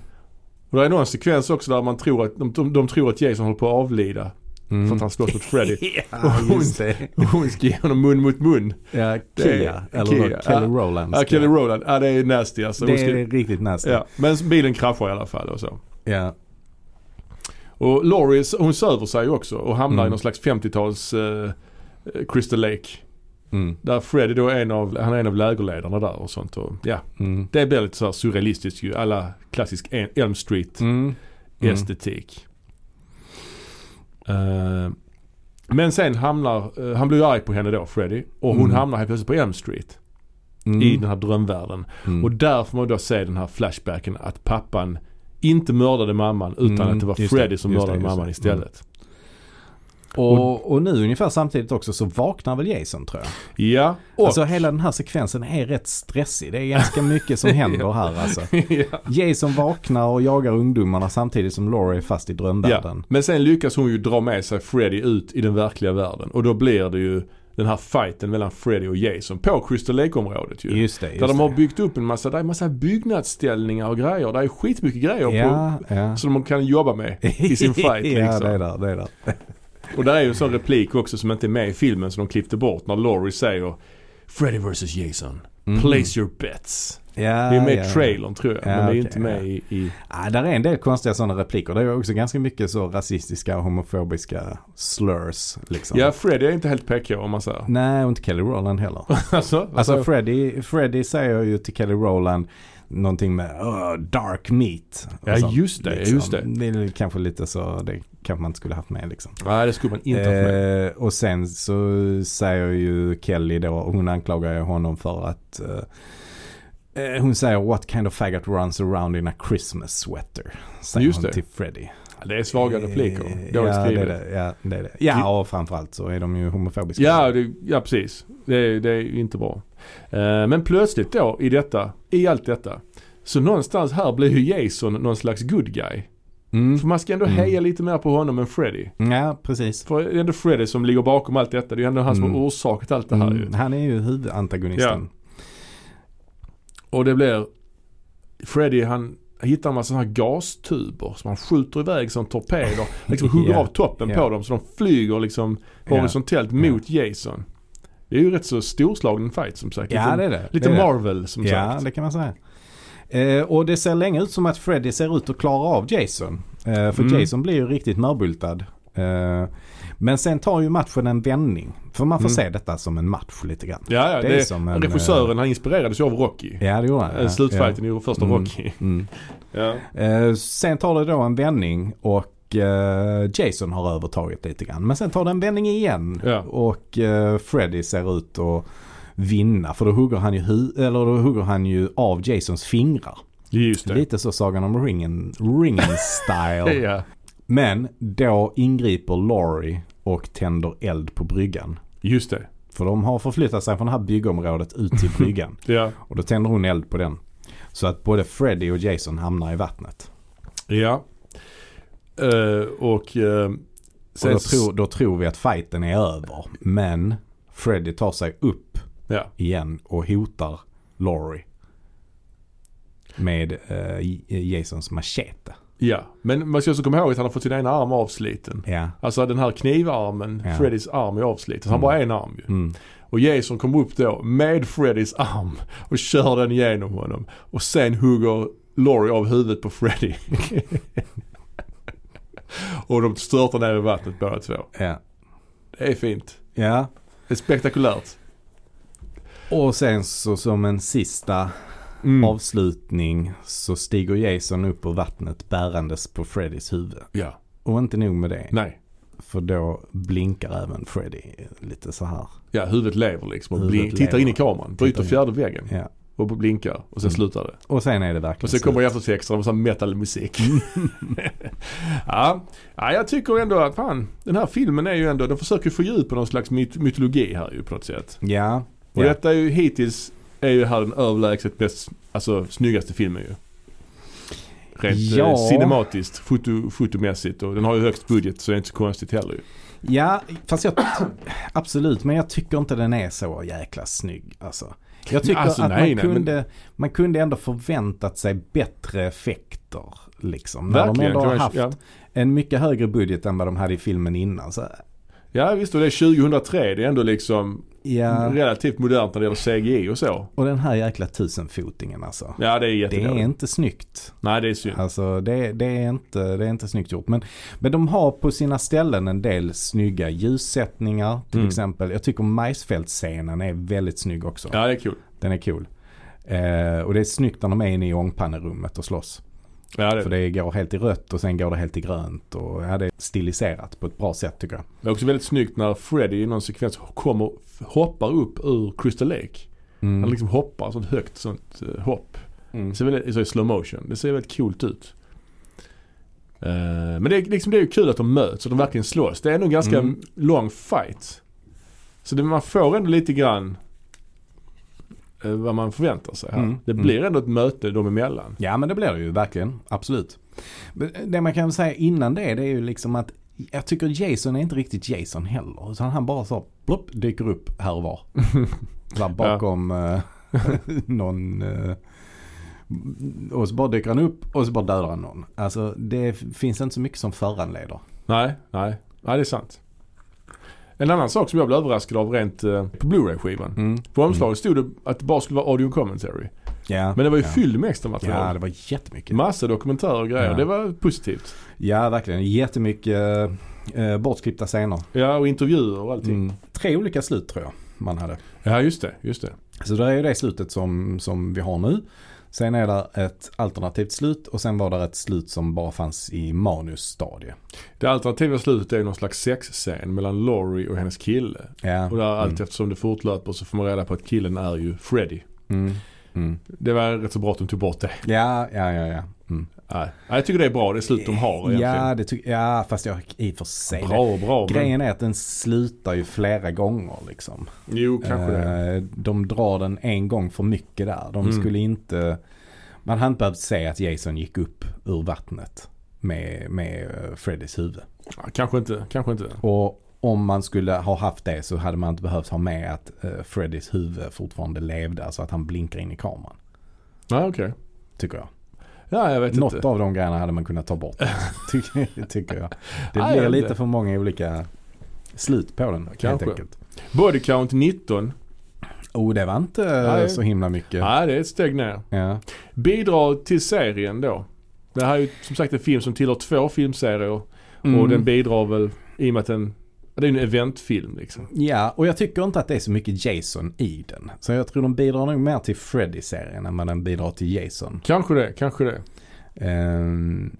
Och det är någon sekvens också där man tror att, de, de, de tror att Jason håller på att avlida Mm. för att han slåss mot Freddy. Ja, just det. Och hon ska ge honom mun mot mun. Ja, Det- Kia. Eller Kia. Kelly Ja. Rowlands. Ja, Kelly Rowland. Ja, det är nasty alltså. Hon Det ska, är riktigt nasty. ja. Men bilen kraschar i alla fall och så. Ja. Och Laurie, hon söver sig ju också och hamnar Mm. i någon slags 50-tals eh, Crystal Lake. Mm. Där Freddy då är en av, han är en av lägerledarna där och sånt. Och, ja, Mm. det blir lite så här surrealistiskt ju. Alla klassisk En- Elm Street Mm. Mm. estetik. Eh, men sen hamnar, eh, han blir ju arg på henne då Freddy. Och hon Mm. hamnar helt plötsligt på Elm Street. Mm. I den här drömvärlden. Mm. Och där får man då se den här flashbacken att pappan inte mördade mamman utan Mm, att det var just det, Freddy som just det, Mm. mördade just det. mamman istället. Och, och nu ungefär samtidigt också så vaknar väl Jason tror jag. Ja, och... Alltså hela den här sekvensen är rätt stressig. Det är ganska mycket som händer här alltså. ja. Jason vaknar och jagar ungdomarna samtidigt som Laura är fast i drömvärlden. Ja. Men sen lyckas hon ju dra med sig Freddy ut i den verkliga världen. Och då blir det ju den här fighten mellan Freddy och Jason på Crystal Lake-området ju. Just det, just där de det. har byggt upp en massa, där är massa byggnadsställningar och grejer. Där är skitmycket grejer ja, på, ja. som de kan jobba med i sin fight ja, liksom. det är där, det är där. Och där är ju en sån replik också som inte är med i filmen som de klippte bort när Laurie säger Freddy vs Jason, Mm. place your bets. Ja, Det är med i ja. trailern tror jag, Ja, men det är okej, inte med ja. i... i Ja, Ah, där är en del konstiga sådana repliker. Det är också ganska mycket så rasistiska och homofobiska slurs. Liksom. ja, Freddy är inte helt PK om man säger. Nej, och inte Kelly Rowland heller. alltså, Alltså Freddy, Freddy säger ju till Kelly Rowland någonting med "Åh, dark meat. och Ja, sånt, just det, liksom. just det. Det är kanske lite så, det kanske man inte skulle haft med liksom. Nej, det skulle man inte ha med. Eh, och sen så säger ju Kelly då, hon anklagar ju honom för att eh, eh, hon säger what kind of faggot runs around in a Christmas sweater. Säger Just hon det. till Freddy. Det är svaga repliker. Eh, Dåligt ja, det är skrivet. det, ja, det är det. Ja, och framförallt så är de ju homofobiska. Typ. Ja, det, ja precis. Det, är- det är ju inte bra. Eh, Men plötsligt då i detta, i allt detta. Så någonstans här blir ju Jason någon slags good guy. Mm. För man ska ändå Mm. heja lite mer på honom än Freddy. ja precis. För det är ändå Freddy som ligger bakom allt detta. Det är ju ändå han som Mm. har orsakat allt det här ju. Mm, han är ju huvudantagonisten. Och det blir Freddy han hittar en massa sådana här gastuber som han skjuter iväg som torpeder. Liksom hugger Ja, av toppen ja. på dem så de flyger liksom Ja. horisontellt mot Jason. Det är ju rätt så storslagen fight som sagt. Ja, Lite- det är det. Lite det är det. Marvel som Ja, sagt. det kan man säga. Eh, och det ser länge ut som att Freddy ser ut att klara av Jason. Eh, för Mm. Jason blir ju riktigt mörbultad. Eh, men sen tar ju matchen en vändning. För man får Mm. se detta som en match lite grann. Ja, ja, det, är som en, regissören han inspirerades ju av Rocky. eh, Ja, det gjorde han. Eh, ja, Slutfighten i första Mm. Rocky. Ja. Mm. Ja. Eh, sen tar det då en vändning och eh, Jason har övertaget lite grann. Men sen tar det en vändning igen Ja. och eh, Freddy ser ut att vinna. För då hugger han ju, hu- eller då hugger han ju av Jasons fingrar. Just det. Lite så Sagan om ringen, ringen style. Ja. Men då ingriper Laurie och tänder eld på bryggan. Just det. För de har förflyttat sig från det här byggområdet ut till bryggan. Ja. och då tänder hon eld på den. Så att både Freddy och Jason hamnar i vattnet. Ja. Eh, och eh, och sen då, så- tror, då tror vi att fighten är över. Men Freddy tar sig upp Ja. igen och hotar Laurie. Med eh, J- Jasons machete. ja. Men man ska också komma ihåg att han har fått sin ena arm avsliten. Ja. Alltså den här knivarmen, Ja. Freddys arm är avsliten. Så han Mm. bara har en arm ju. Mm. Och Jason kommer upp då med Freddys arm och kör den igenom honom. Och sen hugger Laurie av huvudet på Freddy. och de störtar ner i vattnet båda två. Ja. Det är fint. ja. Det är spektakulärt. Och sen så som en sista Mm. avslutning så stiger Jason upp ur vattnet bärandes på Freddys huvud. Ja. Och inte nog med det. Nej. För då blinkar även Freddy lite så här. Ja, huvudet lever liksom. Och Huvudet blin- tittar in i lever. kameran. Bryter in. fjärde väggen. Ja. Och blinkar. Och sen Mm. slutar det. Och sen är det verkligen Och sen kommer slut. eftertexterna med sån metalmusik. Mm. ja. ja, jag tycker ändå att fan, den här filmen är ju ändå, den försöker fördjupa någon slags myt- mytologi här ju på något sätt. Ja. Och Ja. detta är ju hittills, är ju här den överlägset bäst, alltså snyggaste filmen ju. Rent Ja. eh, cinematiskt, foto, fotomässigt och den har ju högst budget så det är inte så konstigt heller ju. Ja, fast jag... Absolut, men jag tycker inte den är så jäkla snygg. Alltså. Jag tycker Alltså, att nej, nej, man, men- kunde, man kunde ändå förväntat sig bättre effekter. Liksom, när de Verkligen. ändå har jag- haft ja. en mycket högre budget än vad de hade i filmen innan. Så, ja visst och det är 2003, det är ändå liksom ja, relativt modernt när det gäller CGI och så. och den här jäkla tusenfotingen alltså. Ja det är Det jättedåligt. är inte snyggt. Nej det är synd. Alltså det, det, är inte, det är inte snyggt gjort. Men, men de har på sina ställen en del snygga ljussättningar. Till Mm. exempel, jag tycker majsfältsscenen är väldigt snygg också. Ja det är kul. Den är cool. Eh, och det är snyggt när de är inne i ångpannerummet och slåss. Ja, det, För det går helt i rött och sen går det helt i grönt. Och ja, det är stiliserat på ett bra sätt tycker jag. Det är också väldigt snyggt när Freddy i någon sekvens kommer, hoppar upp ur Crystal Lake. Han liksom hoppar sånt högt sånt eh, hopp. Mm. Det ser väldigt, så i slow motion. Det ser väldigt coolt ut. Eh, men det är, liksom, det är ju kul att de möts och de verkligen slåss. Det är nog en ganska Mm. lång fight. Så det, man får ändå lite grann eh, vad man förväntar sig här. Mm. Det Mm. blir ändå ett möte dem emellan. Ja men det blir det ju verkligen. Absolut. Men eh, Det man kan säga innan det, det är ju liksom att jag tycker Jason är inte riktigt Jason heller. Utan han bara så plopp, dyker upp här och var. Där bakom eh, någon. eh, och så bara dyker han upp och så bara dödar han någon. Alltså det finns inte så mycket som föranleder. Nej, nej. Nej, det är sant. En annan sak som jag blev överraskad av rent eh, på Blu-ray-skivan. På omslaget stod det att det bara skulle vara audio commentary. Mm. Ja. Men det var ju ja. fylld med extra Ja material. det var jättemycket. Massa dokumentärer och grejer. Ja. Det var positivt. Ja verkligen. Jättemycket eh, eh, bortklippta scener. Ja, och intervjuer och allting. Mm. Tre olika slut tror jag man hade. Ja, just det. Just det. Så det är ju det slutet som, som vi har nu. Sen är det ett alternativt slut och sen var det ett slut som bara fanns i manusstadie. Det alternativa slutet är ju någon slags sexscen mellan Laurie och hennes kille. Ja. Och där allt mm. eftersom det fortlöper så får man reda på att killen är ju Freddy. Mm. Mm. Det var rätt så bra att de tog bort det. Ja, ja, ja. ja. Mm. Nej. Nej, jag tycker det är bra det slut de har egentligen. ja, det tycker ja, fast jag i och för sig. det- bra, bra. Men, Grejen är att den slutar ju flera gånger liksom. jo, kanske det. Eh, De drar den en gång för mycket där. De Mm. skulle inte... Man hade inte behövt säga att Jason gick upp ur vattnet med, med eh, Freddys huvud. Ja, kanske inte. Kanske inte. Och om man skulle ha haft det så hade man inte behövt ha med att eh, Freddys huvud fortfarande levde. Alltså att han blinkar in i kameran. Nej, okej. Tycker jag. Ja, jag vet Något inte. av de grejerna hade man kunnat ta bort. tycker, tycker jag. Det Nej, blir jag vet lite inte. för många olika slut på den helt Kanske. enkelt. Body count 19. Oh, det var inte eh, Nej. så himla mycket. Nej, det är ett steg ner. Ja. Bidrag till serien då. Det här är ju som sagt en film som tillhör två filmserier. Mm. Och den bidrar väl i och med att den, det är ju en eventfilm liksom. Ja, och jag tycker inte att det är så mycket Jason i den. Så jag tror de bidrar nog mer till Freddy-serien än vad den bidrar till Jason. Kanske det, kanske det. Ehm,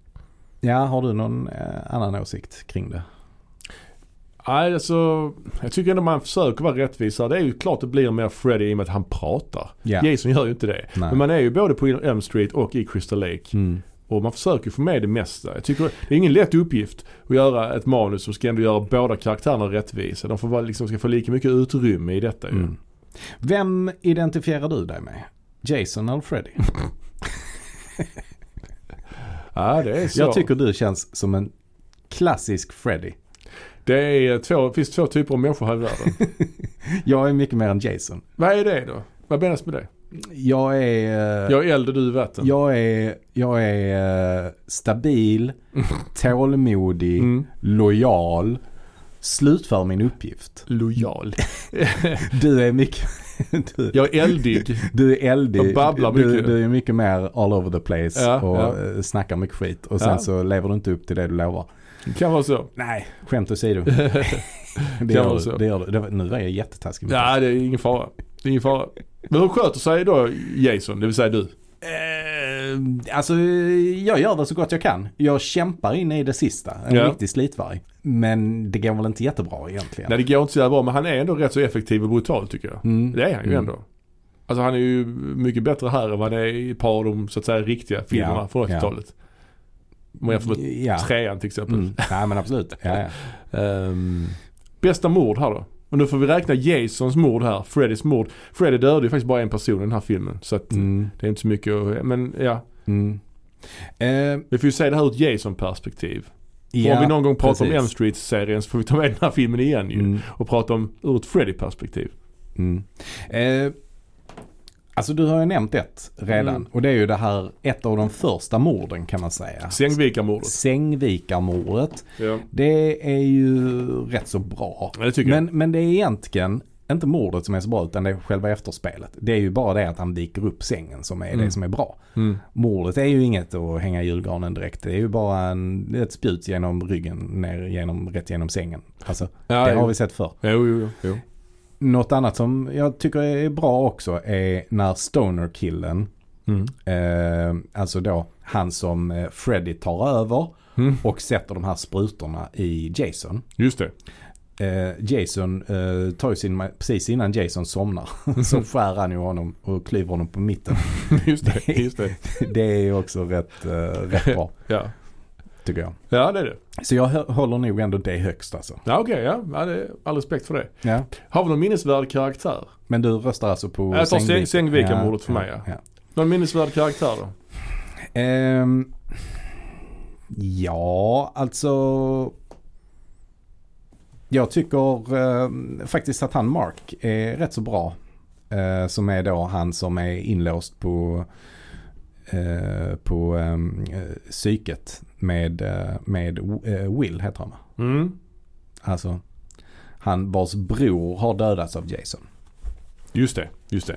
ja, har du någon eh, annan åsikt kring det? Nej, alltså, jag tycker ändå man försöker vara rättvisare. Det är ju klart det blir mer Freddy i och med att han pratar. Ja. Jason gör ju inte det. Nej. Men man är ju både på Elm Street och i Crystal Lake. Mm. Och man försöker få med det mesta. Jag tycker det är ingen lätt uppgift att göra ett manus som ska ändå göra båda karaktärerna rättvisa. De får vara, liksom, ska få lika mycket utrymme i detta ju. Mm. Vem identifierar du dig med? Jason eller Freddy? Ja, det är så. Jag tycker du känns som en klassisk Freddy. Det är två, finns två typer av människor här i världen. Jag är mycket mer än Jason. Vad är det då? Vad menas med det? Jag är... eh, Jag är eld och du är vatten. Jag är, jag är eh, stabil, tålmodig, Mm. lojal, slutför min uppgift. Lojal. Du är mycket, du, Jag är eldig. du är eldig, Jag babblar du, mycket. du är mycket mer all over the place Ja, och ja. eh, snackar mycket skit. Och sen Ja. så lever du inte upp till det du lovar. Det kan vara så. Nej, skämt åsido. det, vara gör, så. du, det gör du. Det var, nu var jag jättetaskig. mot dig. Ja, det är ingen fara. Det är ingen fara. Men hur sköter sig då Jason, det vill säga du? Eh, alltså jag gör det så gott jag kan. Jag kämpar in i det sista. En Ja. riktig slitvarg. Men det går väl inte jättebra egentligen. Nej, det går inte så jävla bra, men han är ändå rätt så effektiv och brutal tycker jag. Mm. Det är han ju Mm. ändå. Alltså han är ju mycket bättre här än vad han är i ett par av de så att säga riktiga filmerna Ja, från ja. 80-talet. Om jag får ja. trean till exempel. Mm. Nej men absolut. Ja, ja. Ehm, bästa mord här då. Och nu får vi räkna Jasons mord här, Freddys mord. Freddy dödade ju faktiskt bara en person i den här filmen. Så att Mm. det är inte så mycket att, Men ja, Mm. Eh, vi får ju se det här ur ett Jason-perspektiv. För ja, om vi någon gång pratar om precis. M Street-serien så får vi ta med den här filmen igen ju. Mm. Och prata om ur ett Freddy-perspektiv. Mm. Eh, alltså du har ju nämnt ett redan. Mm. Och det är ju det här, ett av de första morden kan man säga. Sängvikarmordet. Sängvikarmordet. Ja. Det är ju rätt så bra. ja, det tycker Men, men det är egentligen inte mordet som är så bra utan det är själva efterspelet. Det är ju bara det att han viker upp sängen som är Mm. det som är bra. jag. Mm. Mordet är ju inget att hänga i julgranen direkt. Det är ju bara en, ett spjut genom ryggen ner genom, rätt genom sängen. Alltså, Ja, det jo. har vi sett förr. Jo, jo, jo. Något annat som jag tycker är bra också är när Stoner-killen, Mm. eh, alltså då han som eh, Freddy tar över och sätter de här sprutorna i Jason. Mm. Just det. Eh, Jason eh, tar ju sin, ma- precis innan Jason somnar så skär han ju honom och klyver honom på mitten. Just det. Just det. Det är ju också rätt, eh, rätt bra. Ja. tycker jag. Ja, det är det. Så jag hö- håller nog ändå det högst alltså. Ja, Okej, ja. ja det är all respekt för det. Ja. Har vi någon minnesvärd karaktär? Men du röstar alltså på Jag tar Äh, Säng- Sängviken? Sängviken-mordet för mig, ja. ja. Någon minnesvärd karaktär då? Ehm, ja, alltså. Jag tycker ehm, faktiskt att han Mark är rätt så bra. Eh, som är då han som är inlåst på, eh, på ehm, eh, psyket med, eh, med eh, Will heter han va? Mm. Alltså han vars bror har dödats av Jason. Just det, just det.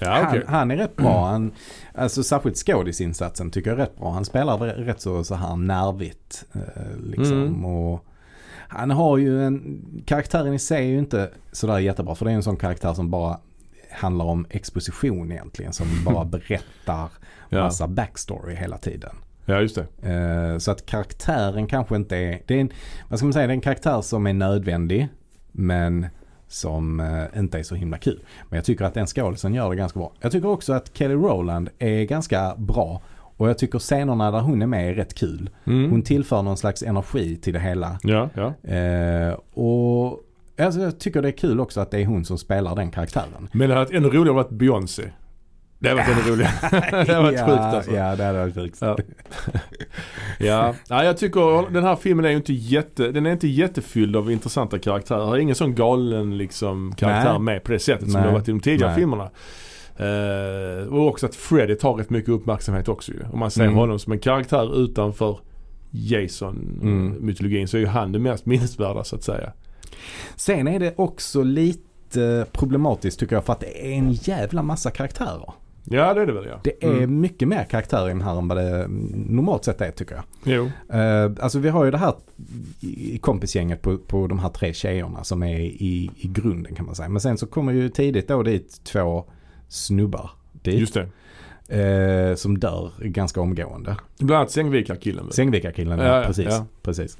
Ja, Ah, okej. Mm. han, han är rätt bra. Han, alltså särskilt skådisinsatsen tycker jag är rätt bra. Han spelar r- rätt så, så här nervigt. eh, Liksom. Mm. Och han har ju en, karaktären i sig är ju inte sådär jättebra. För det är ju en sån karaktär som bara handlar om exposition egentligen. Som bara berättar Ja. massa backstory hela tiden. ja, just det. Eh, Så att karaktären kanske inte är, det är en, vad ska man säga, det är en karaktär som är nödvändig. Men som eh, inte är så himla kul. Men jag tycker att den skådisen gör det ganska bra. Jag tycker också att Kelly Rowland är ganska bra. Och jag tycker scenerna där hon är med är rätt kul. Mm. Hon tillför någon slags energi till det hela. Ja, ja. Eh, och alltså, jag tycker det är kul också att det är hon som spelar den karaktären. Men det hade varit ännu roligare om det varit Beyoncé. Det hade varit ännu roligare. det hade varit sjukt alltså. Ja, det hade varit sjukt. Ja. Ja. ja, jag tycker den här filmen är ju inte jätte, den är inte jättefylld av intressanta karaktärer. Det är ingen sån galen liksom karaktär Nej. med på det sättet som Nej. det har varit i de tidigare Nej. filmerna. Eh, och också att Freddy tar rätt mycket uppmärksamhet också ju. Om man ser Mm. honom som en karaktär utanför Mm. Jason-mytologin så är ju han det mest minnesvärda så att säga. Sen är det också lite problematiskt tycker jag för att det är en jävla massa karaktärer. Ja det är det väl ja. Det är Mm. mycket mer karaktärer i den här än vad det normalt sett är tycker jag. Jo. Eh, alltså vi har ju det här i- i kompisgänget på, på de här tre tjejerna som är i, i grunden kan man säga. Men sen så kommer ju tidigt då dit två snubbar dit. Just det. eh, som dör ganska omgående. Bland annat Sängvikarkillen väl? Sängvikarkillen, Ja, ja, ja, precis, ja. precis.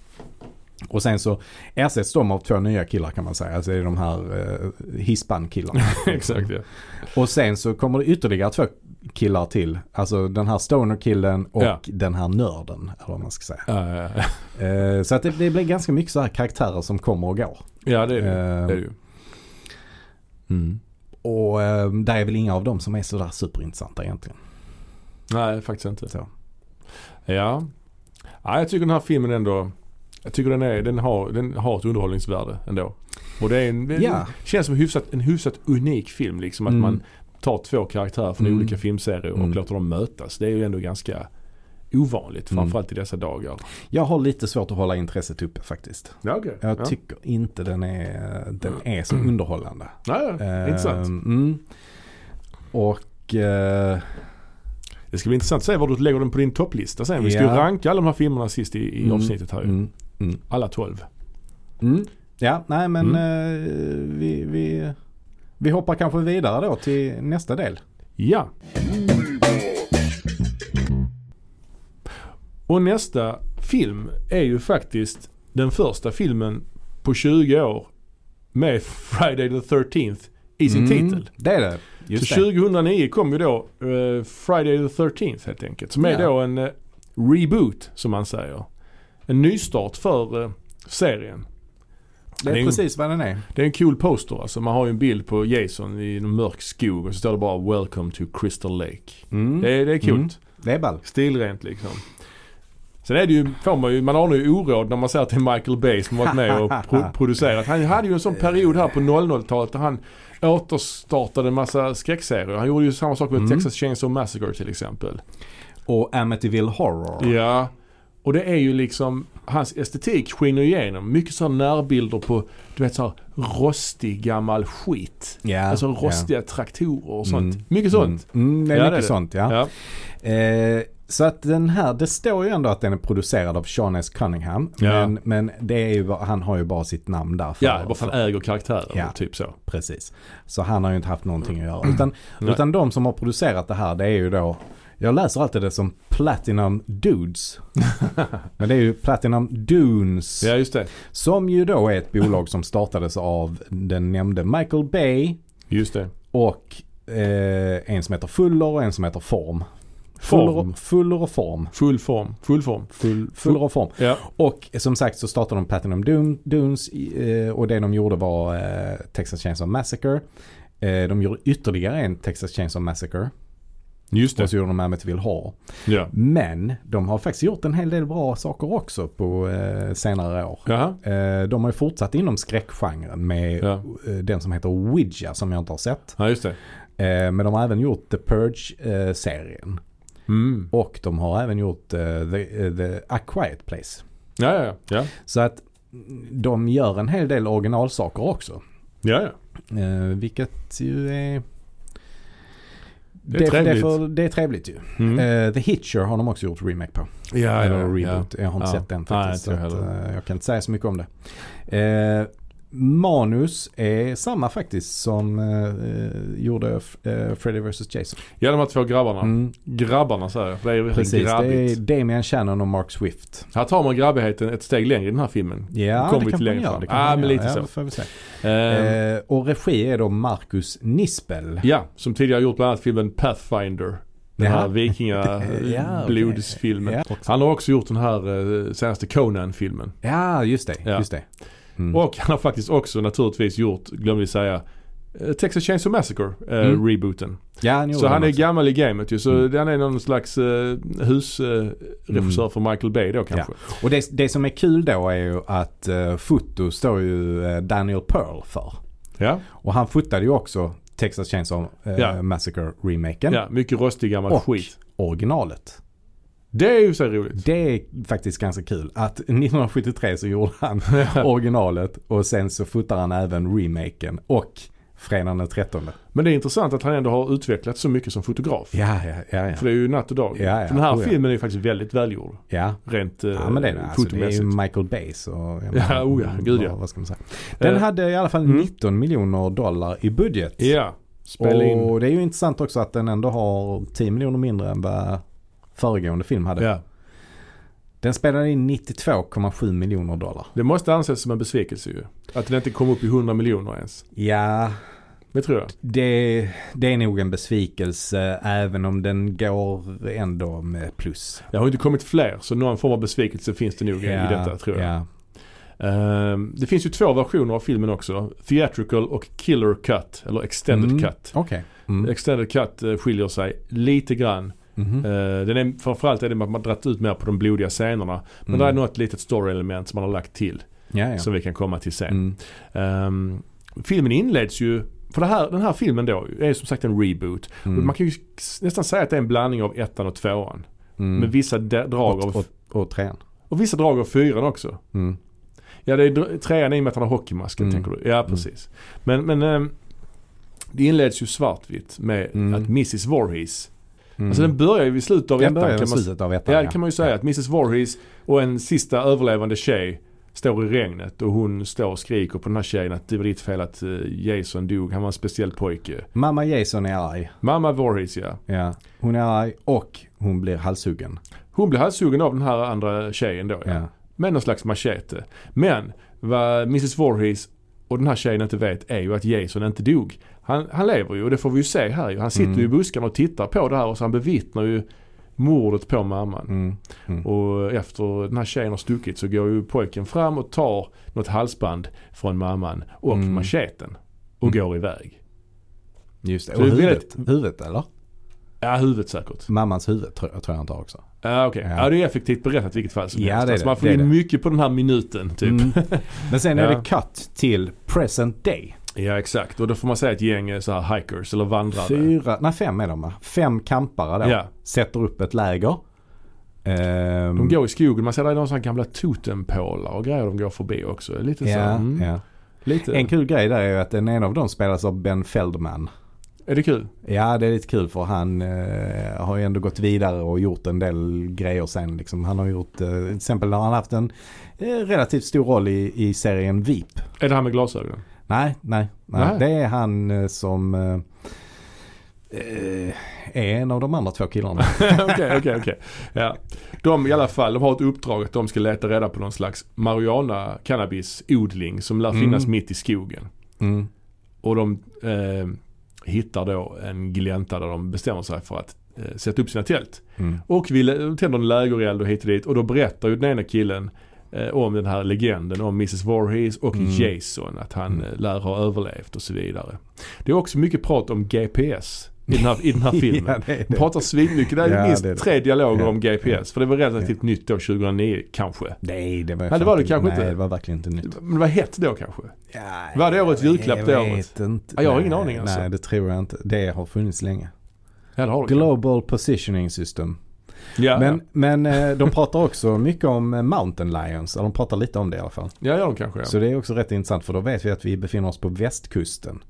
Och sen så ersätts de av två nya killar kan man säga. Alltså det är de här eh, hispankillarna. Exakt ja. Och sen så kommer det ytterligare två killar till. Alltså den här stoner-killen och Ja. den här nörden. Eller vad man ska säga. Ja, ja, ja. Eh, så att det, det blir ganska mycket så här karaktärer som kommer och går. ja det är det, Eh, det, är det ju. mm. Och eh, där är väl inga av dem som är sådär superintressanta egentligen. Nej faktiskt inte. Så. Ja. ja. Jag tycker den här filmen ändå. Jag tycker den, är, den, har, den har ett underhållningsvärde ändå. Och det är en, det Ja. känns som en hyfsat, en hyfsat unik film liksom. Att Mm. man tar två karaktärer från Mm. olika filmserier och Mm. låter dem mötas. Det är ju ändå ganska ovanligt. Mm. Framförallt i dessa dagar. Jag har lite svårt att hålla intresset uppe faktiskt. Ja, okay. Jag ja. tycker inte den är, den är så underhållande. ja, ja. Intressant. Eh, Mm. Och eh, Det ska bli intressant att se var du lägger den på din topplista sen. Vi ska Ja. ju ranka alla de här filmerna sist i, i Mm. avsnittet här ju. mm, mm, Alla 12. mm. Ja, nej men Mm. eh, vi, vi, vi hoppar kanske vidare då till nästa del. Ja. Och nästa film är ju faktiskt den första filmen på 20 år med Friday the 13th i sin Mm, titel. Det är det. Just Så det. 2009 kom ju då eh, Friday the 13th helt enkelt. Som är Ja. då en eh, reboot som man säger. En nystart för eh, serien. Det Det är är en- precis vad den är. Det är en cool poster alltså. Man har ju en bild på Jason i en mörk skog och så står det bara “Welcome to Crystal Lake”. Mm. Det, är- det är coolt. Mm. Det är ball. Stilrent liksom. Sen är det ju, får man ju, man har nu oråd när man säger att det är Michael Bay som varit med och pro- producerat. Han hade ju en sån period här på 00-talet där han återstartade en massa skräckserier. Han gjorde ju samma sak med Mm. Texas Chainsaw Massacre till exempel. Och Amityville Horror. Ja. Och det är ju liksom, hans estetik skiner igenom. Mycket sådana närbilder på, du vet såhär rostig gammal skit. Ja, Alltså ja. rostiga traktorer och sånt. Mm. Mycket sånt. Mm, mm, det är Ja, det är mycket det. sånt ja. Ja. Eh, så att den här, det står ju ändå att den är producerad av Sean S. Cunningham. Ja. Men, men det är ju, bara- han har ju bara sitt namn där. För, Ja, i alla fall äger karaktärer. Ja. Typ så. Precis. Så han har ju inte haft någonting att göra. Utan, Nej. utan de som har producerat det här det är ju då jag läser alltid det som Platinum Dudes. Men det är ju Platinum Dunes. Ja, just det. Som ju då är ett bolag som startades av den nämnde Michael Bay Just det. och eh, en som heter Fuller och en som heter Form. Form. Fuller, fuller och form. Full form. Full form. Full, fuller och form. Ja. Och som sagt så startade de Platinum Dun- Dunes i- eh, och det de gjorde var eh, Texas Chainsaw Massacre. Eh, De gjorde ytterligare en Texas Chainsaw Massacre. Just Och det. så gjorde de Amityville Horror. Ja. Men de har faktiskt gjort en hel del bra saker också på eh, senare år. Jaha. Eh, de har ju fortsatt inom skräckgenren med Ja. eh, den som heter Ouija som jag inte har sett. Ja, just det. Eh, men de har även gjort The Purge-serien. Mm. och de har även gjort eh, the, eh, the A Quiet Place. Ja, ja, ja. Ja, Så att mm, de gör en hel del originalsaker också. ja. ja. Eh, vilket ju är... Det är det, trevligt. får- det är trevligt ju. Mm. Eh, the Hitcher har de också gjort remake på. Ja, Eller ja, ja. reboot. Jag har inte Ja. sett den faktiskt. Nej, så inte att, jag heller. eh, jag kan inte säga så mycket om det. Eh, manus är samma faktiskt som eh, eh, gjorde f- eh, Freddy vs Jason. Ja, de här två grabbarna. Mm, Grabbarna säger jag, för det är ju verkligen precis, det är grabbigt. Damian Shannon och Mark Swift. Här tar man grabbigheten ett steg längre i den här filmen. Ja, Kom det vi kan till man längre göra. fram. Det kan Ja, man men göra. lite ja, så. Får vi se. Ehm, Eh, och regi är då Marcus Nispel. Ja, som tidigare gjort bland annat filmen Pathfinder. Den Jaha. här Ja, okej. vikingablodsfilmen. Ja. Han har också gjort den här eh, senaste Conan-filmen. Ja, just det. Ja. Just det. Mm. Och han har faktiskt också naturligtvis gjort, glömde vi säga, eh, Texas Chainsaw Massacre, eh, Mm. rebooten. ja, han gjorde Så han den är också. gammal i gamet ju. Så Mm. han är någon slags eh, husregissör Mm. för Michael Bay då kanske. Och det, det som är kul då är ju att eh, foto står ju eh, Daniel Pearl för. Ja, Och han fotade ju också Texas Chainsaw eh, Ja. ja. Massacre-remaken. mycket rostig gammal Och- skit. Originalet. Det är ju så roligt. Det är faktiskt ganska kul att 1973 så gjorde han originalet och sen så fotar han även remaken och fredagen den 13. Men det är intressant att han ändå har utvecklats så mycket som fotograf. Ja, ja, ja. ja. För det är ju natt och dag. Ja, ja. För den här Oh, ja. filmen är ju faktiskt väldigt välgjord. ja. Rent eh, Ja men det är det. Alltså, det är ju fotomässigt. Michael Bay så... jag Ja, menar, oh ja, gud ja. Vad, vad ska man säga? Den Eh, hade i alla fall mm. 19 miljoner dollar i budget. Ja, spela in. Och det är ju intressant också att den ändå har 10 miljoner mindre än vad föregående film hade. Ja. Den spelade in 92,7 miljoner dollar. Det måste anses som en besvikelse ju. Att den inte kom upp i 100 miljoner ens. Ja, Det tror jag. det, det är nog en besvikelse även om den går ändå med plus. Det har ju inte kommit fler så någon form av besvikelse finns det nog i detta tror jag. Ja, Ehm, det finns ju två versioner av filmen också. Theatrical och Killer Cut. Eller Extended Mm. Cut. okej. Mm. Extended Cut eh, skiljer sig lite grann. Mhm. Eh, Den är, framförallt är det att man dragit ut mer på de blodiga scenerna. Men Mm. det är något litet story-element som man har lagt till. Ja, ja. Som vi kan komma till sen. Mm. Ehm, filmen inleds ju, för det här, den här filmen då är som sagt en reboot. Mm. Man kan ju s- nästan säga att det är en blandning av ettan och tvåan. Mm. Med vissa de- drag och, av, och, och trean. och vissa drag av fyran också. Mm. Ja det är dr- trean i och med att han har hockeymasken Mm. tänker du. Ja precis. Men, men ehm, det inleds ju svartvitt med Mm. att Mrs Voorhees, Mm. alltså den börjar ju vid slutet av Den ettan. börjar i kan man, s- slutet av ettan. ja det kan man ju säga att Mrs Voorhees och en sista överlevande tjej står i regnet och hon står och skriker på den här tjejen att det var ditt fel att eh, Jason dog, han var en speciell pojke. Mamma Jason är arg. Mamma Voorhees ja. Ja. Hon är arg och hon blir halshuggen. Hon blir halshuggen av den här andra tjejen då ja. Ja. Med någon slags machete. Men vad Mrs Voorhees och den här tjejen inte vet är ju att Jason inte dog. Han, han lever ju och det får vi ju se här ju. Han sitter Mm. ju i buskarna och tittar på det här och så han bevittnar ju mordet på mamman. Mm. Och efter den här tjejen har stuckit så går ju pojken fram och tar något halsband från mamman och Mm. macheten. Och Mm. går iväg. Just det. Så Och det är huvudet. Huvudet eller? Ja, huvudet säkert. Mammans huvud tror jag, tror jag han tar också. Ja, okej. Ja. Ja. det är effektivt berättat i vilket fall som Ja, helst. det är Alltså det. man får Det är in det. mycket på den här minuten typ. Mm. Men sen är Ja. det cut till present day. Ja exakt och då får man säga ett gäng eh, så här hikers eller vandrare. Fyra, nej fem är de va? Fem kampare då. Ja. Sätter upp ett läger. Ehm, De går i skogen, man ser där är någon sån här gamla totempålar och grejer de går förbi också. Lite så. ja, mm, ja. Lite. En kul grej där är ju att den ena av dem spelas av Ben Feldman. Är det kul? Ja det är lite kul för han eh, har ju ändå gått vidare och gjort en del grejer sen. Liksom. Han har gjort, eh, till exempel har han haft en eh, relativt stor roll i, i serien VIP. Är det här med glasögonen? Nej, nej, nej. Nej. Det är han eh, som eh, eh, är en av de andra två killarna. Okej, okej, okej. Ja. De i alla fall, de har ett uppdrag att de ska leta reda på någon slags marijuana cannabisodling som lär Mm. finnas mitt i skogen. Mm. Och de eh, hittar då en glänta där de bestämmer sig för att eh, sätta upp sina tält. Mm. Och vi lä- tänder en lägereld och hit och dit och då berättar ju den ena killen eh, om den här legenden om Mrs Voorhees och Mm. Jason. Att han Mm. eh, lär ha överlevt och så vidare. Det är också mycket prat om GPS i den här, i den här filmen. ja, det är De det. pratar svinmycket, det är Ja, minst det är det. tre dialoger Ja. om GPS. För det var relativt nytt då 2009 kanske. Nej, det var, det fan var det kanske nej, inte. det var verkligen inte nytt. Men det var hett då kanske. Ja, Var det årets julklapp jag det vet året? Inte. Ja, jag har Nej, ingen aning, alltså. Nej, det tror jag inte. Det har funnits länge. Ja, det har du. Global Positioning System. Ja, Men, men eh, de pratar också mycket om eh, Mountain Lions. Eller de pratar lite om det i alla fall. ja, ja de kanske ja. Så det är också rätt intressant för då vet vi att vi befinner oss på västkusten.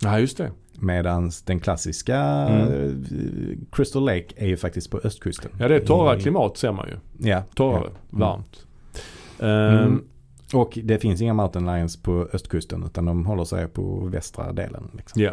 ja, just det. Medan den klassiska Mm. eh, Crystal Lake är ju faktiskt på östkusten. Ja, det är torrare I- klimat ser man ju. Eh. Ja. Torrare, varmt. Ehm, Mm. Och det finns inga Mountain Lions på östkusten utan de håller sig på västra delen. Liksom. Ja.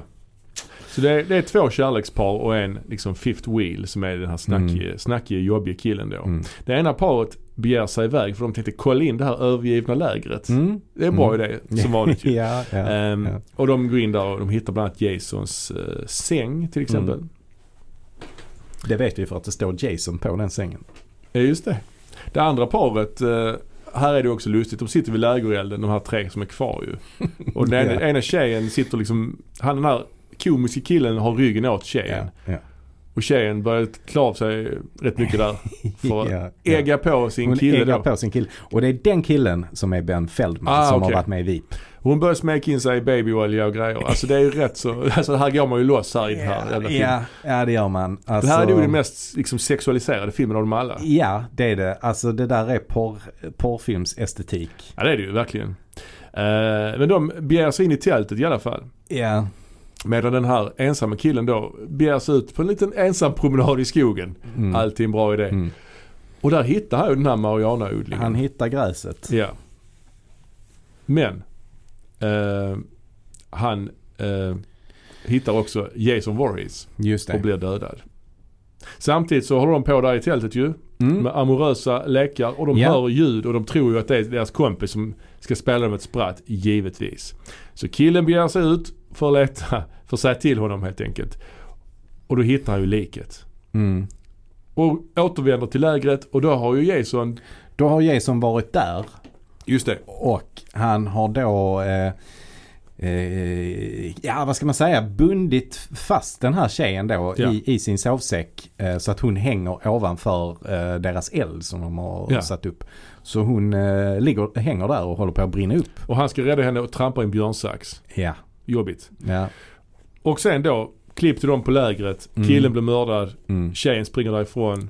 Så det är, det är två kärlekspar och en liksom fifth wheel som är den här snackige, snackige jobbiga killen då. Mm. Det ena paret begär sig iväg för de tänkte kolla in det här övergivna lägret. Mm. Det är en bra Mm. idé, som vanligt ju. ja, ja, Ehm, ja. Och de går in där och de hittar bland annat Jasons eh, säng till exempel. Mm. Det vet vi för att det står Jason på den sängen. Ja just det. Det andra paret, eh, här är det också lustigt. De sitter vid lägerelden, de här tre som är kvar ju. Och den Ja. ena, ena tjejen sitter liksom, han den här komiska killen har ryggen åt tjejen. Ja, ja. Och tjejen börjar klä av sig rätt mycket där. För att Ja, ja. ägga på sin Hon kille äggar då. på sin kille. Och det är den killen som är Ben Feldman Ah, som okej. har varit med i VIP. Hon börjar smeka in sig i babyolja och grejer. Alltså det är ju rätt så, alltså här går man ju loss här i den här jävla filmen. ja, ja, det gör man. Det Alltså, här är nog den mest liksom, sexualiserade filmen av dem alla. Ja, det är det. Alltså det där är porr, porrfilmsestetik. Ja det är det ju verkligen. Eh, men de begär sig in i tältet i alla fall. Ja. Medan den här ensamma killen då beger sig ut på en liten ensam promenad i skogen. Mm. Alltid en bra idé. Mm. Och där hittar han ju den här marijuanaodlingen. Han hittar gräset. Ja. Men eh, han eh, hittar också Jason Voorhees Just och blir dödad. Samtidigt så håller de på där i tältet ju Mm. med amorösa lekar och de Ja. hör ljud och de tror ju att det är deras kompis som ska spela dem ett spratt, givetvis. Så killen begär sig ut för att leta, för att säga till honom helt enkelt. Och då hittar han ju liket. Mm. Och återvänder till lägret och då har ju Jason... Då har Jason varit där Just det. och han har då eh, eh, Ja vad ska man säga bundit fast den här tjejen då Ja. i, i sin sovsäck eh, så att hon hänger ovanför eh, deras eld som de har Ja. satt upp. Så hon eh, ligger, hänger där och håller på att brinna upp. Och han ska rädda henne och trampa i en björnsax. Ja. Jobbigt. ja. Och sen då, klipp till dem på lägret. Killen Mm. blir mördad. Mm. Tjejen springer därifrån.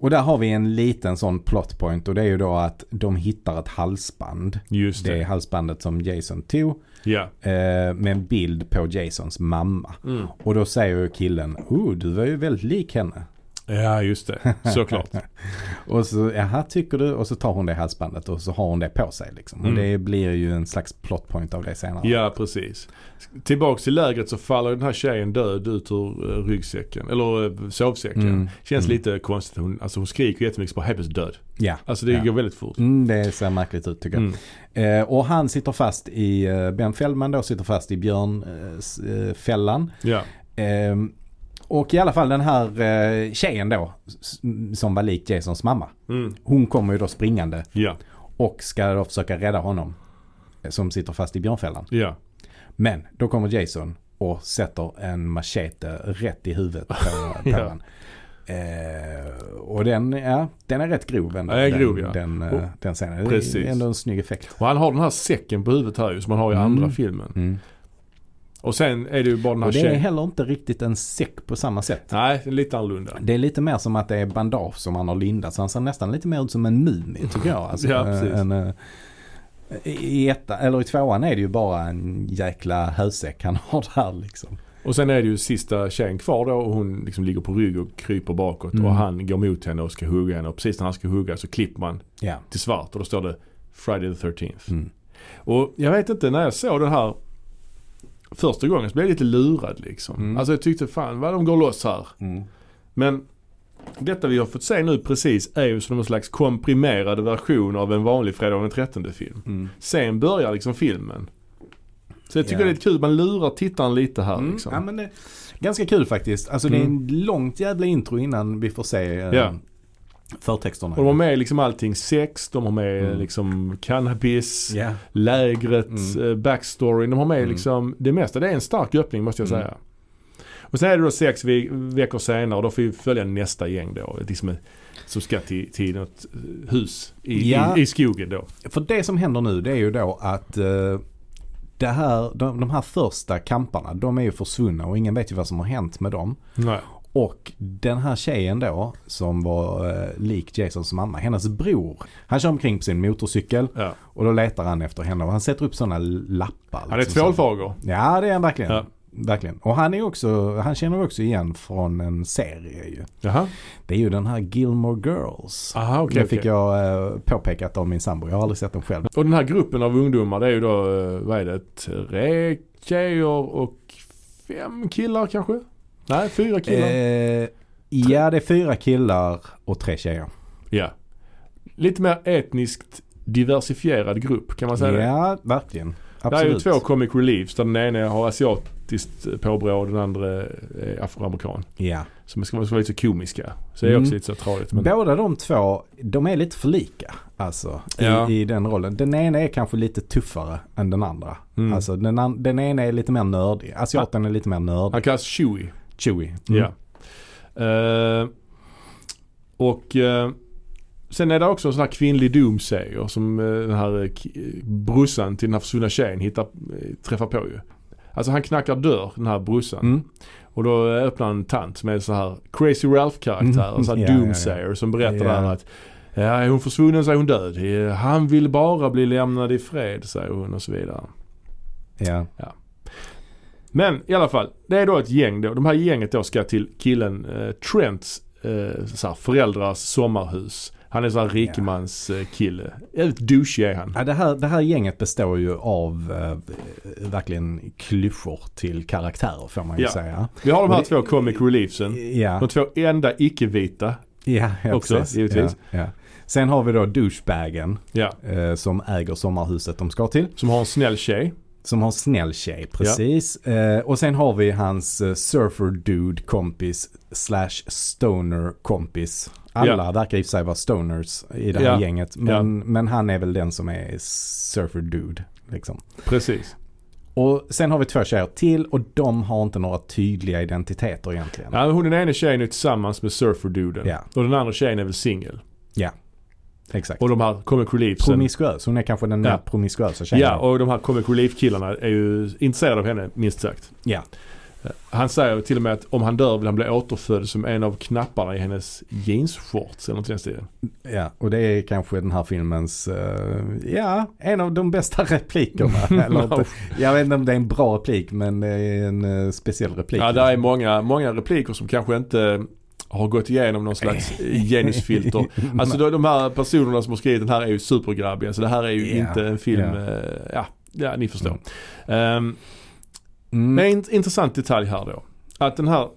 Och där har vi en liten sån plot point och det är ju då att de hittar ett halsband. Just Det är det. halsbandet som Jason tog Ja. eh, med en bild på Jasons mamma. Mm. Och då säger ju killen, oh du var ju väldigt lik henne. Ja, just det. Såklart. Och så, jaha tycker du? Och så tar hon det halsbandet och så har hon det på sig liksom. Och Mm. det blir ju en slags plot point av det senare. Ja, precis. Tillbaks till lägret så faller den här tjejen död ut ur eh, ryggsäcken, eller eh, sovsäcken. Mm. Känns Mm. lite konstigt. Hon, alltså hon skriker ju jättemycket så bara helt plötsligt död. Ja. Alltså det Ja. går väldigt fort. Mm, det ser märkligt ut tycker jag. Mm. Eh, och han sitter fast i, eh, Ben Fällman då sitter fast i björnfällan. Eh, s- eh, fällan. Ja. Ehm, och i alla fall den här eh, tjejen då s- som var lik Jasons mamma. Mm. Hon kommer ju då springande ja, och ska då försöka rädda honom. eh, Som sitter fast i björnfällan. ja. Men då kommer Jason och sätter en machete rätt i huvudet på, på Ja. honom. Eh, och den, ja, den är rätt grov ändå. Ja, den är grov, den, ja. den, eh, Och- den scenen. Precis. Det är ändå en snygg effekt. Och han har den här säcken på huvudet här ju som han har i Mm. andra filmen. Mm. Och sen är det ju bara den här Och det är tjejen. heller inte riktigt en säck på samma sätt. Nej, det är lite annorlunda. Det är lite mer som att det är bandage som han har lindat. Så han ser nästan lite mer ut som en mumie tycker jag. Alltså, Ja, eh, precis. en, eh, i, etta, eller I tvåan är det ju bara en jäkla hösäck han har där liksom. Och sen är det ju sista tjejen kvar då och hon liksom ligger på rygg och kryper bakåt. Mm. Och han går mot henne och ska hugga henne. Och precis när han ska hugga så klipper man Ja. till svart och då står det Friday the 13th. Mm. Och jag vet inte, när jag såg den här första gången så blev jag lite lurad liksom. Mm. Alltså jag tyckte fan vad de går loss här. Men detta vi har fått se nu precis är ju som en slags komprimerad mm. version av en vanlig Fredag den 13 film. Sen börjar liksom filmen. Så jag tycker Ja. det är lite kul, man lurar tittaren lite här Mm, liksom. ja, men det, ganska kul faktiskt. Alltså det är en långt jävla intro innan vi får se eh, Mm. Ja. förtexterna. Och de har med liksom allting, sex, de har med Mm. liksom cannabis, Ja. lägret, Mm. eh, backstoryn. De har med Mm. liksom det mesta. Det är en stark öppning måste jag Mm. säga. Och sen är det då sex ve- veckor senare och då får vi följa nästa gäng då. Liksom, som ska till, till något eh, hus i, Ja. i, i skogen då. För det som händer nu det är ju då att eh, det här, de, de här första kamparna de är ju försvunna och ingen vet ju vad som har hänt med dem. Nej. Och den här tjejen då som var eh, lik Jasons mamma, hennes bror. Han kör omkring på sin motorcykel Ja. och då letar han efter henne och han sätter upp sådana lappar. Han är liksom, som- tvålfager. Ja det är han verkligen. Ja. Verkligen. Och han är också, han känner vi också igen från en serie ju. Jaha. Det är ju den här Gilmore Girls. Aha, Ah, okej. det fick okej. jag eh, påpekat av min sambo. Jag har aldrig sett den själv. Och den här gruppen av ungdomar det är ju då, eh, vad är det, tre tjejer och fem killar kanske? Nej, fyra killar. Eh, ja, det är fyra killar och tre tjejer. Ja. Lite mer etniskt diversifierad grupp kan man säga det? Ja, verkligen. Det här är ju Absolut. två comic reliefs där den ena har asiatiskt påbrå och den andra är afroamerikan. Ja. Som ska ska vara lite så komiska. Så det är Mm. också lite så tradigt. Men... Båda de två, de är lite för lika. Alltså i, Ja. i den rollen. Den ena är kanske lite tuffare än den andra. Mm. Alltså den, an- den ena är lite mer nördig. Asiaten är lite mer nördig. Han kallas Chewie. Chewy. Mm. Ja. Eh, och eh, sen är det också en sån här kvinnlig doomsayer som eh, den här eh, k- eh, brorsan till den här försvunna tjejen hittar, eh, träffar på ju. Alltså han knackar dörr, den här brorsan. Mm. Och då öppnar en tant som är så här Crazy Ralph-karaktär, Mm. en sån här Ja, ja, ja. doomsayer som berättar Ja. där att ja, är hon försvunnen så är hon död. Eh, Han vill bara bli lämnad i fred, säger hon och så vidare. Ja. Men i alla fall, det är då ett gäng då. De här gänget då ska till killen eh, Trents eh, så här, föräldrars sommarhus. Han är så här rikemans eh, kille. Jävligt douchig är han. Ja, det, här, det här gänget består ju av eh, verkligen klyschor till karaktärer får man ju Ja. säga. Vi har de Men här det- två comic reliefsen. Ja. De två enda icke-vita. Ja, ja Också, precis. givetvis. Ja, ja. Sen har vi då douchebagen Ja. eh, som äger sommarhuset de ska till. Som har en snäll tjej. Som har en snäll tjej, precis. Eh, och sen har vi hans eh, surfer-dude-kompis slash stoner-kompis. Alla verkar i och för sig vara stoners i det här Ja. gänget. Men, men han är väl den som är surfer-dude. Liksom. Precis. Och sen har vi två tjejer till och de har inte några tydliga identiteter egentligen. Ja, men hon den ena tjejen är tillsammans med surferduden. Ja. Och den andra tjejen är väl singel. Exakt. Och de här comic reliefsen. Promiskuös, hon är kanske den Ja. mer promiskuösa tjejen. Ja, och de här comic relief-killarna är ju intresserade av henne, minst sagt. Eh, ja. Han säger till och med att om han dör vill han bli återfödd som en av knapparna i hennes jeansshorts eller något i den stilen. Ja, och det är kanske den här filmens, eh, ja, en av de bästa replikerna. eller inte. Jag vet inte om det är en bra replik, men det är en eh, speciell replik. Ja, där är många, många repliker som kanske inte har gått igenom någon slags genusfilter. Alltså då, de här personerna som har skrivit den här är ju supergrabbiga så det här är ju Ja, inte en film, ja. eh, ja, ja ni förstår. Ehm, Mm. Men en intressant detalj här då. Att den här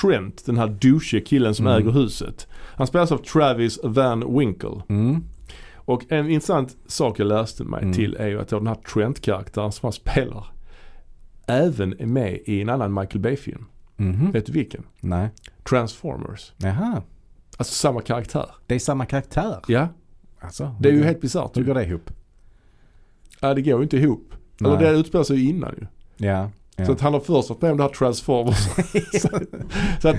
Trent, den här douche killen som Mm. äger huset. Han spelas av Travis Van Winkle. Mm. Och en intressant sak jag läste mig Mm. till är ju att den här Trent-karaktären som han spelar även är med i en annan Michael Bay-film. Mhm. Vet du vilken? Nej, Transformers. jaha. Alltså samma karaktär. Det är samma karaktär. Ja, Alltså, det är ju hur- helt bisarrt. Hur ju. går det ihop? Ja, det går ju inte ihop. Eller Nej. det utspelar sig ju innan ju. Ja. Så ja. att han har först varit med om det här Transformers. så, så att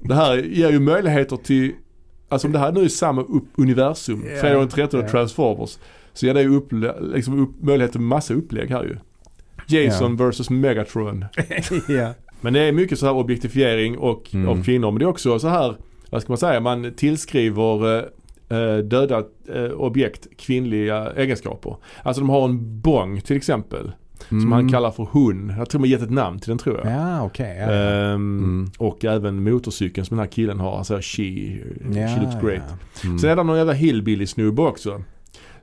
det här ger ju möjligheter till, alltså om det här nu är samma upp, universum, Ja, Fredag den 13 och ja. Transformers, så ger det ju upp, liksom upp, möjlighet till massa upplägg här ju. Jason versus Megatron. ja. Men det är mycket så här objektifiering och, Mm. av kvinnor. Men det är också så här, vad ska man säga, man tillskriver eh, eh, döda eh, objekt kvinnliga egenskaper. Alltså de har en bong till exempel. Som han kallar för hon. Jag tror man gett ett namn till den tror jag. Mm. Ja, okej. ja, ja. Ehm, Mm. Och även motorcykeln som den här killen har. Han säger she, Ja, she looks great. ja. Mm. Sen är det någon jävla hillbilly-snubbe också.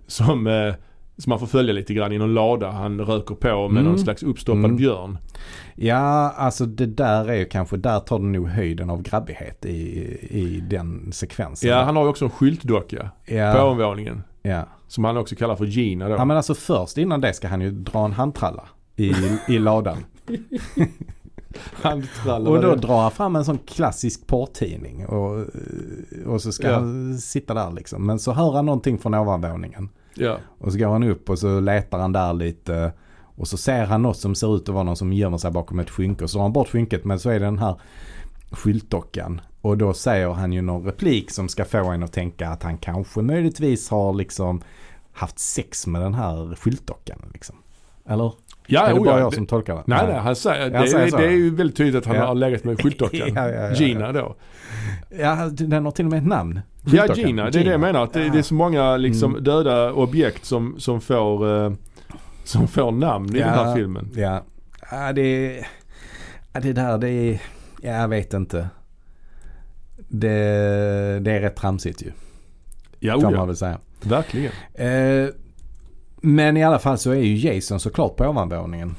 Som, eh, som man får följa lite grann i någon lada. Han röker på med Mm. någon slags uppstoppad Mm. björn. Ja, alltså det där är ju kanske, där tar du nog höjden av grabbighet i, i den sekvensen. Ja, han har ju också en skyltdocka på ja, övervåningen. ja. Som han också kallar för Gina då. ja, men alltså först innan det ska han ju dra en handtralla. i, i ladan. Handtrallor. Och då drar han fram en sån klassisk porrtidning och, och så ska Ja. han sitta där liksom. Men så hör han någonting från ovanvåningen. Ja. Och så går han upp och så letar han där lite. Och så ser han något som ser ut att vara någon som gömmer sig bakom ett skynke. Och så drar han bort skynket men så är det den här skyltdockan. Och då säger han ju någon replik som ska få en att tänka att han kanske möjligtvis har liksom haft sex med den här skyltdockan. Liksom. Eller? Ja, är det oh, bara ja. jag Det- som tolkar det? Nej, nej, han säger, Han det, säger så. är, det är ju väldigt tydligt att han Ja. har legat med skyltdockan. Ja, ja, ja, ja. Gina då. Ja, den har till och med ett namn. Ja, Skyltdockan. Gina. Det är det jag menar. Att det, det är så många liksom, Mm. döda objekt som, som, får, eh, som får namn i Ja. den här filmen. Ja, ja det, ja, det där det är, ja, jag vet inte. Det, det är rätt tramsigt ju, Ja, kan oh, man ja. väl säga. verkligen. Eh, men i alla fall så är ju Jason såklart på ovanvåningen.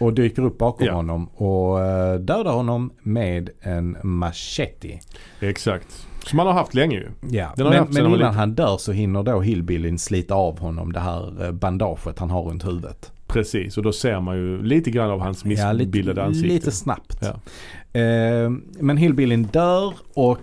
Och dyker upp bakom Ja. honom och eh, dödar honom med en machete. Exakt. Som han har haft länge ju. Ja. Den har jag Men, haft sedan men jag var innan liten. han dör så hinner då hillbillyn slita av honom det här eh, bandaget han har runt huvudet. Precis, och då ser man ju lite grann av hans Ja, lite- missbildade ansikte. Lite snabbt. Eh, men Hillbillyn dör och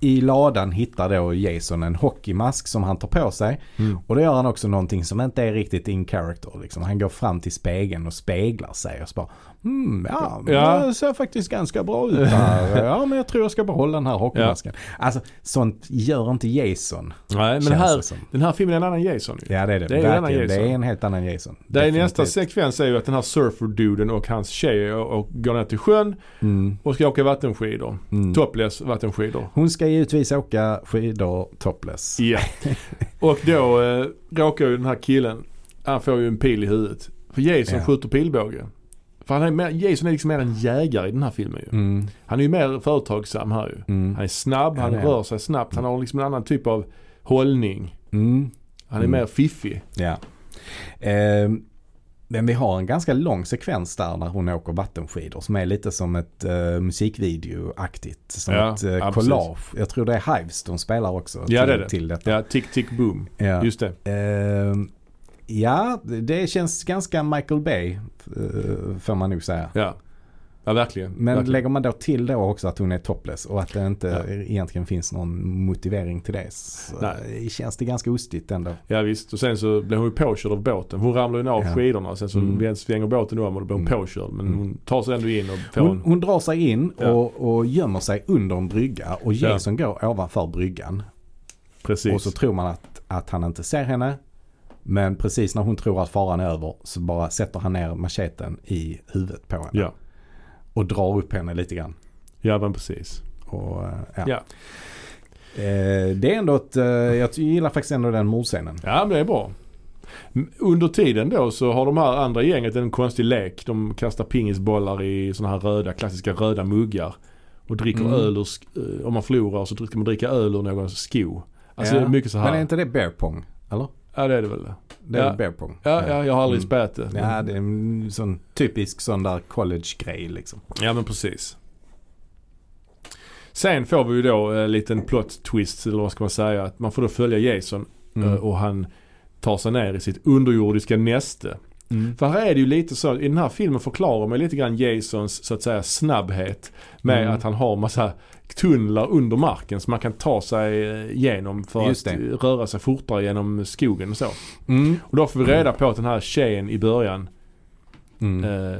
i ladan hittar då Jason en hockeymask som han tar på sig. Mm. Och då gör han också någonting som inte är riktigt in character. Liksom. Han går fram till spegeln och speglar sig och så bara mm, ja, Ja. det ser faktiskt ganska bra ut här. ja, men jag tror jag ska behålla den här hockeymasken. Alltså, sånt gör inte Jason. Nej, men känns här, det som. den här filmen är en annan Jason ju. Ja, det är det. Det är en annan Verkligen. det är Jason. en helt annan Jason. Där är nästa Definitivt. sekvens är ju att den här surferduden och hans tjej eh, och, och går ner till sjön Mm, och ska åka vattenskidor. mm. Topless vattenskidor. Hon ska givetvis åka skidor topless. Ja. Och då eh, råkar ju den här killen, han får ju en pil i huvudet. För Jason Ja. skjuter pilbåge. För han är mer, Jason är liksom mer en jägare i den här filmen ju. Mm, Han är ju mer företagsam här ju. mm, Han är snabb, han Ja, det är rör sig snabbt, han har liksom en annan typ av hållning. mm. Han är Mm. mer fiffig. Ja. Ehm, men vi har en ganska lång sekvens där när hon åker vattenskidor som är lite som ett eh, musikvideoaktigt. Som Ja, ett eh, ja, collage. Jag tror det är Hives de spelar också Ja, till, det är det. till detta. Ja, tick tick boom. Ja. Just det. Ehm, ja, det- det känns ganska Michael Bay eh, får man nog säga. Ja, ja verkligen. Men verkligen. lägger man då till då också att hon är topless och att det inte Ja. egentligen finns någon motivering till det. Så Nej. Känns det ganska ostigt ändå. Ja visst, och sen så blev hon ju påkörd av båten. Hon ramlade ju ner av Ja. skidorna och sen så Mm. svänger båten om och då blir hon Mm. påkörd. Men Mm. hon tar sig ändå in och får Hon, en... hon drar sig in Ja. och, och gömmer sig under en brygga och Jason går ovanför bryggan. Precis. Och så tror man att, att han inte ser henne. Men precis när hon tror att faran är över så bara sätter han ner macheten i huvudet på henne. ja. Och drar upp henne lite grann. ja, men precis. Och, eh, ja. Ja. Eh, det är ändå ett, eh, jag gillar faktiskt ändå den mordscenen. Ja, men det är bra. M- Under tiden då så har de här andra gänget en konstig lek. De kastar pingisbollar i såna här röda, klassiska röda muggar. Och dricker Mm. öl ur, sk- eh, om man förlorar så ska man dricka öl ur någons sko. Alltså Ja. det är mycket så här. Men är inte det beer pong? Eller? Ja det är det väl. Ja, Det är Ja. väl beer pong? ja, jag har aldrig Mm. spelat det. Ja, det är en sån typisk sån där college-grej liksom. Ja men precis. Sen får vi ju då eh, en liten plot twist eller vad ska man säga. Att man får då följa Jason Mm. eh, och han tar sig ner i sitt underjordiska näste. Mm. För här är det ju lite så, i den här filmen förklarar man lite grann Jasons så att säga snabbhet. Med Mm. att han har massa tunnlar under marken som man kan ta sig eh, igenom för Just att det. eh, röra sig fortare genom skogen och så. Mm. Och då får vi reda på att den här tjejen i början, Mm. eh,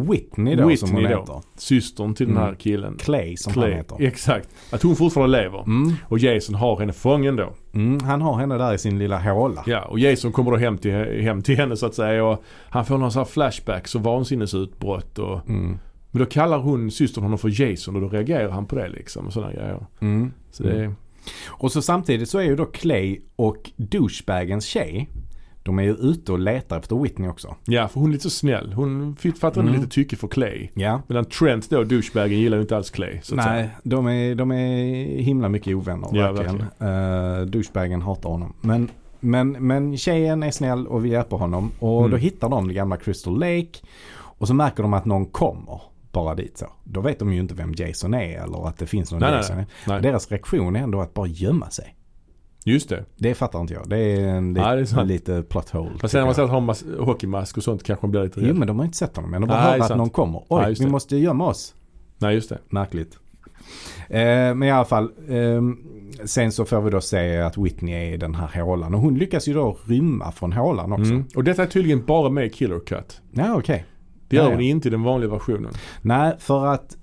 Whitney då som hon Whitney då. heter. systern till den här Mm. killen, Clay som han heter. Exakt. Att hon fortfarande lever. Mm. Och Jason har henne fången då. Mm. Han har henne där i sin lilla håla. Ja, och Jason kommer då hem till, hem till henne så att säga. Och han får någon sån här flashbacks och vansinnesutbrott. Och, Mm. men då kallar hon systern honom för Jason och då reagerar han på det liksom. Och sådana grejer. Mm. Så det är, Och så samtidigt så är ju då Clay och douchebagens tjej. De är ju ute och letar efter Whitney också. ja, för hon är lite så snäll. Hon fick- fattar mm. Mm. lite tycke för Clay. Ja. Medan Trent då, douchebagen, gillar ju inte alls Clay. Så att säga. Nej, de är, de är himla mycket ovänner Ja, verkligen. Eh, douchebagen hatar honom. Men, men, men tjejen är snäll och vi hjälper honom. Och Mm. då hittar de det gamla Crystal Lake. Och så märker de att någon kommer bara dit så. Då vet de ju inte vem Jason är eller att det finns någon Nej, nej, Jason. nej. Deras reaktion är ändå att bara gömma sig. Just det. Det fattar inte jag. Det är en Ja, det är lit, sant. lite plot hole. Fast sen när man tycker Mm. jag. säger att ha mas- hockeymask och sånt kanske man blir lite Jo rädd. men de har inte sett honom än. De bara Nej, hör att sant. någon kommer. Ja, Oj, just vi det. måste gömma oss. Nej just det. Märkligt. Eh, men i alla fall. ehm, sen så får vi då se att Whitney är i den här hålan. Och hon lyckas ju då rymma från hålan också. Mm. Och detta är tydligen bara med i Killer Cut. Ja okej. Det gör Ja, ja. hon inte i den vanliga versionen. Nej för att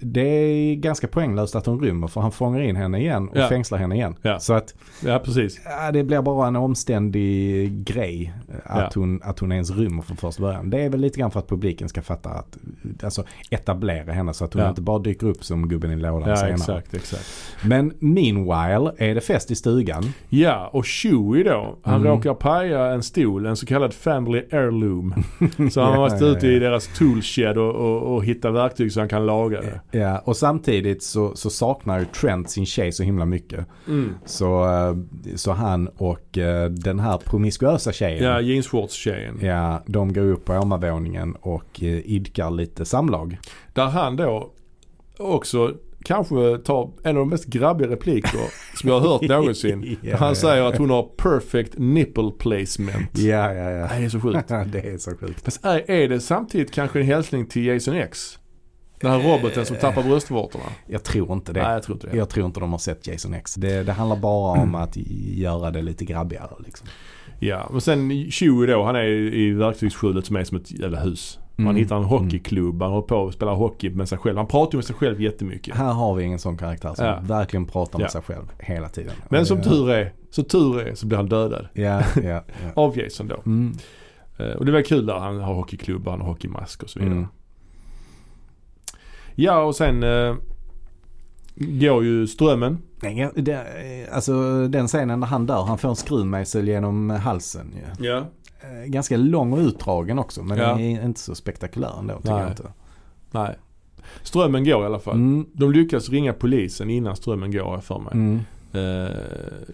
det är ganska poänglöst att hon rymmer. För han fångar in henne igen och Ja. fängslar henne igen. Ja. Så att Ja precis. ja, det blir bara en omständig grej. eh, Att, hon, att hon ens rymmer från första början. Det är väl lite grann för att publiken ska fatta att. Alltså etablera henne så att hon Ja. inte bara dyker upp som gubben i lådan Ja senare. exakt, exakt. Men meanwhile är det fest i stugan. Ja och Chewie då. Han Mm. råkar paja en stol, en så kallad family heirloom. Så han har varit Ja, ja, ute ja. i deras toolshed och, och, och hittat verktyg så han kan laga det. Ja, och samtidigt så, så saknar ju Trent sin tjej så himla mycket. Mm. Så, eh, så han och eh, den här promiskuösa tjejen. Ja, jeansshorts-tjejen. ja, de går upp på övervåningen och eh, idkar lite samlag. Där han då också kanske tar en av de mest grabbiga repliker som jag har hört någonsin. Ja, ja. han säger att hon har perfect nipple placement. Ja, ja, ja. Nej, det är så sjukt. det är så sjukt. Fast är, är det samtidigt kanske en hälsning till Jason X? Den här roboten som tappar bröstvårtorna? Jag tror inte Nej, Eh, Mm. det. jag tror inte det. Jag tror inte de har sett Jason X. Det, det handlar bara om att göra det lite grabbigare liksom. Ja, men sen Chewie då, han är i verktygsskjulet som är som ett jävla hus. Man Mm. hittar en hockeyklubb, han håller på och spelar hockey med sig själv. Han pratar ju med sig själv jättemycket. Här har vi ingen sån karaktär som Ja. verkligen pratar med Ja. sig själv hela tiden. Men som Ja. tur är, så tur är så blir han dödad. Ja, ja, ja. Av Jason då. Mm. Eh, Och det var kul där. Han har hockeyklubba, han har hockeymask och så vidare. Mm. Ja och sen eh, går ju strömmen. Nej, jag- det, eh, alltså den scenen när han dör, han får en skruvmejsel genom halsen ju. Ja. Eh, Ganska lång och utdragen också men Ja. den är inte så spektakulär ändå tycker Nej. jag inte. Nej. Strömmen går i alla fall. Mm, De lyckas ringa polisen innan strömmen går har jag för mig. mm, Eh,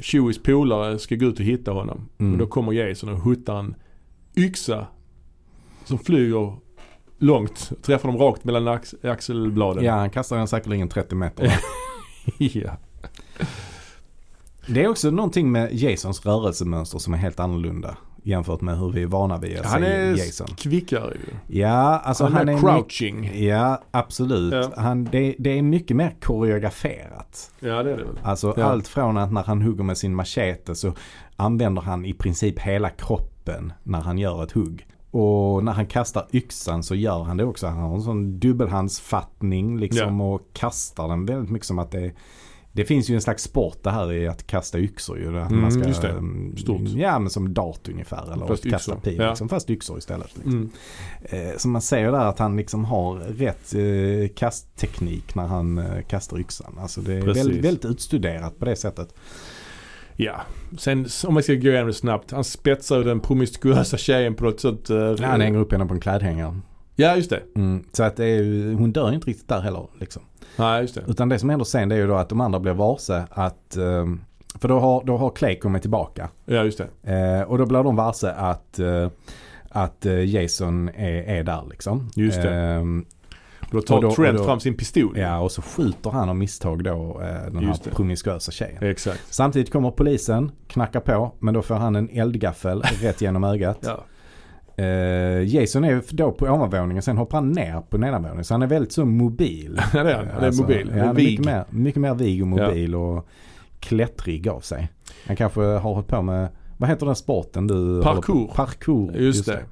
Chewies polare ska gå ut och hitta honom. Mm. Och då kommer Jason och huttar en yxa som flyger långt. Träffar dem rakt mellan ax- axelbladen. ja, han kastar den säkerligen 30 meter. ja. det är också någonting med Jasons rörelsemönster som är helt annorlunda jämfört med hur vi är vana vid att Han se är Jason. kvickare ju. Ja, alltså han, han är är... crouching. mycket- Ja, absolut. Ja. Han, det, det är mycket mer koreograferat. Ja det är det väl. Alltså Ja. allt från att när han hugger med sin machete så använder han i princip hela kroppen när han gör ett hugg. Och när han kastar yxan så gör han det också. Han har en sån dubbelhandsfattning liksom och kastar den väldigt mycket som att det det finns ju en slags sport det här i att kasta yxor ju. Att Mm, man ska, just det. mm, Stort. Ja men som dart ungefär. Eller Fast att kasta yxor. pil. Ja. Liksom, fast yxor istället. Liksom. Mm. Eh, så man ser där att han liksom har rätt eh, kastteknik när han eh, kastar yxan. Alltså det är Precis. väldigt, väldigt utstuderat på det sättet. Ja, sen s- om jag ska gå igenom det snabbt. Han spetsar ju den promiskuösa tjejen på något sånt... eh, Han hänger upp henne på en klädhängare. ja, just det. Mm. Så att det är, ju- hon dör ju inte riktigt där heller. Liksom. Nej, just det. Utan det som händer sen det är ju då att de andra blir varse att eh, för då har, då har Clay kommit tillbaka. Ja, just det. Eh, och då blir de varse att, eh, att eh, Jason är, är där liksom. Just det. Eh, Och Då tar Och då- och Trent då- fram sin pistol. ja, och så skjuter han av misstag då eh, den här Just det. promiskuösa tjejen. Exakt. Samtidigt kommer polisen, knackar på, men då får han en eldgaffel rätt genom ögat. Ja. Eh, Jason är då på ovanvåningen, sen hoppar han ner på nedanvåningen. Så han är väldigt så mobil. ja, det är han. Han är Alltså, mobil. Han ja, är han är mycket, vig. mer, mycket mer vig och mobil och klättrig av sig. Han kanske har hållit på med, vad heter den sporten du Parkour. håller på- Parkour. Just det.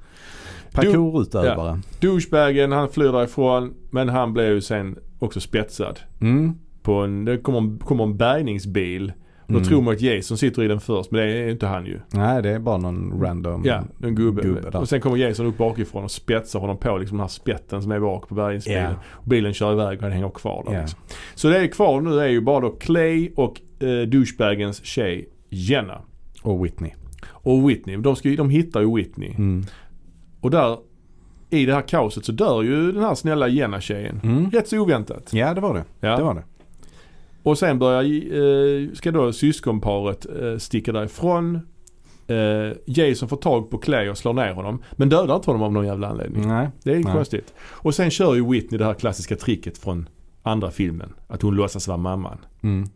Parkourutövare. Douchebagen, han flyr därifrån. Men han blev ju sen också spetsad. Mm. På en, det kommer en, kommer en bärgningsbil. Och då Mm. tror man att Jason sitter i den först. Men det är ju inte han ju. Nej, det är bara någon random. Ja, en gubbe. gubbe där. och sen kommer Jason upp bakifrån och spetsar honom på liksom den här spetten som är bak på bärgningsbilen. Ja. Och bilen kör iväg och han hänger kvar där. Ja. Liksom. Så det är kvar nu är ju bara då Clay och eh, douchebagens tjej Jenna. Och Whitney. Och Whitney. De, ska, ju- de hittar ju Whitney. Mm. Och där i det här kaoset så dör ju den här snälla Jenna-tjejen. Mm. Rätt så oväntat. Ja, det var det. Ja. Det var det. Och sen börjar, eh, ska då syskonparet eh, sticka därifrån. Eh, Jason får tag på Clay och slår ner honom. Men dödar inte honom av någon jävla anledning. Nej. Det är Mm. Nej. konstigt. Och sen kör ju Whitney det här klassiska tricket från andra filmen. Att hon låtsas vara mamman. Mm.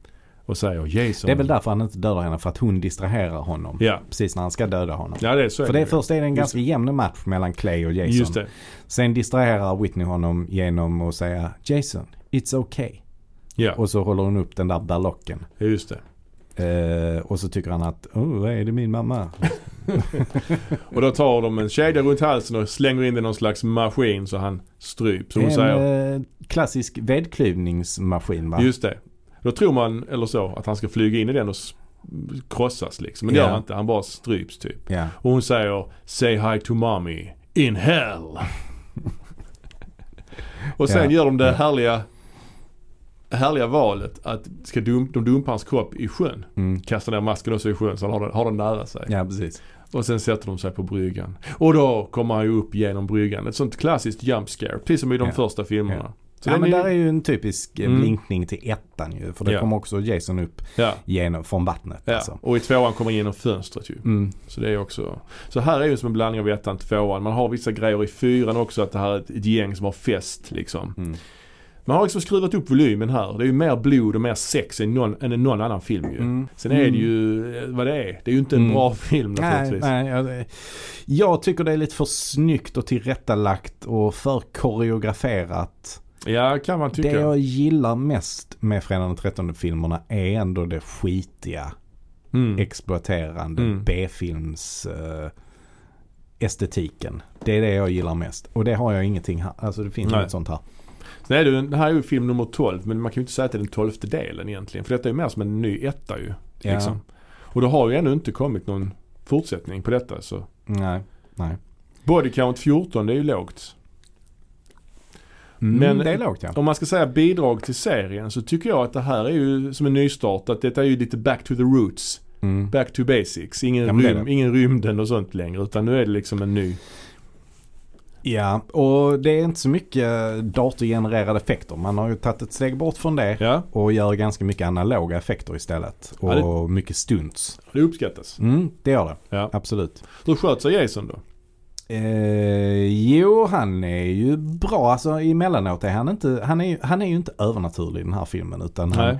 och säger Jason. Det är väl därför han inte dödar henne, för att hon distraherar honom. Ja, Precis när han ska döda honom. ja det är så. är För det, ju. först är det en Just ganska jämn match mellan Clay och Jason. Just det. Sen distraherar Whitney honom genom att säga Jason, it's okay. Ja, Och så håller hon upp den där berlocken. just det. Eh, och så tycker han att, oh, är det min mamma? Och då tar de en kedja runt halsen och slänger in den i någon slags maskin så han stryps. Och en hon säger, eh, klassisk vedklyvningsmaskin va? just det. Då tror man, eller så, att han ska flyga in i den och s- krossas liksom. Men det gör Ja. han inte, han bara stryps typ. Ja. Och hon säger Say hi to mommy in hell. och sen Ja. gör de det härliga, härliga valet att ska dump, de dumpar hans kropp i sjön. Mm. Kastar ner masken också i sjön så han har den, har den nära sig. ja, precis. Och sen sätter de sig på bryggan. Och då kommer han ju upp genom bryggan. Ett sånt klassiskt jump scare. Precis som i de Ja. första filmerna. Så Ja, den men är- där är ju en typisk eh, Mm. blinkning till ettan ju. För det Ja. kommer också Jason upp ja, genom, från vattnet. ja. Alltså. Och i tvåan kommer han genom fönstret ju. Mm. Så det är också... Så här är ju som en blandning av ettan och tvåan. Man har vissa grejer i fyran också att det här är ett, ett gäng som har fest liksom. Mm. Man har liksom skruvat upp volymen här. Det är ju mer blod och mer sex än någon, än i någon annan film ju. Mm. Sen är det Mm. ju eh, vad det är. Det är ju inte en Mm. bra film Nej, naturligtvis. nej jag, jag tycker det är lite för snyggt och tillrättalagt och för koreograferat. Ja, kan man tycka. det jag gillar mest med Fredagen den 13 filmerna är ändå det skitiga, Mm. exploaterande Mm. B-films eh, estetiken. Det är det jag gillar mest. Och det har jag ingenting här. Alltså det finns Nej. inget sånt här. Sen är det, ju en- det här är ju film nummer 12 men man kan ju inte säga att det är den tolfte delen egentligen. För detta är ju mer som en ny etta ju. Ja. Liksom. Och det har ju ännu inte kommit någon fortsättning på detta så. Nej. Nej. Body count 14, det är ju lågt. Mm, Men- det är lågt ja. Om man ska säga bidrag till serien så tycker jag att det här är ju som en nystart. Att detta är ju lite back to the roots. Mm. Back to basics. Ingen, Ja, men det är rym, ingen rymden och sånt längre. Utan nu är det liksom en ny. Ja, och det är inte så mycket datorgenererade effekter. Man har ju tagit ett steg bort från det. Ja, Och gör ganska mycket analoga effekter istället. Och Ja, mycket stunts. det uppskattas. Mm, det gör det. Ja. Absolut. Hur sköt sig Jason då? Eh, jo, han är ju bra. Alltså emellanåt är han inte, han är, ju- han är ju inte övernaturlig i den här filmen. Utan han, Nej.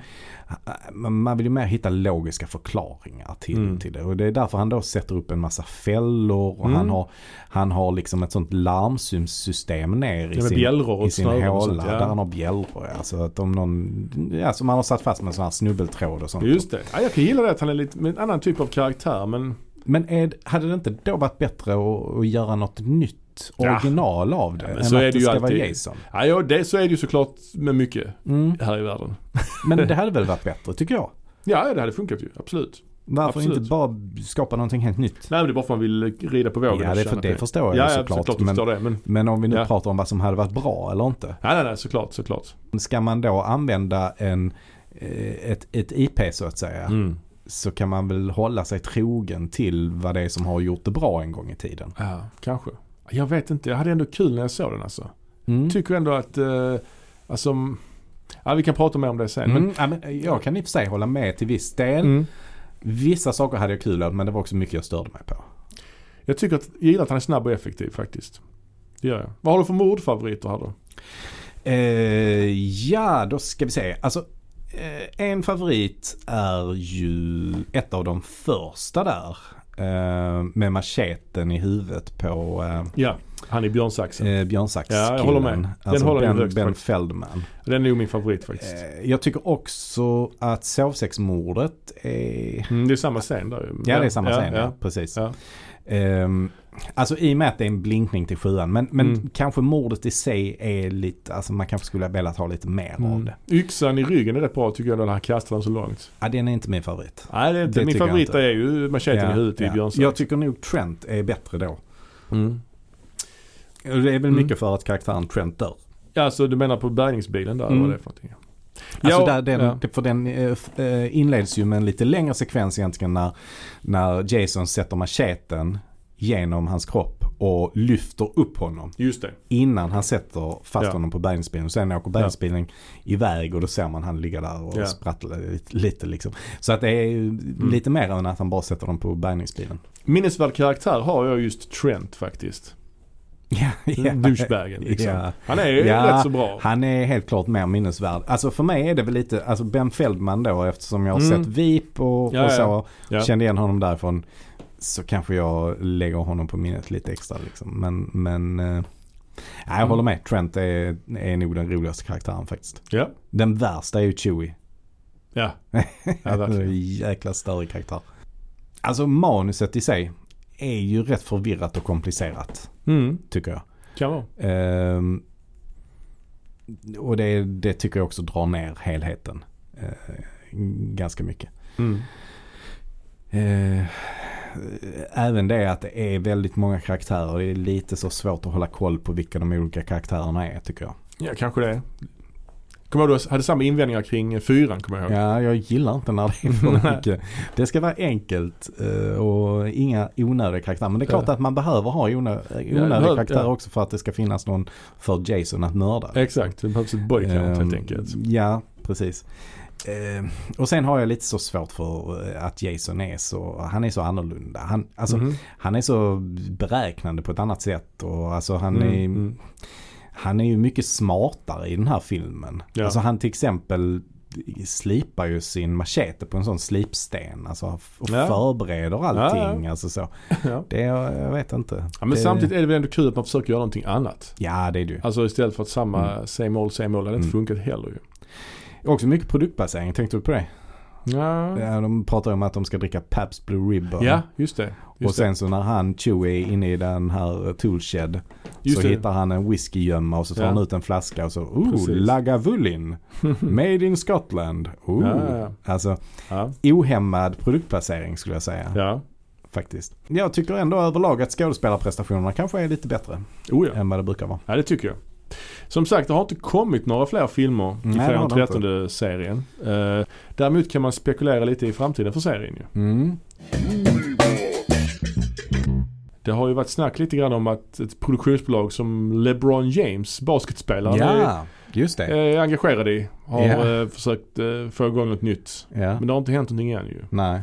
man- man vill ju mer hitta logiska förklaringar till, Mm. till det. Och det är därför han då sätter upp en massa fällor. Och Mm. han, har, han har liksom ett sånt larmsystem ner i Det med sin bjällror i och sin snören och håla sånt. där Ja. han har bjällror. Alltså att om någon, alltså man har satt fast med en sån här snubbeltråd och sånt. Just det. Ja, jag kan gilla det att han är lite med en annan typ av karaktär men Men är, hade det inte då varit bättre att, att göra något nytt Ja. original av det? men än så att är det ju ska vara alltid. Jason. ja, ja, det, så är det ju såklart med mycket Mm. här i världen. Men det hade väl varit bättre tycker jag. Ja, ja, det hade funkat ju. Absolut. Varför Absolut. inte bara skapa någonting helt nytt? Nej men det är bara för att man vill rida på vågen Ja, och det, känna för, det att förstår jag Ja, ju ja, såklart. såklart du men, förstår det. Men, men om vi nu Ja. pratar om vad som hade varit bra eller inte. nej, nej, nej, såklart, såklart. Ska man då använda en, eh, ett, ett IP så att säga. Mm. så kan man väl hålla sig trogen till vad det är som har gjort det bra en gång i tiden. Ja, kanske. Jag vet inte, jag hade ändå kul när jag såg den alltså. Mm. Tycker ändå att, eh, alltså, m- ja, vi kan prata mer om det sen. Men, Mm, ja, men jag kan i och för sig hålla med till viss del. mm. Vissa saker hade jag kul åt men det var också mycket jag störde mig på. Jag tycker att, jag gillar att han är snabb och effektiv faktiskt. Det gör jag. Vad har du för mordfavoriter här då? Eh, ja, då ska vi se. Alltså, eh, en favorit är ju ett av de första där. Eh, med macheten i huvudet på eh, Ja, han är Björn Saxen. eh, Björn Sax Ja, jag håller med. Den Alltså håller jag ben, högst ben faktiskt. Feldman. Den är ju min favorit faktiskt. Eh, Jag tycker också att sovsexmordet är... Mm, det är samma scen där ju. Eh. Ja det är samma ja, scen, ja, Ja. precis. Ja. Ehm, alltså i och med att det är en blinkning till sjuan. Men, men Mm. kanske mordet i sig är lite, alltså man kanske skulle ha velat ha lite mer av Mm. det. Yxan i ryggen är rätt bra tycker jag när han kastar den så långt. Ja, den är inte min favorit. Nej, det är inte. Det min tycker jag favorit inte. är ju macheten i huvudet i Björn Sax. Jag tycker nog Trent är bättre då. Mm. Och Det är väl Mm. mycket för att karaktären Trent dör. Ja, alltså du menar på bärgningsbilen där? Mm. Vad det är för någonting? Alltså Ja, där, den, ja. För den eh, f- eh, inleds ju med en lite längre sekvens egentligen när, när Jason sätter macheten genom hans kropp och lyfter upp honom Just det. innan han sätter fast Ja. honom på bärgningsbilen. Sen åker bärgningsbilen iväg och då ser man han ligga där och Ja. Mm. sprattla lite, lite liksom. Så att det är ju lite mer än att han bara sätter dem på bärgningsbilen. Minnesvärd karaktär har jag just Trent faktiskt. Ja, ja. douchebagen. Liksom. Ja. Han är ju Ja. rätt så bra. Han är helt klart mer minnesvärd. Alltså för mig är det väl lite, alltså Ben Feldman då eftersom jag har Mm. sett VIP och, Ja, och så. ja. Ja. Kände igen honom därifrån. Så kanske jag lägger honom på minnet lite extra liksom. Men, men eh, nej, jag Mm. håller med. Trent är, är nog den roligaste karaktären faktiskt. Ja, Den värsta är ju Chewie. ja. ja verkligen. Jäkla större karaktär. Alltså manuset i sig är ju rätt förvirrat och komplicerat Mm, tycker jag. kan vara. Ehm, och det, det tycker jag också drar ner helheten eh, ganska mycket. Mm. Eh, även det att det är väldigt många karaktärer. Det är lite så svårt att hålla koll på vilka de olika karaktärerna är tycker jag. Ja, kanske det. Kommer jag ihåg, du hade samma invändningar kring eh, fyran, kommer jag ihåg. Ja, jag gillar inte när det är för Nej. mycket. Det ska vara enkelt eh, och inga onödiga karaktärer. Men det är klart Ja. att man behöver ha onö- onödiga behöver- karaktärer ja. också för att det ska finnas någon för Jason att mörda. Exakt, det behövs ett boycount helt Ehm, enkelt. Ja, precis. Ehm, och sen har jag lite så svårt för eh, att Jason är så, han är så annorlunda. Han, alltså, Mhm. han är så beräknande på ett annat sätt och alltså han Mm, är mm. han är ju mycket smartare i den här filmen. Ja. Alltså han till exempel slipar ju sin machete på en sån slipsten. Alltså och Ja. förbereder allting. Alltså så. Ja. Det, jag vet inte. Ja, men det, samtidigt är det väl ändå kul att man försöker göra någonting annat. Ja det är det ju. Alltså istället för att samma, same old, same old, det hade inte Mm. funkat heller ju. Också mycket produktbasering, tänkte du på det? Ja, Ja, de pratar ju om att de ska dricka Pabst Blue Ribbon. Mm. ja just det. Just och sen så när han Chewie är inne i den här toolshed Just så det. hittar han en whiskygömma och så tar Ja. han ut en flaska och så oh, Precis. Lagavulin. Made in Scotland. Oh. Ja, ja, Alltså ja. ohämmad produktplacering skulle jag säga. ja. Faktiskt. Jag tycker ändå överlag att skådespelarprestationerna kanske är lite bättre Oh, ja. än vad det brukar vara. Ja, det tycker jag. Som sagt, det har inte kommit några fler filmer Nej, i det fredag har det den inte. 13 serien. Eh, däremot kan man spekulera lite i framtiden för serien ju. Det har ju varit snack lite grann om att ett produktionsbolag som LeBron James, basketspelaren, Ja, just är, det. är engagerad i. Har Ja. eh, försökt eh, få igång något nytt. Ja. Men det har inte hänt någonting än ju. Nej.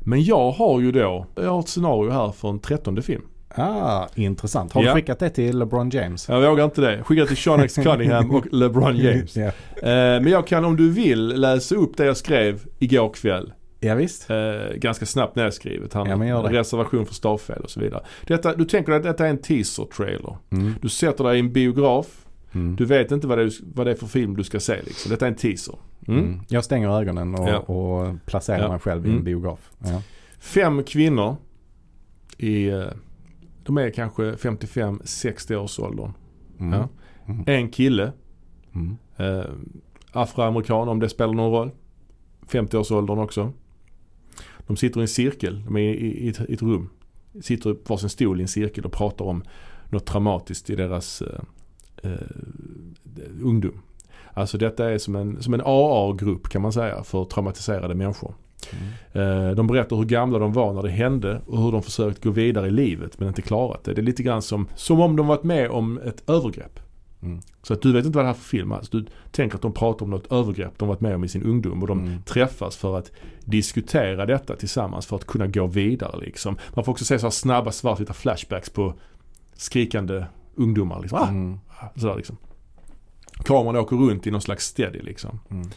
Men jag har ju då, jag har ett scenario här för en trettonde film. Ah, intressant. Har Ja. du skickat det till LeBron James? Jag vågar inte det. Skicka till Sean X Cunningham och LeBron James. Eh, Ja. men jag kan om du vill läsa upp det jag skrev igår kväll. ja visst. Eh, ganska snabbt nedskrivet. Han, Ja, men gör det. reservation för stavfel och så vidare. Detta, du tänker dig att detta är en teaser-trailer. Mm. Du sätter dig i en biograf. Mm. Du vet inte vad det, är- vad det är för film du ska se liksom. Detta är en teaser. Mm. Mm. Jag stänger ögonen och, Ja. och placerar Ja. mig själv i en Mm. biograf. Ja. Fem kvinnor i, eh, de är kanske 55-60 års åldern. Mm. Ja. Mm. En kille, Mm. eh, afroamerikan om det spelar någon roll. 50 års åldern också. De sitter i en cirkel, de är i, i, i ett- i ett rum. Sitter på varsin stol i en cirkel och pratar om något traumatiskt i deras eh, eh, ungdom. Alltså detta är som en, som en AA-grupp kan man säga för traumatiserade människor. Mm. Eh, De berättar hur gamla de var när det hände och hur de försökt gå vidare i livet men inte klarat det. Det är lite grann som, som om de varit med om ett övergrepp. Mm. Så att du vet inte vad det här är för film är. Så Du tänker att de pratar om något övergrepp de varit med om i sin ungdom och de Mm. träffas för att diskutera detta tillsammans för att kunna gå vidare liksom. Man får också se så här snabba svartvita flashbacks på skrikande ungdomar liksom. Ah! Mm. Sådär liksom. Kameran åker runt i någon slags steady liksom. Mm.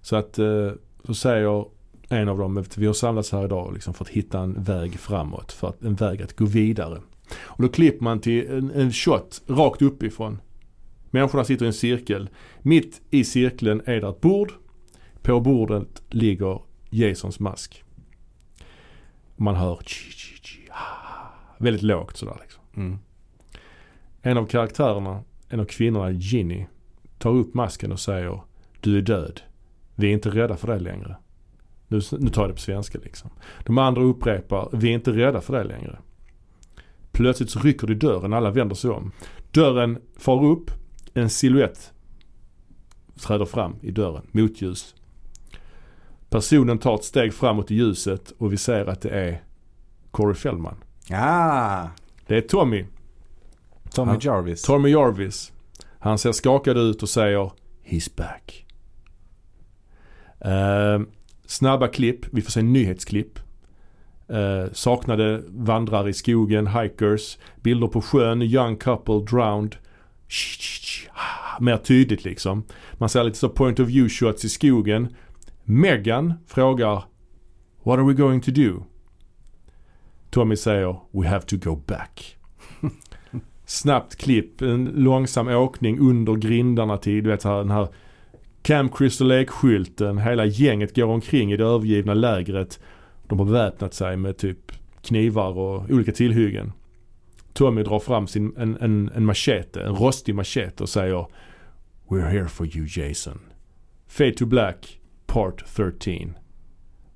Så att eh, så säger en av dem att vi har samlats här idag liksom för att hitta en väg framåt. För att, en väg att gå vidare. Och då klipper man till en, en shot rakt uppifrån. Människorna sitter i en cirkel. Mitt i cirkeln är det ett bord. På bordet ligger Jasons mask. Man hör tji, tji, tji, ah, väldigt lågt sådär liksom. Mm. En av karaktärerna, en av kvinnorna, Ginny, tar upp masken och säger Du är död. Vi är inte rädda för dig längre. Nu, nu tar jag det på svenska liksom. De andra upprepar Vi är inte rädda för dig längre. Plötsligt så rycker det i dörren, alla vänder sig om. Dörren far upp, en silhuett träder fram i dörren, motljus. Personen tar ett steg framåt i ljuset och vi ser att det är Corey Feldman. Ah, Det är Tommy Tommy Ja. Jarvis. Tommy Jarvis. Han ser skakad ut och säger “He's back”. Ehm, snabba klipp. Vi får se nyhetsklipp. Eh, saknade vandrar i skogen, hikers, bilder på sjön, young couple drowned. Tsch, tsch, tsch, ah, Mer tydligt liksom. Man ser lite så point of view shots i skogen. Megan frågar What are we going to do? Tommy säger We have to go back. Snabbt klipp, en långsam åkning under grindarna till du vet, så här, den här Camp Crystal Lake-skylten. Hela gänget går omkring i det övergivna lägret. De har beväpnat sig med typ knivar och olika tillhyggen. Tommy drar fram sin, en, en, en machete, en rostig machete och säger We're here for you Jason. Fade to Black, Part 13.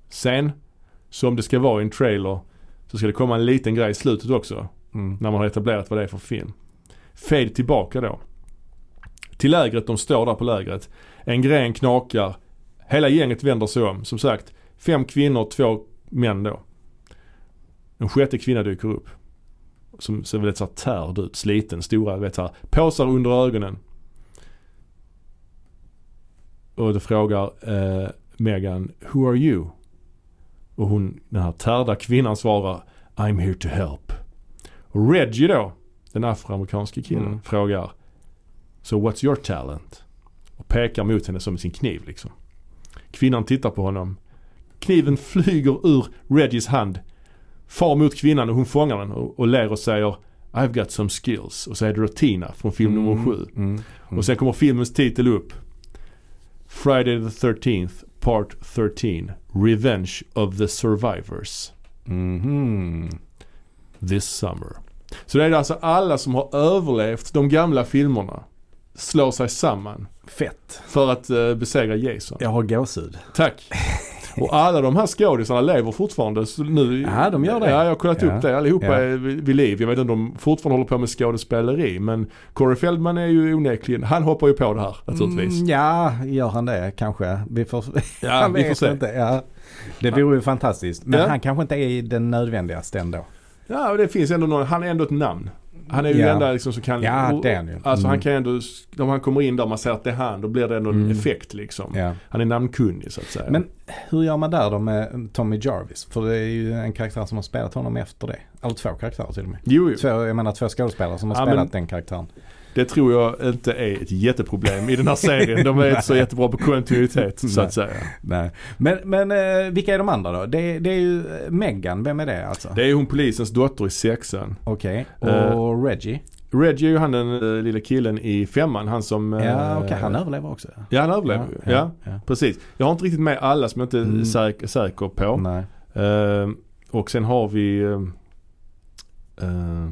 Sen, som det ska vara i en trailer, så ska det komma en liten grej i slutet också. Mm. När man har etablerat vad det är för film. Fade tillbaka då. Till lägret, de står där på lägret. En gren knakar. Hela gänget vänder sig om. Som sagt, fem kvinnor, två män då. En sjätte kvinna dyker upp. Som ser väldigt såhär tärd ut, sliten, stora, vet såhär, påsar under ögonen. Och då frågar eh, Megan, Who are you? Och hon, den här tärda kvinnan svarar, I'm here to help. Och Reggie då, den afroamerikanske killen, Mm. frågar, So what's your talent? Och pekar mot henne som med sin kniv liksom. Kvinnan tittar på honom. Kniven flyger ur Reggies hand. Far mot kvinnan och hon fångar den och, och ler och säger I've got some skills. Och så är det då Tina från film nummer Mm. sju. Mm. Mm. Och sen kommer filmens titel upp. Friday the 13th Part 13 Revenge of the Survivors Mhm. This Summer. Så det är alltså alla som har överlevt de gamla filmerna slår sig samman Fett. för att eh, besegra Jason. Jag har gåshud. Tack. Och alla de här skådisarna lever fortfarande. Så nu, Ja, de gör det. Ja, jag har kollat Ja. upp det. Allihopa Ja. är vid vid liv. Jag vet inte om de fortfarande håller på med skådespeleri. Men Corey Feldman är ju onekligen, han hoppar ju på det här naturligtvis. Mm, ja, gör han det kanske? Vi får, Ja, vi får vet se. Inte. Ja. Det vore ju fantastiskt. Men Ja. han kanske inte är den nödvändigaste ändå. Ja, och det finns ändå någon, han är ändå ett namn. Han är ju Ja. den enda liksom som kan... Ja, och- det är han ju. Alltså han Mm. kan ändå, om han kommer in där och man ser att det är han, då blir det ändå en Mm. effekt liksom. Ja. Han är namnkunnig så att säga. Men hur gör man där då med Tommy Jarvis? För det är ju en karaktär som har spelat honom efter det. Eller två karaktärer till och med. jo, jo. Två, jag menar två skådespelare som har Ja, spelat men- den karaktären. Det tror jag inte är ett jätteproblem i den här serien. De är inte så jättebra på kontinuitet så Nej. att säga. Nej. Men, men eh, vilka är de andra då? Det, det är ju eh, Megan, vem är det alltså? Det är ju hon polisens dotter i sexan. Okej, Eh, och Reggie? Reggie är ju han den eh, lilla killen i femman. Han som... eh, Ja, okej, han överlever också. Ja, han överlevde ju. Ja, ja. precis. Jag har inte riktigt med alla som jag inte är Mm. säker, säker på. Nej. Eh, och sen har vi... eh, eh,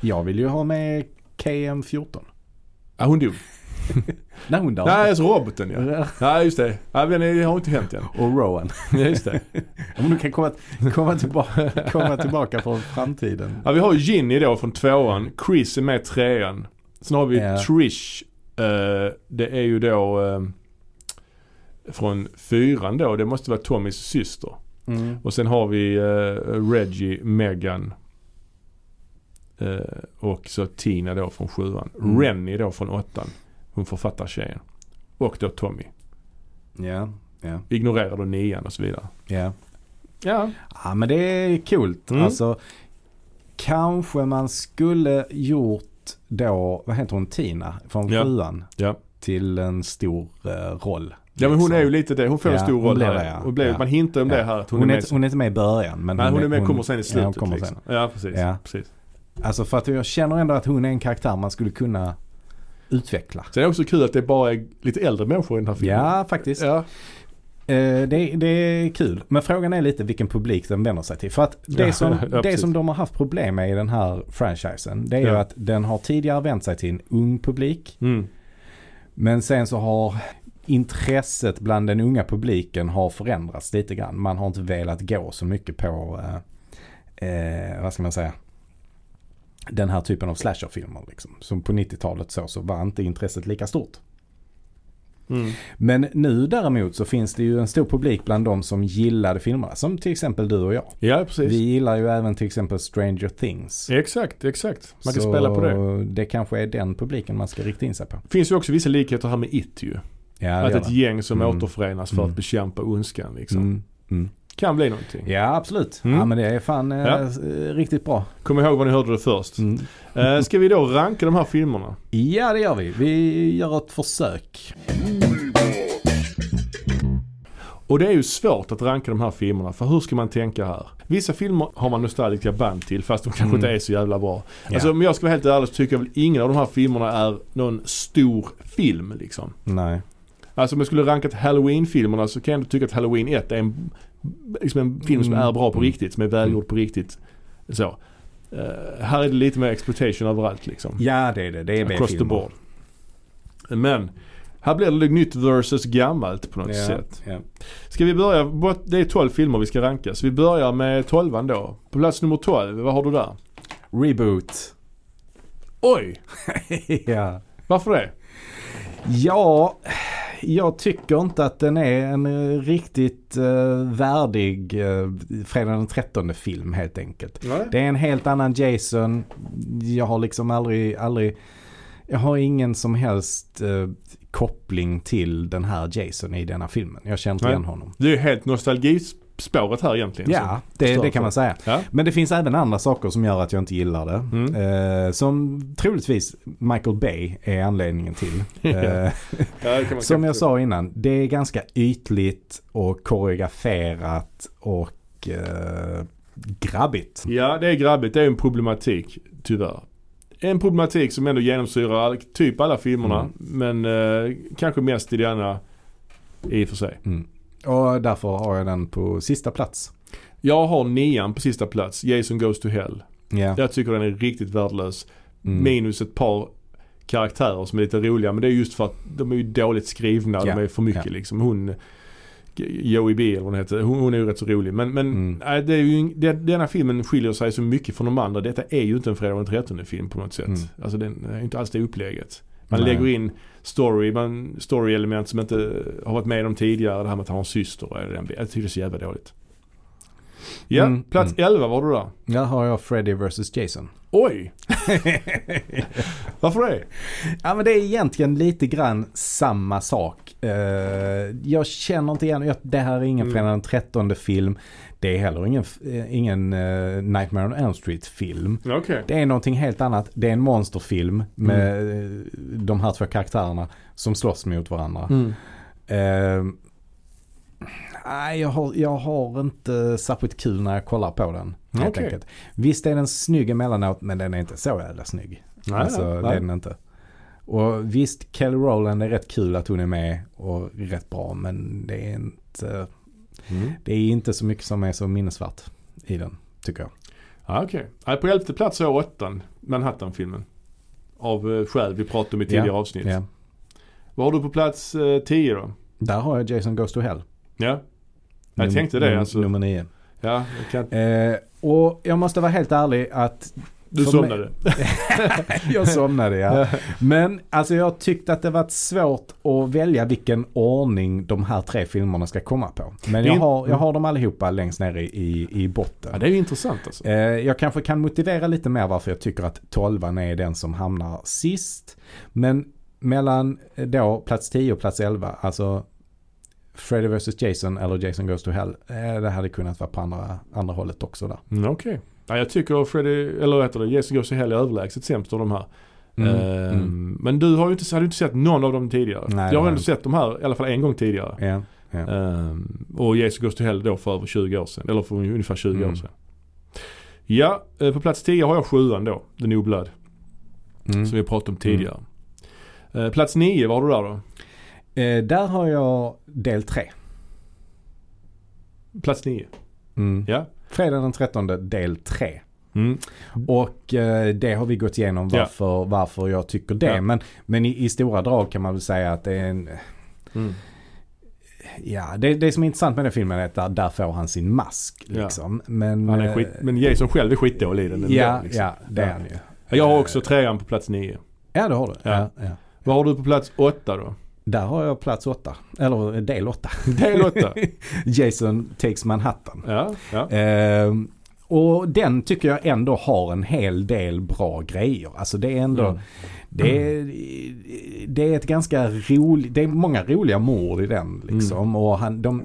Jag vill ju ha med KM14. Ja, hon dog. Nej, hon dör. Nej, alltså roboten ja. inte. Nej, just det. Nej, men det har inte hänt än. Och Rowan. Ja, just det. Om du kan komma, komma, tillbaka, komma tillbaka från framtiden. Ja, vi har ju Ginny då från tvåan. Chris är med i trean. Sen har vi Ja. Trish. Eh, det är ju då eh, från fyran då. Det måste vara Tommys syster. Mm. Och sen har vi eh, Reggie, Megan. eh, och så Tina då från sjuan. Mm. Rennie då från åttan. Hon författartjejen. Och då Tommy. Ja, ja, Ignorerar då nian och så vidare. ja. Ja. Ja men det är kul. Mm. Alltså, kanske man skulle gjort då, vad heter hon, Tina från Ja. sjuan Ja. till en stor eh, roll. Ja men hon liksom. är ju lite det. Hon får Ja, en stor hon roll blev här. det, ja. Och blev, Ja. Man hintar om Ja. det här. Att hon, hon, är är med. inte, hon är inte med i början. Men nej, hon är med hon- kommer sen i Ja, slutet. hon kommer liksom. sen. ja precis. Ja. precis. Alltså för att jag känner ändå att hon är en karaktär man skulle kunna utveckla. Sen är det också kul att det bara är lite äldre människor i den här filmen. Ja, faktiskt. Ja. Eh, det, det är kul. Men frågan är lite vilken publik den vänder sig till. För att Ja, det, som, ja, det precis. som de har haft problem med i den här franchisen. Det är ju Ja. att den har tidigare vänt sig till en ung publik. Mm. Men sen så har intresset bland den unga publiken har förändrats lite grann. Man har inte velat gå så mycket på, eh, eh, vad ska man säga, den här typen av slasherfilmer. Liksom. Som på 90-talet så, så var inte intresset lika stort. Mm. Men nu däremot så finns det ju en stor publik bland de som gillade filmerna. Som till exempel du och jag. ja precis. Vi gillar ju även till exempel Stranger Things. Exakt, exakt. Man kan Så spela på det. Det kanske är den publiken man ska rikta in sig på. finns ju också vissa likheter här med It ju. Ja, det att gör ett det. gäng som Mm. återförenas för Mm. att bekämpa ondskan liksom. Mm, mm. Kan bli någonting. Ja, absolut. Mm. Ja, men det är fan eh, Ja. s- eh, riktigt bra. Kom ihåg var ni hörde det först. Mm. Eh, ska vi då ranka de här filmerna? Ja, det gör vi. Vi gör ett försök. Och det är ju svårt att ranka de här filmerna för hur ska man tänka här? Vissa filmer har man nostalgiska band till fast de kanske Mm. inte är så jävla bra. Ja. Alltså om jag ska vara helt ärlig så tycker jag väl ingen av de här filmerna är någon stor film liksom. Nej. Alltså om jag skulle rankat Halloween-filmerna så kan jag ändå tycka att Halloween 1 är en, liksom en film som Mm. är bra på Mm. riktigt, som är välgjord på riktigt. Så. Eh, här är det lite mer exploitation överallt liksom. Ja, det är det. Det är Across the B-filmer. board. Men här blir det nytt versus gammalt på något Ja, sätt. ja. Ska vi börja, bort- det är 12 filmer vi ska ranka. Så vi börjar med 12 då. På plats nummer 12, vad har du där? Reboot. Oj! ja. Varför det? Ja, jag tycker inte att den är en eh, riktigt eh, värdig eh, Fredag den 13 film helt enkelt. Det är en helt annan Jason. Jag har liksom aldrig, aldrig jag har ingen som helst eh, koppling till den här Jason i denna filmen. Jag känner inte Nej. igen honom. Det är ju helt nostalgispåret här egentligen. Ja, det, det förstår kan man säga. så. Ja. Men det finns även andra saker som gör att jag inte gillar det. Mm. Eh, som troligtvis Michael Bay är anledningen till. Eh, Ja, det kan man Som kanske- jag sa innan, det är ganska ytligt och koreograferat och eh, grabbigt. Ja, det är grabbigt. Det är en problematik, tyvärr. En problematik som ändå genomsyrar all, typ alla filmerna. Mm. Men eh, kanske mest i denna i och för sig. Mm. Och därför har jag den på sista plats. Jag har nian på sista plats, Jason Goes to Hell. Ja. Jag tycker den är riktigt värdelös. Mm. Minus ett par karaktärer som är lite roliga. Men det är just för att de är ju dåligt skrivna. Ja, De är för mycket ja. eller liksom. Hon, Joey B eller vad hon heter, hon, hon är ju rätt så rolig. Men, men Mm. nej, det är ju, ing- det, denna filmen skiljer sig så mycket från de andra. Detta är ju inte en Fredag den 13 film på något sätt. Mm. Alltså den är inte alls det upplägget. Man Nej. lägger in story, man, story-element som inte har varit med om tidigare. Det här med att han har en syster. och den- Jag tycker det är så jävla dåligt. Ja, Mm, plats 11 var du där. Där har jag Freddy vs Jason. Oj! Varför det? Ja men det är egentligen lite grann samma sak. Eh, jag känner inte igen, jag, det här är ingen Mm. Fredag den 13 film. Det är heller ingen, eh, ingen eh, Nightmare on Elm Street film. Okej. Det är någonting helt annat. Det är en monsterfilm med eh, de här två karaktärerna som slåss mot varandra. Eh, Nej, jag har, jag har inte särskilt kul när jag kollar på den. Helt Okej. enkelt. Visst är den snygg emellanåt men den är inte så jävla snygg. Nej, alltså, nej. Det är den inte. Och visst, Kelly Rowland är rätt kul att hon är med och rätt bra men det är inte, Mm. det är inte så mycket som är så minnesvärt i den, tycker jag. Ja, okej. Nej, På elfte plats har jag åttan, Manhattan-filmen. Av eh, skäl vi pratade om i tidigare avsnitt. Ja. Vad har du på plats eh, 10 då? Där har jag Jason Goes to Hell. Ja. Jag Num- tänkte det num- alltså. Nummer nio. Ja, jag kan... Eh, och jag måste vara helt ärlig att Du För somnade. jag somnade ja. Men alltså jag tyckte att det varit svårt att välja vilken ordning de här tre filmerna ska komma på. Men Det är jag in- har, jag har dem allihopa längst ner i, i, i Ja, botten. det är ju intressant alltså. Eh, Jag kanske kan motivera lite mer varför jag tycker att 12 är den som hamnar sist. Men mellan eh, då plats 10 och plats 11, alltså Freddy vs Jason eller Jason Goes to Hell. eh, Det hade kunnat vara på andra, andra hållet också där. Mm, okej. Ja, jag tycker att Freddy, eller vad heter det, Jason Goes to Hell är överlägset sämst av de här. Mm, Ehm, mm. Men du har ju inte, har du inte sett någon av dem tidigare. Nej, det jag har har jag ändå inte. sett de här i alla fall en gång tidigare. Ja, ja. Ehm, och Jesus Goes to Hell då för över 20 år sedan. Eller för ungefär 20 Mm. år sedan. Ja, eh, på plats 10 har jag sjuan då. The New Blood. Mm. Som vi pratade om tidigare. Eh, plats 9, vad har du där då? Eh, Där har jag del 3. Plats 9. Mm. Ja. Fredag den 13 del 3. Mm. Och eh, det har vi gått igenom Ja. varför, varför jag tycker det. Ja. Men, men i, i stora drag kan man väl säga att det är en... Mm. Eh, Ja, det, det som är intressant med den filmen är att där, där får han sin mask. Ja. Liksom. Men, Han är eh, skit, men Jason själv är skitdålig i den. ändå, Ja, liksom. ja, det Ja. är han ju. Jag har också trean på plats 9. Ja, det har du. Ja. Ja, ja. Vad har du på plats 8 då? Där har jag plats åtta. Eller eh, del åtta. Del 8. Jason takes Manhattan. ja, ja. Ehm, och den tycker jag ändå har en hel del bra grejer. Alltså det är ändå, Mm. det, är, Mm. det är ett ganska roligt, det är många roliga mord i den liksom. Och han, de,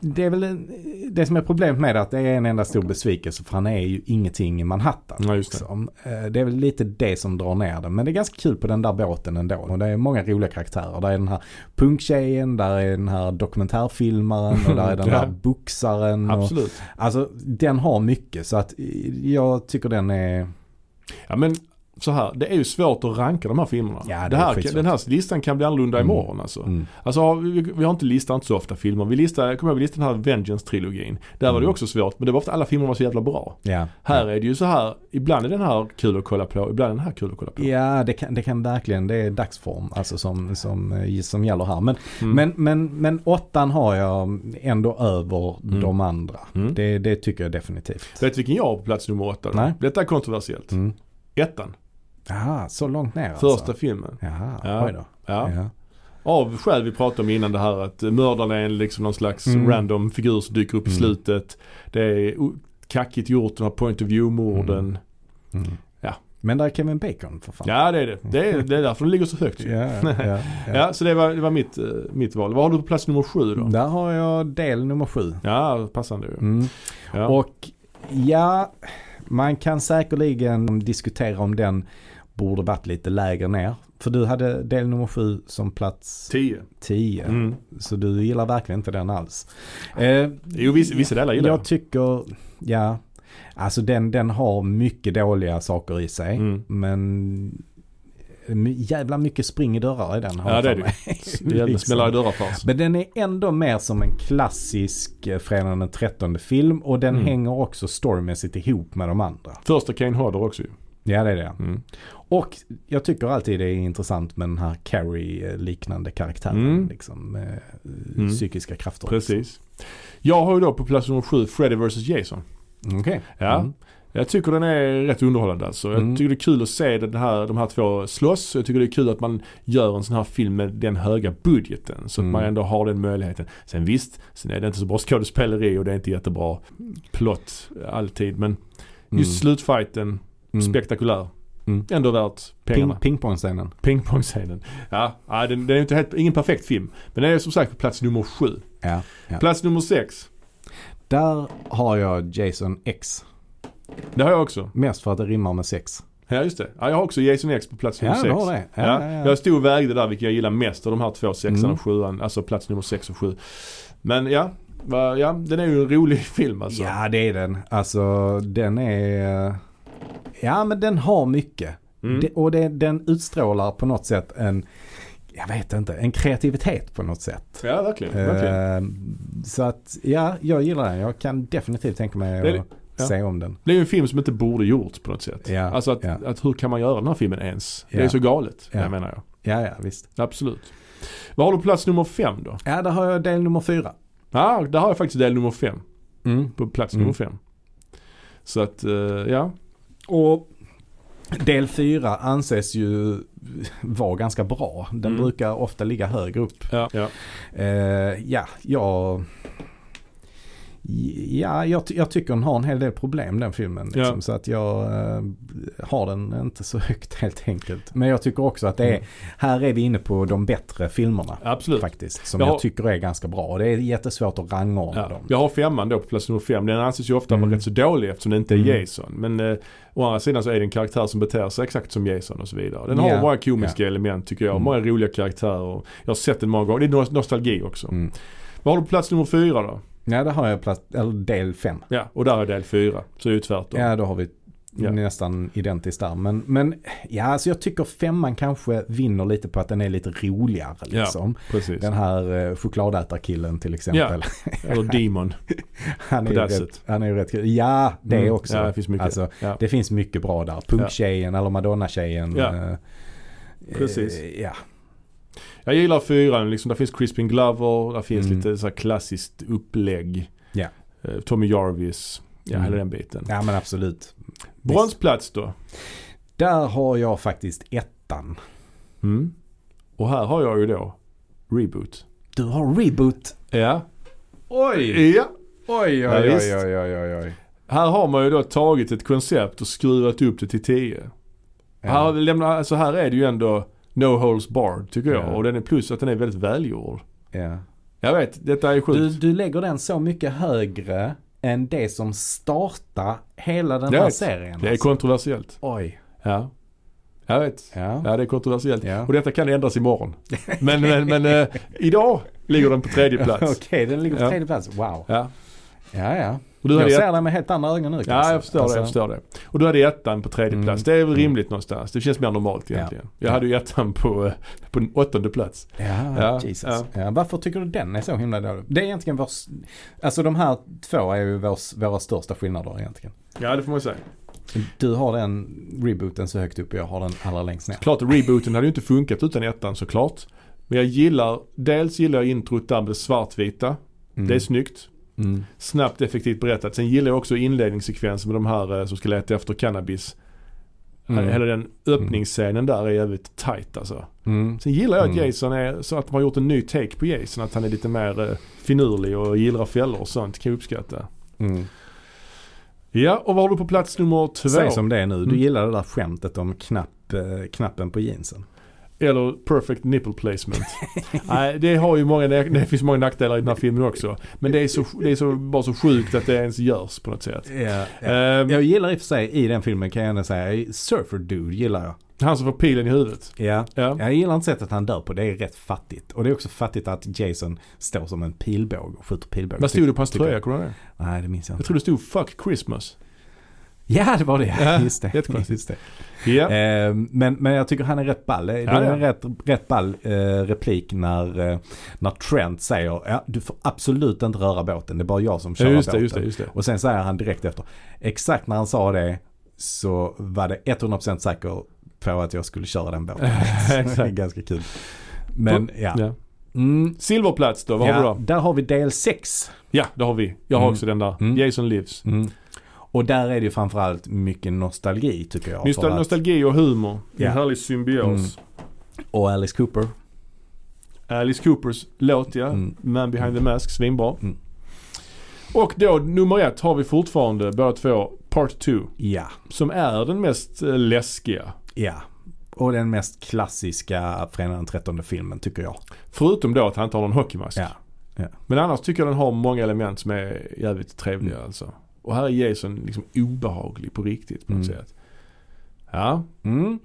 det är väl en- det som är problemet med det att det är en enda stor besvikelse för han är ju ingenting i Manhattan. Ja, just det. liksom. Eh, det är väl lite det som drar ner det. Men det är ganska kul på den där båten ändå. Och det är många roliga karaktärer. Där är den här punktjejen, där är den här dokumentärfilmaren och där är den Ja. här boxaren. Och, Absolut. alltså den har mycket så att eh, jag tycker den är... Ja, men så här, det är ju svårt att ranka de här filmerna. Ja, det är här, skitsvårt. den här listan kan bli annorlunda Mm. imorgon alltså. Mm. Alltså har vi, vi har inte listat inte så ofta filmer. Vi listade, kommer jag ihåg, vi listade den här Vengeance-trilogin. Där var det ju Mm. också svårt, men det var ofta alla filmer var så jävla bra. Ja. Här är det ju så här, ibland är den här kul att kolla på, ibland är den här kul att kolla på. Ja, det kan, det kan verkligen, det är dagsform alltså som, som, eh, som gäller här. Men, Mm. men, men, men åttan har jag ändå över Mm. de andra. Mm. Det, det tycker jag definitivt. Vet du vilken jag har på plats nummer åtta? då? Nej. Detta är kontroversiellt. Mm. Ettan, Jaha, så långt ner första alltså. filmen. Jaha, Ja. oj då. Ja. Ja. Av skäl vi pratade om innan det här att mördaren är en liksom någon slags Mm. random figur som dyker upp i Mm. slutet. Det är o- kackigt gjort, de här point of view-morden. Mm. Mm. Ja. Men där är Kevin Bacon för fan. Ja det är det. Det är, det är därför de ligger så högt ju. Ja, ja, ja. Ja, Mm. så det var, det var mitt, eh, mitt val. Vad har du på plats nummer sju då? Där har jag del nummer sju. Ja, passande ju. Mm. Ja. Och ja, man kan säkerligen diskutera om den borde varit lite lägre ner. För du hade del nummer sju som plats Tio. 10. Mm. Så du gillar verkligen inte den alls. Eh, Jo, vissa, vissa delar gillar jag tycker, ja, alltså den, den har mycket dåliga saker i sig. Mm. Men my- jävla mycket spring i dörrar i den. har Ja, jag det för är det. mig. Det gäller att Liksom. smälla i dörrar först. Men den är ändå mer som en klassisk eh, Fredagen den 13 film och den Mm. hänger också storymässigt ihop med de andra. Första Kane Hodder också ju. Ja det är det. Mm. Och jag tycker alltid det är intressant med den här Carrie-liknande karaktären. Mm. Liksom, eh, Mm. Psykiska krafter. Precis. Jag har ju då på plats nummer sju Freddy vs Jason. Okej. Ja. Mm. Jag tycker den är rätt underhållande alltså. Jag Mm. tycker det är kul att se den här, de här två slåss. Jag tycker det är kul att man gör en sån här film med den höga budgeten. Så att Mm. man ändå har den möjligheten. Sen visst, sen är det inte så bra skådespeleri och det är inte jättebra plott alltid. Men Mm. just slutfighten, Mm. spektakulär. Mm. Ändå värt pengarna. Ping, pingpongscenen. Pingpongscenen. Ja, ja den, den är inte helt, ingen perfekt film. Men den är som sagt på plats nummer sju. Ja, ja. Plats nummer sex. Där har jag Jason X. Det har jag också. Mest för att det rimmar med sex. Ja just det. Ja, jag har också Jason X på plats nummer Ja, Typ sex. du har det. Ja, Ja, ja, ja. Jag stod och vägde där vilka jag gillar mest av de här två, sexan Mm. och sjuan. Alltså plats nummer sex och sju. Men ja, va- ja den är ju en rolig film alltså. Ja, det är den. Alltså, den är... Ja, men den har mycket. Mm. Det, och det, den utstrålar på något sätt en... Jag vet inte, en kreativitet på något sätt. ja verkligen. verkligen. Eh, så att, ja, jag gillar den. Jag kan definitivt tänka mig Det är- att ja. se om den. Det är ju en film som inte borde gjorts på något sätt. Ja, Alltså att, ja. att hur kan man göra den här filmen ens? Det Ja. är så galet, Ja. det menar jag. Ja, ja, visst. Absolut. Vad har du på plats nummer fem då? Ja, där har jag del nummer fyra. Ja, där har jag faktiskt del nummer fem. Mm. På plats Mm. nummer fem. Så att, eh, ja. Och del 4 anses ju vara ganska bra. Den Mm. brukar ofta ligga högre upp. ja, ja. Eh, ja, jag... Ja, jag, ty- jag tycker den har en hel del problem den filmen. Liksom, Ja. Så att jag eh, har den inte så högt helt enkelt. Men jag tycker också att det är, Mm. här är vi inne på de bättre filmerna. Absolut. Faktiskt, som Jag jag, har- tycker är ganska bra. Och det är jättesvårt att rangordna Ja. dem. Jag har femman då på plats nummer fem. Den anses ju ofta Mm. vara rätt så dålig eftersom den inte är Mm. Jason. Men eh, å andra sidan så är det en karaktär som beter sig exakt som Jason och så vidare. Den Ja. har många komiska element tycker jag. Mm. Många roliga karaktärer. Jag har sett den många gånger. Det är nos- nostalgi också. Mm. Vad har du på plats nummer fyra då? Ja, där har jag plats, eller del 5. Ja, och där är del fyra. Så det är ju tvärtom. Ja, då har vi Ja. nästan identiskt där. Men, men ja, alltså jag tycker femman kanske vinner lite på att den är lite roligare. Ja, Liksom. Precis. Den här eh, chokladätarkillen till exempel. Eller Demon. Han, är på ju det rätt, sättet. han är ju rätt kul. Ja, det Mm. också. Ja, det finns mycket. Alltså, Ja. det finns mycket bra där. Punktjejen eller Madonna-tjejen. Ja, eh, precis. eh, Ja. Jag gillar fyran. Liksom, där finns Crispin Glover. Där finns Mm. lite så här klassiskt upplägg. Ja. Eh, Tommy Jarvis. Ja, Mm. hela den biten. ja, men absolut. Bronsplats då? Där har jag faktiskt ettan. Mm. Och här har jag ju då reboot. Du har reboot. Ja. Oj! ja. Oj, oj, Ja, oj, visst. oj, oj, oj, oj. Här har man ju då tagit ett koncept och skruvat upp det till 10. Här, har vi lämnat, alltså här är det ju ändå no holes barred tycker jag. Ja. Och den är plus att den är väldigt välgjord. Ja. Jag vet, detta är sjukt. Du, du lägger den så mycket högre än det som startar hela den Jag här vet. serien. det är alltså. kontroversiellt. Oj. Ja. Jag vet. Ja. Ja, det är kontroversiellt. Ja. Och detta kan ändras imorgon. Men, men, men eh, idag ligger den på tredje Okej, plats. den ligger på Ja. tredje plats. Wow. Ja, Ja, ja. och du jag hade ser det med helt andra ögon nu. Ja, jag förstår det. Jag förstår det. Och du hade ettan på tredje Alltså, Mm. plats. Det är väl Mm. rimligt någonstans. Det känns mer normalt egentligen. Jag hade ju ettan på, eh, på den åttonde plats. Ja, Ja, Jesus. ja. Ja. varför tycker du den är så himla dålig? Det är egentligen vår... s- Alltså de här två är ju vår, våra största skillnader egentligen. Ja, det får man säga. Du har den rebooten så högt upp och jag har den allra längst ner. Klart, rebooten hade ju inte funkat utan ettan såklart. Men jag gillar, dels gillar jag introt där med det svartvita. Mm. Det är snyggt. Mm. Snabbt, effektivt berättat. Sen gillar jag också inledningssekvensen med de här eh, som ska leta efter cannabis. Mm. Hela den öppningsscenen där är jävligt tight alltså. Mm. Sen gillar jag att Mm. Jason är, så att de har gjort en ny take på Jason. Att han är lite mer eh, finurlig och gillrar fällor och sånt. Kan jag uppskatta. Mm. Ja, och vad har du på plats nummer två? Säg som det är nu. Du Mm. gillar det där skämtet om knapp, eh, knappen på jeansen. Eller perfect nipple placement. Nej, det, har ju många, det finns många nackdelar i den här filmen också. Men det är, så, det är så, bara så sjukt att det ens görs på något sätt. Ehm, Jag gillar i och för sig i den filmen kan jag ändå säga, Surfer Dude gillar jag. han som får pilen i huvudet. Ja. Ja. Jag gillar inte sättet han dör på, det är rätt fattigt. Och det är också fattigt att Jason står som en pilbåge och skjuter pilbåge. Vad stod det på hans Tycker jag. tröja? Kommer du ihåg det? Nej, det minns jag Jag inte. tror det stod 'Fuck Christmas'. Ja, det var det. Ja, just det. jättekonstigt. Just det. Ja. Eh, men, men jag tycker han är rätt ball. Det det Ja, är ja. en rätt, rätt ball eh, replik när, eh, när Trent säger ja, du får absolut inte röra båten. Det är bara jag som kör Just det, båten. just det, just det. Och sen säger han direkt efter. Exakt när han sa det så var det 100% säker på att jag skulle köra den båten. Exakt. det är ganska kul. Men ja. Ja. Mm, Silverplats då, vad har vi ja då? där har vi del 6. Ja, det har vi. Jag har Mm. också den där. Mm. Jason Lives. Och där är det ju framförallt mycket nostalgi tycker jag. Nostal- för att- nostalgi och humor. Ja. En härlig symbios. och Alice Cooper. Alice Coopers låt ja. Mm. Man behind the mask, svinbra. Mm. Och då nummer ett har vi fortfarande båda två, Part 2. Ja, Som är den mest eh, läskiga. ja. Och den mest klassiska Fredagen den 13 filmen tycker jag. Förutom då att han inte har någon hockeymask. Ja. Men annars tycker jag den har många element som är jävligt trevliga Mm. alltså. Och här är Jason liksom obehaglig på riktigt på något Mm. sätt. Ja. Mm.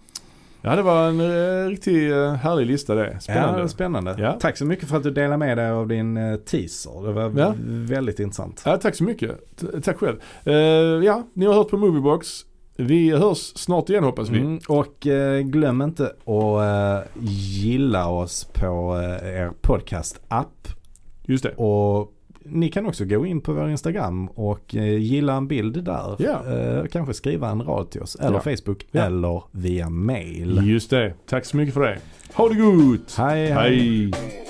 ja, det var en eh, riktigt eh, härlig lista det. Spännande. Ja, spännande. Ja. Tack så mycket för att du delade med dig av din eh, teaser. Det var Ja. väldigt intressant. Ja, tack så mycket. T- tack själv. Eh, ja, ni har hört på Moviebox. Vi hörs snart igen hoppas vi. Mm. Och eh, glöm inte att eh, gilla oss på eh, er podcast-app. Just det. Och ni kan också gå in på vår Instagram och eh, gilla en bild där. Ja. Eh, kanske skriva en rad till oss. Eller Ja. Facebook. Ja. Eller via mail. Just det. Tack så mycket för det. Ha det gott! Hej, hej. Hej.